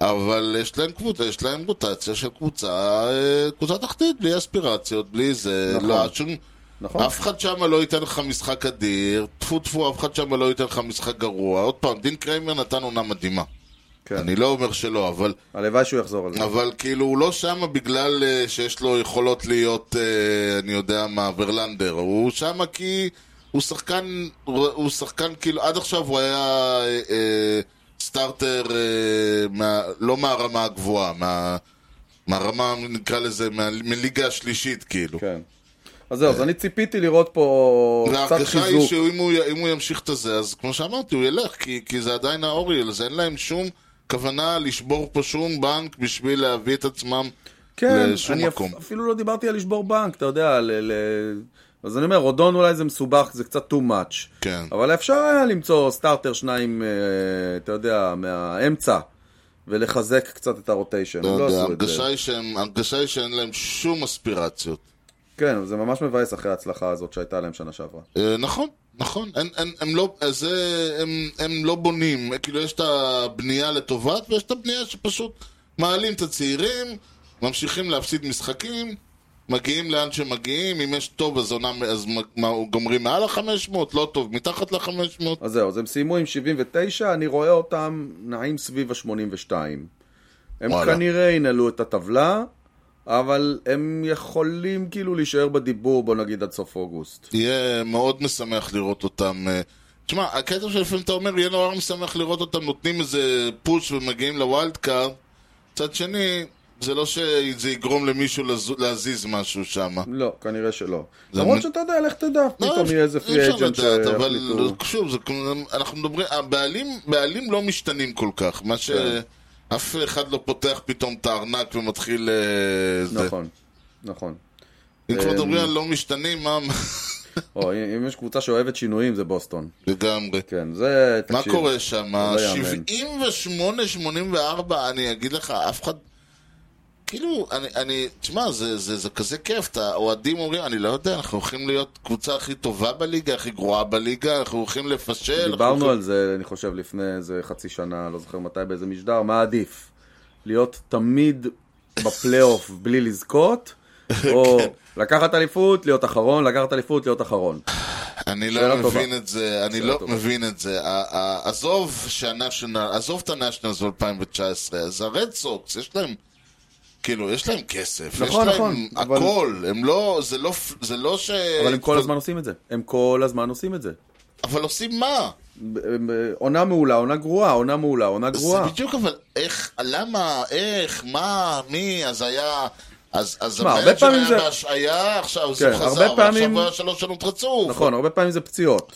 Speaker 2: אבל יש להם קבוצה, יש להם רוטציה של קבוצה, אה, קבוצה תחתית, בלי אספירציות, בלי זה,
Speaker 1: נכון.
Speaker 2: לא, שום...
Speaker 1: נכון.
Speaker 2: אף אחד שם לא ייתן לך משחק אדיר, טפו טפו, אף אחד שם לא ייתן לך משחק גרוע. עוד פעם, דין קריימר נתן עונה מדהימה.
Speaker 1: כן.
Speaker 2: אני לא אומר שלא, אבל
Speaker 1: הלוואי שהוא יחזור על זה.
Speaker 2: אבל כאילו הוא לא שם בגלל אה, שיש לו יכולות להיות, אה, אני יודע מה, ורלנדר. הוא שם כי הוא שחקן, הוא שחקן כאילו, עד עכשיו הוא היה אה, אה, סטארטר אה, מה, לא מהרמה הגבוהה, מה, מהרמה, נקרא לזה, מה, מליגה השלישית כאילו.
Speaker 1: כן. אז זהו, אז אני ציפיתי לראות פה קצת
Speaker 2: וההרגשה היא
Speaker 1: חיזוק.
Speaker 2: שאם הוא, אם הוא ימשיך את הזה, אז כמו שאמרתי, הוא ילך, כי, כי זה עדיין האוריאל, אז אין להם שום כוונה לשבור פה שום בנק בשביל להביא את עצמם
Speaker 1: כן,
Speaker 2: לשום
Speaker 1: אני אפ-
Speaker 2: מקום.
Speaker 1: אפילו לא דיברתי על לשבור בנק, אתה יודע, ל... ל- אז אני אומר, רודון אולי זה מסובך, זה קצת too much.
Speaker 2: כן.
Speaker 1: אבל אפשר היה למצוא סטארטר שניים, אה, אתה יודע, מהאמצע, ולחזק קצת את הרוטיישן.
Speaker 2: לא
Speaker 1: הם לא
Speaker 2: יודע,
Speaker 1: עשו את זה.
Speaker 2: ההרגשה היא שהם- ההרגשה היא שאין להם שום אספירציות.
Speaker 1: כן, אבל זה ממש מבאס אחרי ההצלחה הזאת שהייתה להם שנה שעברה.
Speaker 2: אה, נכון, נכון. אין- אין- הם לא- אה, זה- הם- הם לא בונים. אה, כאילו, יש את הבנייה לטובת, ויש את הבנייה שפשוט מעלים את הצעירים, ממשיכים להפסיד משחקים, מגיעים לאן שמגיעים, אם יש טוב אז עונה- אז מ- מה, גומרים מעל ה-500, לא טוב, מתחת ל-500.
Speaker 1: אז זהו, אז הם סיימו עם 79, אני רואה אותם נעים סביב ה-82. הם
Speaker 2: וואלה.
Speaker 1: וואלה. כנראה ינעלו את הטבלה, אבל הם יכולים כאילו להישאר בדיבור, בוא נגיד, עד סוף אוגוסט.
Speaker 2: יהיה מאוד משמח לראות אותם. אה, תשמע, הקטע שלפעמים אתה אומר, יהיה נורא משמח לראות אותם נותנים איזה פוש ומגיעים לווילד קארד. מצד שני, זה לא שזה יגרום למישהו לזו- להזיז משהו שם.
Speaker 1: לא, כנראה שלא.
Speaker 2: זה
Speaker 1: למרות
Speaker 2: מ-
Speaker 1: שאתה יודע, לך תדע, פתאום יהיה איזה פרי
Speaker 2: אי אפשר
Speaker 1: אג'נט
Speaker 2: לדעת, אבל לא
Speaker 1: שיחליטו.
Speaker 2: שוב, זה כמו- אנחנו מדברים, הבעלים, בעלים לא משתנים כל כך, מה ש...
Speaker 1: כן.
Speaker 2: אף אחד לא פותח פתאום את הארנק ומתחיל... אה, זה.
Speaker 1: נכון, נכון.
Speaker 2: אם כבר
Speaker 1: אה,
Speaker 2: מדברים על לא משתנים, מה... מה-
Speaker 1: או, אם יש קבוצה שאוהבת שינויים, זה בוסטון.
Speaker 2: לגמרי.
Speaker 1: כן, זה...
Speaker 2: מה
Speaker 1: תקשיב,
Speaker 2: קורה שם?
Speaker 1: לא יאמן.
Speaker 2: 78-84, אני אגיד לך, אף אחד... כאילו, אני, אני, תשמע, זה, זה, זה כזה כיף, אתה- האוהדים אומרים, אני לא יודע, אנחנו הולכים להיות קבוצה הכי טובה בליגה, הכי גרועה בליגה, אנחנו הולכים לפשל. אנחנו
Speaker 1: דיברנו
Speaker 2: הולכים...
Speaker 1: על זה, אני חושב, לפני איזה חצי שנה, לא זוכר מתי, באיזה משדר, מה עדיף? להיות תמיד בפלייאוף בלי לזכות, או
Speaker 2: כן.
Speaker 1: לקחת אליפות, להיות אחרון, לקחת אליפות, להיות אחרון.
Speaker 2: אני
Speaker 1: שאלה
Speaker 2: לא
Speaker 1: טובה.
Speaker 2: מבין את זה, אני
Speaker 1: שאלה
Speaker 2: לא
Speaker 1: טובה.
Speaker 2: מבין את זה. ה- ה- עזוב שהנשיונל, עזוב את הנשיונלס ב-2019, אז הרד סוקס, יש להם, כאילו, יש להם כסף,
Speaker 1: נכון,
Speaker 2: יש להם
Speaker 1: נכון, אבל-
Speaker 2: הכל, הם לא, זה לא, זה לא ש...
Speaker 1: אבל הם כל הזמן עושים את זה. הם כל הזמן עושים את זה.
Speaker 2: אבל עושים מה?
Speaker 1: ב- ב- עונה מעולה, עונה גרועה, עונה מעולה, עונה
Speaker 2: זה
Speaker 1: גרועה.
Speaker 2: בדיוק, אבל איך, למה, איך, מה, מי, אז היה... אז, אז
Speaker 1: שמע, הרבה
Speaker 2: המנג'ר
Speaker 1: פעמים
Speaker 2: היה
Speaker 1: זה-
Speaker 2: בהשעיה, עכשיו
Speaker 1: כן,
Speaker 2: הוא חזר,
Speaker 1: הרבה
Speaker 2: אבל
Speaker 1: פעמים-
Speaker 2: עכשיו היה שלוש שנות רצוף.
Speaker 1: נכון, הרבה פעמים זה פציעות.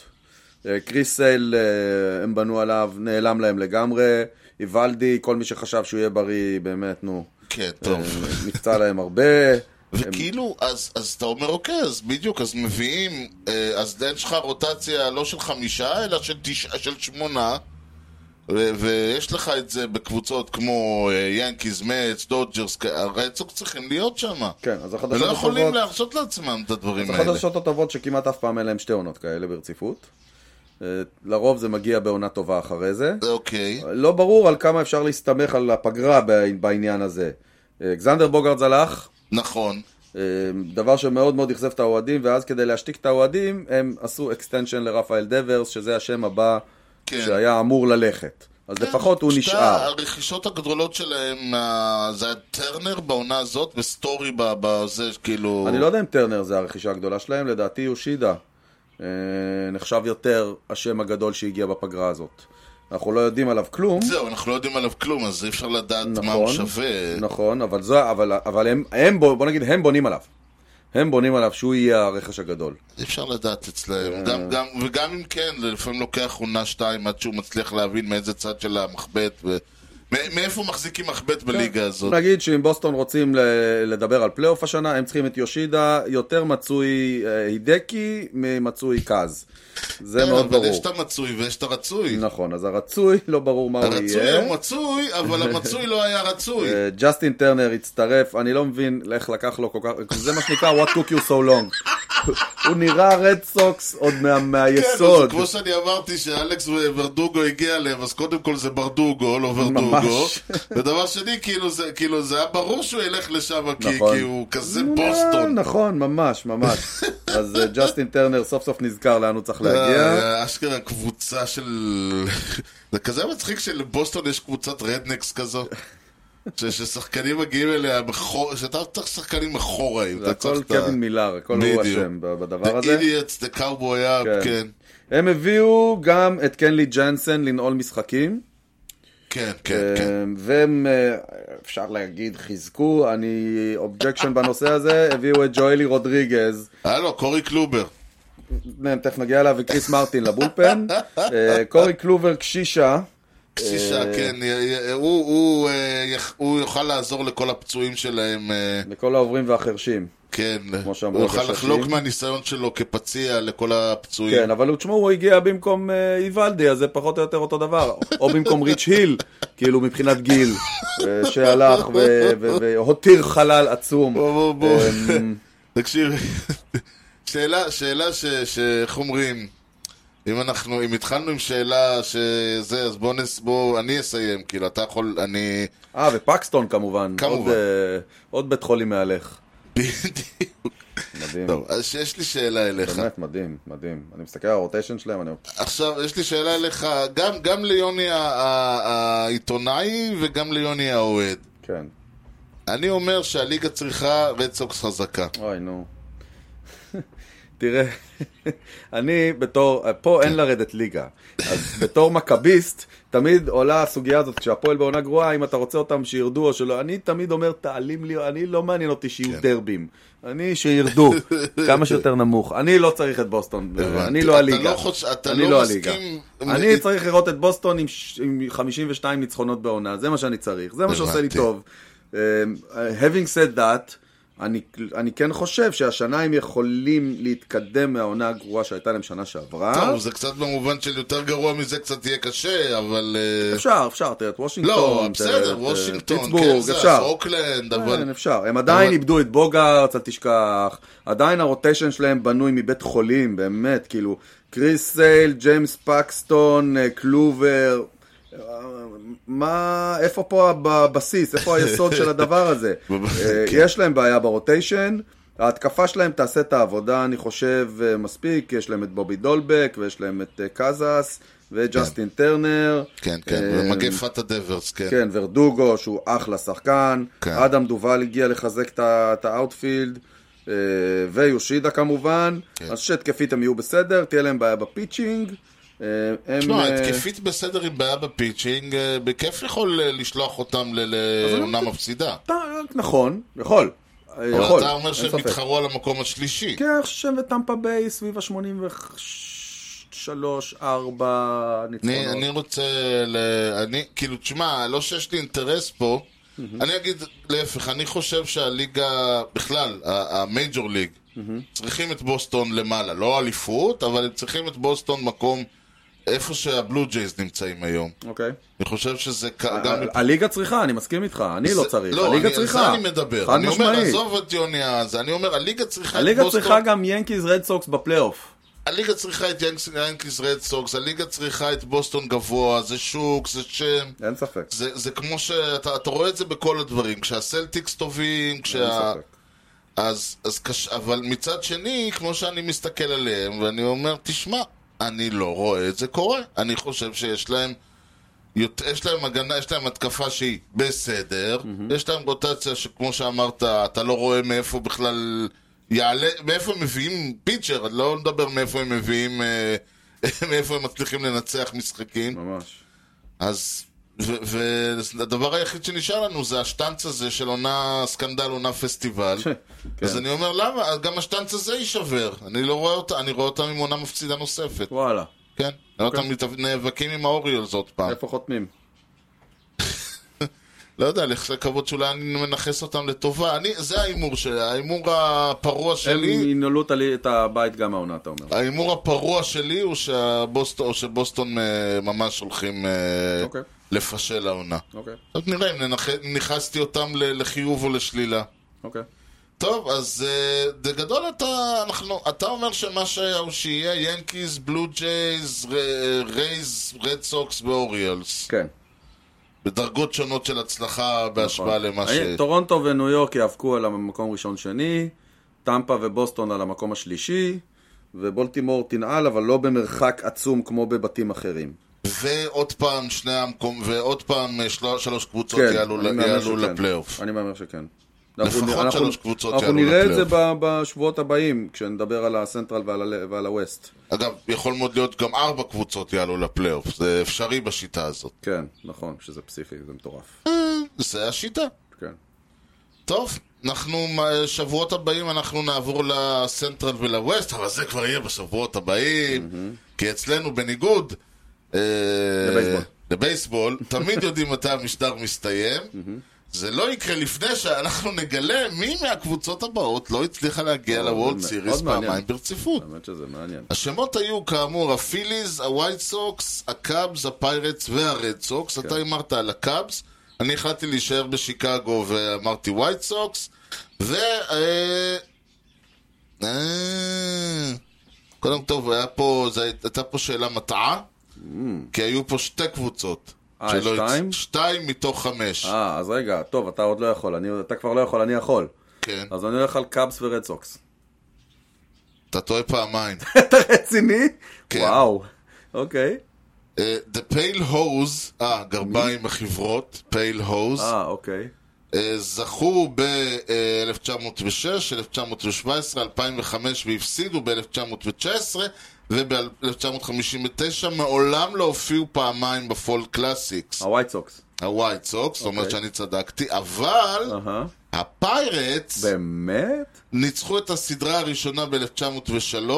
Speaker 1: אה, קריס סייל, אה, הם בנו עליו, נעלם להם לגמרי. איוולדי, כל מי שחשב שהוא יהיה בריא, באמת, נו.
Speaker 2: כן, טוב.
Speaker 1: אה, נפצע להם הרבה.
Speaker 2: וכאילו, אז, אז אתה אומר, אוקיי, אז בדיוק, אז מביאים, אה, אז אין שלך רוטציה לא של חמישה, אלא של, תשע, של שמונה, ו- ויש לך את זה בקבוצות כמו אה, ינקיז, מאץ, דודג'רס, כ- הרצוג צריכים להיות שם.
Speaker 1: כן, אז החדשות
Speaker 2: ולא יכולים
Speaker 1: הטובות-
Speaker 2: להרשות לעצמם את הדברים
Speaker 1: זה
Speaker 2: האלה.
Speaker 1: חדשות הטובות שכמעט אף פעם אין להם שתי עונות כאלה ברציפות. אה, לרוב זה מגיע בעונה טובה אחרי זה.
Speaker 2: אוקיי.
Speaker 1: לא ברור על כמה אפשר להסתמך על הפגרה ב- בעניין הזה. אה, אלכסנדר בוגרד הלך,
Speaker 2: נכון.
Speaker 1: אה, דבר שמאוד מאוד אכזב את האוהדים, ואז כדי להשתיק את האוהדים, הם עשו אקסטנשן לרפאל דברס, שזה השם הבא
Speaker 2: כן.
Speaker 1: שהיה אמור ללכת. אז כן, לפחות הוא
Speaker 2: שתי
Speaker 1: נשאר.
Speaker 2: הרכישות הגדולות שלהם, אה, זה היה טרנר בעונה הזאת וסטורי ב- בזה, כאילו...
Speaker 1: אני לא יודע אם טרנר זה הרכישה הגדולה שלהם, לדעתי יושידה אה, נחשב יותר השם הגדול שהגיע בפגרה הזאת. אנחנו לא יודעים עליו כלום.
Speaker 2: זהו, אנחנו לא יודעים עליו כלום, אז אי אפשר לדעת מה הוא
Speaker 1: נכון,
Speaker 2: שווה.
Speaker 1: נכון, אבל, זה, אבל, אבל הם, הם, בוא בוא נגיד, הם בונים עליו. הם בונים עליו שהוא יהיה הרכש הגדול.
Speaker 2: אי אפשר לדעת
Speaker 1: אה.
Speaker 2: אצלהם. גם, גם, וגם אם כן, זה לפעמים לוקח עונה שתיים עד שהוא מצליח להבין מאיזה צד של המחבט, ו... מא- מאיפה מחזיקים
Speaker 1: כן,
Speaker 2: מחבט בליגה הזאת.
Speaker 1: נגיד שאם בוסטון רוצים ל- לדבר על פלייאוף השנה, הם צריכים את יושידה, יותר מצוי אה, הידקי ממצוי קאז. זה
Speaker 2: כן,
Speaker 1: מאוד
Speaker 2: אבל
Speaker 1: ברור.
Speaker 2: יש את המצוי ויש את הרצוי.
Speaker 1: נכון, אז הרצוי, לא ברור מה הוא
Speaker 2: הרצוי
Speaker 1: יהיה.
Speaker 2: הוא מצוי, אבל המצוי לא היה רצוי.
Speaker 1: אה, ג'סטין טרנר הצטרף, אני לא מבין איך לקח לו כל כך, זה מה שנקרא what took you so long. הוא נראה רד סוקס עוד מה-
Speaker 2: כן,
Speaker 1: מהיסוד.
Speaker 2: אז כמו שאני אמרתי שאלכס וברדוגו הגיע אליהם, אז קודם כל זה ברדוגו, לא ורדוגו.
Speaker 1: ממש.
Speaker 2: ודבר שני, כאילו זה- כאילו זה היה ברור שהוא ילך לשם, כי
Speaker 1: נכון.
Speaker 2: כי הוא כזה
Speaker 1: נו,
Speaker 2: בוסטון.
Speaker 1: נכון, ממש, ממש. אז אה, ג'סטין טרנר סוף סוף נזכר לאן הוא צריך
Speaker 2: אה,
Speaker 1: להגיע.
Speaker 2: אה, אשכרה קבוצה של... זה כזה מצחיק שלבוסטון יש קבוצת רדנקס כזו. ש- ששחקנים מגיעים אליה, בחור- שאתה צריך שחקנים מחוראים.
Speaker 1: זה הכל קווין מילר, הכל הוא
Speaker 2: בדיוק.
Speaker 1: אשם ב- בדבר
Speaker 2: The
Speaker 1: הזה.
Speaker 2: idiots, the cowboy up,
Speaker 1: כן.
Speaker 2: כן.
Speaker 1: הם הביאו גם את קנלי ג'נסן לנעול משחקים.
Speaker 2: כן, כן, כן.
Speaker 1: אה, והם, אה, אפשר להגיד, חיזקו, אני אובג'קשן בנושא הזה, הביאו את ג'ואלי רודריגז.
Speaker 2: הלו, קורי קלובר.
Speaker 1: תכף נגיע אליו וקריס מרטין לבולפן. אה, קורי קלובר קשישה. אה,
Speaker 2: קשישה, כן. י- י- הוא- הוא, אה, יח- הוא יוכל לעזור לכל הפצועים שלהם, אה,
Speaker 1: לכל העוברים והחרשים.
Speaker 2: כן.
Speaker 1: שאמרו
Speaker 2: הוא יוכל
Speaker 1: הגששים.
Speaker 2: לחלוק מהניסיון שלו כפציע לכל הפצועים.
Speaker 1: כן, אבל הוא- תשמעו, הוא הגיע במקום אה, איוולדי, אז זה פחות או יותר אותו דבר. או במקום ריץ' היל, כאילו מבחינת גיל, אה, שהלך ו- ו- והותיר חלל עצום.
Speaker 2: בוא, בוא, בוא.
Speaker 1: אמ,
Speaker 2: תקשיב, שאלה, שאלה ש... ש... איך אומרים? אם אנחנו, אם התחלנו עם שאלה שזה, אז בוא נס... בוא, אני אסיים, כאילו, אתה יכול, אני...
Speaker 1: אה, ופקסטון כמובן.
Speaker 2: כמובן.
Speaker 1: עוד, אה, עוד בית חולים מהלך.
Speaker 2: בדיוק.
Speaker 1: מדהים.
Speaker 2: טוב, אז יש לי שאלה אליך.
Speaker 1: באמת, מדהים, מדהים. אני מסתכל על הרוטיישן שלהם, אני...
Speaker 2: עכשיו, יש לי שאלה אליך, גם, גם ליוני ה- ה- העיתונאי וגם ליוני האוהד.
Speaker 1: כן.
Speaker 2: אני אומר שהליגה צריכה רד סוקס חזקה.
Speaker 1: אוי, נו. תראה, אני בתור, פה אין לרדת ליגה. אז בתור מכביסט, תמיד עולה הסוגיה הזאת, כשהפועל בעונה גרועה, אם אתה רוצה אותם שירדו או שלא, אני תמיד אומר, תעלים לי, אני לא מעניין אותי שיהיו
Speaker 2: כן.
Speaker 1: דרבים. אני שירדו, כמה שיותר נמוך. אני לא צריך את בוסטון, אני לא
Speaker 2: אתה
Speaker 1: הליגה.
Speaker 2: לא חוש- אתה
Speaker 1: אני
Speaker 2: לא
Speaker 1: לא
Speaker 2: מסכים-
Speaker 1: הליגה. אני צריך לראות את בוסטון עם ש- עם 52 ניצחונות בעונה, זה מה שאני צריך, זה מה שעושה לי
Speaker 2: הבנתי.
Speaker 1: טוב. Um, having said that, אני, אני כן חושב שהשנה הם יכולים להתקדם מהעונה הגרועה שהייתה להם שנה שעברה.
Speaker 2: טוב, זה קצת במובן של יותר גרוע מזה קצת יהיה קשה, אבל... אה,
Speaker 1: אפשר, אפשר, תראה את וושינגטון,
Speaker 2: לא,
Speaker 1: תראה
Speaker 2: בסדר,
Speaker 1: את, אה,
Speaker 2: וושינגטון, כן,
Speaker 1: פיטסבורג,
Speaker 2: קנזס,
Speaker 1: אפשר.
Speaker 2: אוקלנד,
Speaker 1: כן,
Speaker 2: אבל...
Speaker 1: אפשר. הם עדיין
Speaker 2: אבל-
Speaker 1: איבדו את בוגארץ, אל תשכח. עדיין הרוטיישן שלהם בנוי מבית חולים, באמת, כאילו. קריס סייל, ג'יימס פקסטון, אה, קלובר. אה, מה, איפה פה הב- הבסיס? איפה היסוד של הדבר הזה? אה,
Speaker 2: כן.
Speaker 1: יש להם בעיה ברוטיישן. ההתקפה שלהם תעשה את העבודה, אני חושב, אה, מספיק. יש להם את בובי דולבק, ויש להם את אה, קזס, וג'סטין טרנר.
Speaker 2: כן, כן,
Speaker 1: אה,
Speaker 2: ומגפת הדברס, כן.
Speaker 1: כן, ורדוגו, שהוא אחלה שחקן.
Speaker 2: כן.
Speaker 1: אדם דובל הגיע לחזק את ה- את האאוטפילד. אה, ויושידה כמובן.
Speaker 2: כן.
Speaker 1: אז שהתקפית הם יהיו בסדר, תהיה להם בעיה בפיצ'ינג. אה, הם...
Speaker 2: תשמע,
Speaker 1: אה,
Speaker 2: התקפית בסדר עם בעיה בפיצ'ינג, אה, בכיף יכול אה, לשלוח אותם ל- לעונה מפסידה.
Speaker 1: אתה- נכון, יכול. אה,
Speaker 2: אבל
Speaker 1: לא יכול,
Speaker 2: אתה אומר
Speaker 1: אין
Speaker 2: שהם
Speaker 1: ספק.
Speaker 2: התחרו על המקום השלישי.
Speaker 1: כן, אני חושב שטמפה ביי סביב ה-83-4
Speaker 2: אני,
Speaker 1: ניצחונות.
Speaker 2: אני רוצה, ל... אני, כאילו, תשמע, לא שיש לי אינטרס פה, אני אגיד להפך, אני חושב שהליגה, בכלל, ה- המייג'ור ליג, צריכים את בוסטון למעלה, לא אליפות, אבל הם צריכים את בוסטון מקום איפה שהבלו ג'ייז נמצאים היום.
Speaker 1: אוקיי.
Speaker 2: אני חושב שזה כ-
Speaker 1: ה-
Speaker 2: גם...
Speaker 1: ה- הליגה צריכה, אני מסכים איתך, אה, אני לא
Speaker 2: זה-
Speaker 1: צריך,
Speaker 2: לא,
Speaker 1: הליגה
Speaker 2: אני-
Speaker 1: צריכה.
Speaker 2: על זה אני מדבר.
Speaker 1: חד
Speaker 2: אני אומר,
Speaker 1: משמעית.
Speaker 2: עזוב את יוני אז, אני אומר, הליגה צריכה את
Speaker 1: הליגה
Speaker 2: בוסטון.
Speaker 1: צריכה גם ינקיז רד סוקס בפלייאוף.
Speaker 2: הליגה צריכה את ינקס- ינקיס רד סוקס, הליגה צריכה את בוסטון גבוה, זה שוק, זה שם.
Speaker 1: אין ספק.
Speaker 2: זה, זה כמו שאתה אתה רואה את זה בכל הדברים, כשהסלטיקס טובים, כשה...
Speaker 1: ספק.
Speaker 2: אז, אז קש... אבל מצד שני, כמו שאני מסתכל עליהם, ואני אומר, תשמע, אני לא רואה את זה קורה. אני חושב שיש להם... יות- יש להם הגנה, יש להם התקפה שהיא בסדר, mm-hmm. יש להם רוטציה שכמו שאמרת, אתה לא רואה מאיפה בכלל יעלה, מאיפה הם מביאים פיצ'ר, אני לא מדבר מאיפה הם מביאים, אה, מאיפה הם מצליחים לנצח משחקים.
Speaker 1: ממש.
Speaker 2: אז, והדבר היחיד שנשאר לנו זה השטנץ הזה של עונה סקנדל, עונה פסטיבל.
Speaker 1: כן.
Speaker 2: אז אני אומר, למה? אז גם השטנץ הזה יישבר. אני לא רואה אותה, אני רואה אותם עם עונה מפסידה נוספת.
Speaker 1: וואלה,
Speaker 2: כן. אני רואה
Speaker 1: אוקיי.
Speaker 2: אותם מת- נאבקים עם האוריולס עוד פעם.
Speaker 1: איפה חותמים?
Speaker 2: לא יודע, לך לקוות שאולי אני מנכס אותם לטובה. אני, זה ההימור שלי, ההימור הפרוע
Speaker 1: הם
Speaker 2: שלי.
Speaker 1: ינעלו את הלי- את הבית גם העונה, אתה אומר.
Speaker 2: ההימור הפרוע שלי הוא שהבוסטון, או שבוסטון אה, ממש הולכים אה,
Speaker 1: אוקיי.
Speaker 2: לפשל העונה.
Speaker 1: אוקיי,
Speaker 2: אז נראה אם ננח- ניכסתי אותם ל- לחיוב או לשלילה.
Speaker 1: אוקיי.
Speaker 2: טוב, אז אה, בגדול אתה, אנחנו, אתה אומר שמה שהיה שיהיה ינקיז, בלו ג'ייז, ר- אה, רייז, רד סוקס ואוריאלס.
Speaker 1: כן.
Speaker 2: בדרגות שונות של הצלחה בהשוואה למה ש...
Speaker 1: אה, טורונטו וניו יורק יאבקו על המקום ראשון-שני, טמפה ובוסטון על המקום השלישי, ובולטימור תנעל, אבל לא במרחק עצום כמו בבתים אחרים.
Speaker 2: ועוד פעם שני המקום, ועוד פעם אה, של... שלוש קבוצות
Speaker 1: כן,
Speaker 2: יעלו, ל-
Speaker 1: אני מהמר
Speaker 2: יעלו
Speaker 1: שכן.
Speaker 2: לפלייאוף.
Speaker 1: אני מהמר שכן.
Speaker 2: לפחות
Speaker 1: אנחנו-
Speaker 2: שלוש קבוצות
Speaker 1: אנחנו
Speaker 2: יעלו
Speaker 1: נראה את זה
Speaker 2: לפלייאוף.
Speaker 1: ב- בשבועות הבאים, כשנדבר על הסנטרל ועל ה- ועל הווסט.
Speaker 2: אגב, יכול מאוד להיות גם ארבע קבוצות יעלו לפלייאוף, זה אפשרי בשיטה הזאת. אה,
Speaker 1: כן, נכון, שזה פסיכי, זה מטורף.
Speaker 2: זה השיטה.
Speaker 1: כן.
Speaker 2: טוב, אנחנו, שבועות הבאים אנחנו נעבור לסנטרל ולווסט, אבל זה כבר יהיה בשבועות הבאים, כי אצלנו בניגוד... אה,
Speaker 1: לבייסבול.
Speaker 2: לבייסבול, תמיד יודעים מתי המשדר מסתיים. זה לא יקרה לפני שאנחנו נגלה מי מהקבוצות הבאות לא הצליחה להגיע
Speaker 1: מאוד
Speaker 2: לוולד
Speaker 1: מעניין.
Speaker 2: סיריס
Speaker 1: מאוד מעניין.
Speaker 2: פעמיים ברציפות.
Speaker 1: האמת שזה מעניין.
Speaker 2: השמות היו כאמור הפיליז, הווייט סוקס, הקאבס, הפיירטס והרד
Speaker 1: כן.
Speaker 2: סוקס. אתה הימרת על הקאבס, אני החלטתי להישאר בשיקגו ואמרתי ווייט סוקס. ו... אה, אה, קודם טוב, היה פה, זה, הייתה פה שאלה מטעה, כי היו פה שתי קבוצות.
Speaker 1: Mm. אה,
Speaker 2: שלא הצ-
Speaker 1: שתיים?
Speaker 2: שתיים מתוך חמש.
Speaker 1: אה, אז רגע, טוב, אתה עוד לא יכול, אני- אתה כבר לא יכול, אני יכול.
Speaker 2: כן.
Speaker 1: אז אני הולך על קאבס ורד סוקס.
Speaker 2: אתה טועה פעמיים.
Speaker 1: אתה רציני?
Speaker 2: כן.
Speaker 1: וואו. אוקיי.
Speaker 2: אה, The Pale Hose, אה, גרביים החברות, Pale Hose.
Speaker 1: אה, אוקיי.
Speaker 2: אה, זכו ב-1906, 1917, 2005 והפסידו ב-1919 וב-1959 מעולם לא הופיעו פעמיים בפול קלאסיקס,
Speaker 1: הווייט סוקס.
Speaker 2: הווייט סוקס, זאת אומרת שאני צדקתי, אבל
Speaker 1: אהה.
Speaker 2: הפיירטס
Speaker 1: באמת?
Speaker 2: ניצחו את הסדרה הראשונה ב-1903,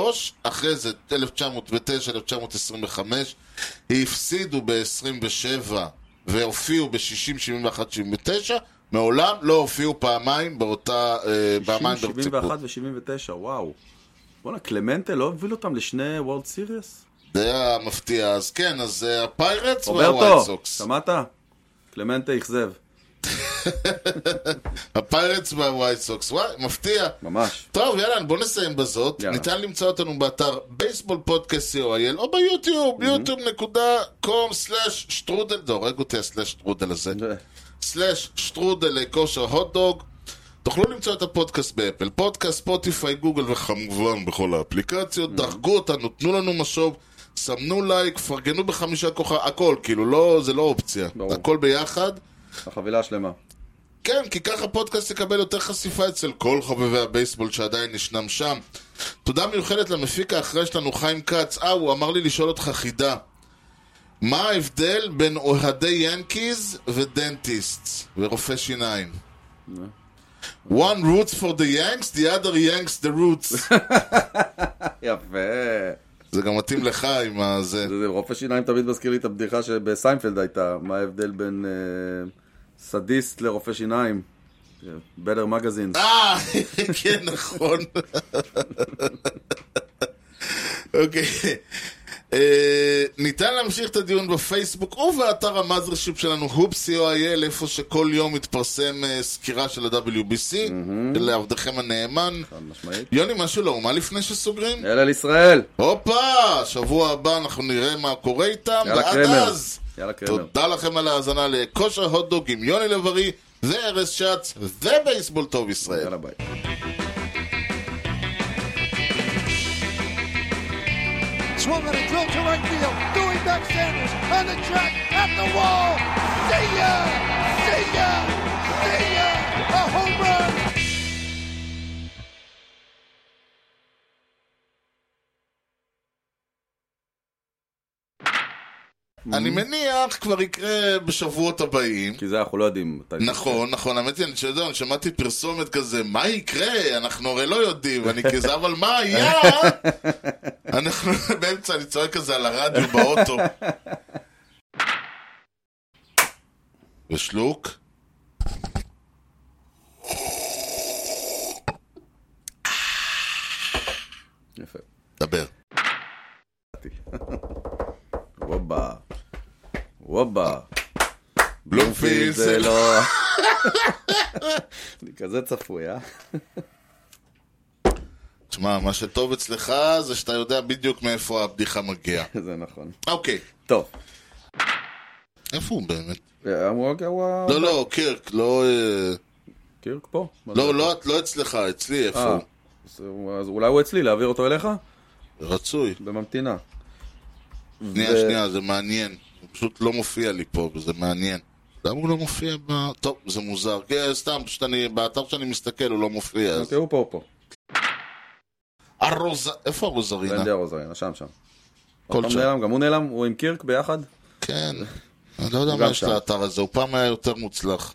Speaker 2: אחרי זה 1909, 1925, הפסידו ב-27 והופיעו ב-60, 71, 79, מעולם לא הופיעו פעמיים באותה, אה, פעמיים
Speaker 1: 60,
Speaker 2: ברציפות.
Speaker 1: 71 ו-79, וואו. בואנה, קלמנטה לא הוביל אותם לשני וולד סיריוס?
Speaker 2: זה היה מפתיע, אז כן, אז אה, הפיירטס והווייט
Speaker 1: רוברטו,
Speaker 2: סוקס.
Speaker 1: שמעת? קלמנטה אכזב.
Speaker 2: הפיירטס והווייט סוקס, וואי, מפתיע.
Speaker 1: ממש.
Speaker 2: טוב, יאללה, בוא נסיים בזאת.
Speaker 1: יאללה.
Speaker 2: יאללה. ניתן למצוא אותנו באתר בייסבול פודקאסט co.il או
Speaker 1: Mhm.
Speaker 2: ביוטיוב, yוטיוב.com/שטרודל, זה הורג אותי הסלאש-שטרודל הזה. סלאש שטרודלי כושר הוטדוג. תוכלו למצוא את הפודקאסט באפל, פודקאסט, ספוטיפיי, גוגל וכמובן בכל
Speaker 1: Mhm.
Speaker 2: האפליקציות. דרגו אותנו, תנו לנו משוב, סמנו לייק, פרגנו בחמישה כוחה, הכל, כאילו, לא, זה לא אופציה.
Speaker 1: ברור.
Speaker 2: הכל ביחד.
Speaker 1: החבילה השלמה.
Speaker 2: כן, כי ככה הפודקאסט יקבל יותר חשיפה אצל כל חובבי הבייסבול שעדיין ישנם שם. תודה מיוחדת למפיק האחראי שלנו, חיים כץ. אה, הוא אמר לי לשאול אותך חידה. מה ההבדל בין אוהדי ינקיז ודנטיסט ורופא שיניים? One roots for the Yanks, the other Yanks the roots.
Speaker 1: יפה.
Speaker 2: זה גם מתאים לך עם הזה.
Speaker 1: זה- זה- רופא שיניים תמיד מזכיר לי את הבדיחה שבסיינפלד הייתה, מה ההבדל בין אה, סדיסט לרופא שיניים. בטר מגזין.
Speaker 2: אה, כן, נכון. אוקיי. אה, ניתן להמשיך את הדיון בפייסבוק ובאתר המאזרשיפ שלנו, hoopsco.il, איפה שכל יום מתפרסם אה, סקירה של ה-WBC, לעבדכם הנאמן.
Speaker 1: חד משמעית.
Speaker 2: יוני, משהו לא, מה לפני שסוגרים?
Speaker 1: אל על ישראל.
Speaker 2: הופה, שבוע הבא אנחנו נראה מה קורה איתם,
Speaker 1: יאללה,
Speaker 2: ועד
Speaker 1: קרמר.
Speaker 2: אז,
Speaker 1: יאללה קרמר.
Speaker 2: תודה לכם על ההאזנה לכושר הוטדוג עם יוני לב-ארי, וארז שץ, ובייסבול טוב ישראל.
Speaker 1: יאללה ביי.
Speaker 7: Swung on a drill to right field. Doing back Sanders on the track at the wall. See ya! See ya! See ya! A home run!
Speaker 2: אני מניח כבר יקרה בשבועות הבאים.
Speaker 1: כי זה אנחנו לא יודעים מתי. זה יקרה.
Speaker 2: נכון, נכון, האמת היא, אני שאתה יודע, אני שמעתי פרסומת כזה, מה יקרה? אנחנו הרי לא יודעים, אני כזה, אבל מה היה? אנחנו באמצע, אני צועק כזה על הרדיו באוטו. ושלוק?
Speaker 1: יפה.
Speaker 2: דבר.
Speaker 1: וובה. וובה.
Speaker 2: בלומפילד
Speaker 1: זה
Speaker 2: זה לא-
Speaker 1: לא... אני כזה צפוי, אה?
Speaker 2: תשמע, מה שטוב אצלך זה שאתה יודע בדיוק מאיפה הבדיחה מגיעה.
Speaker 1: זה נכון.
Speaker 2: אוקיי,
Speaker 1: טוב.
Speaker 2: איפה הוא באמת?
Speaker 1: אמרו, אוקיי, וואו.
Speaker 2: לא, לא, קירק, לא... אה,
Speaker 1: קירק פה. מה זה?
Speaker 2: לא, לא, את- לא אצלך, אצלי, איפה
Speaker 1: אה,
Speaker 2: הוא?
Speaker 1: אז אז אולי הוא אצלי, להעביר אותו אליך?
Speaker 2: רצוי.
Speaker 1: בממתינה.
Speaker 2: שנייה,
Speaker 1: ו-
Speaker 2: שנייה, זה מעניין. הוא פשוט לא מופיע לי פה, וזה מעניין. למה הוא לא מופיע ב... טוב, זה מוזר. כן, סתם, פשוט אני... באתר שאני מסתכל הוא לא מופיע. אז...
Speaker 1: אוקיי, הוא פה, הוא פה.
Speaker 2: הרוז... איפה הרוזרינה?
Speaker 1: רנדי ארוזרינה, שם, שם.
Speaker 2: כל
Speaker 1: גם
Speaker 2: שם.
Speaker 1: נעלם, גם הוא נעלם, הוא עם קירק ביחד.
Speaker 2: כן. אני לא יודע
Speaker 1: הוא
Speaker 2: מה
Speaker 1: גם
Speaker 2: יש
Speaker 1: שם.
Speaker 2: לאתר הזה, הוא פעם היה יותר מוצלח.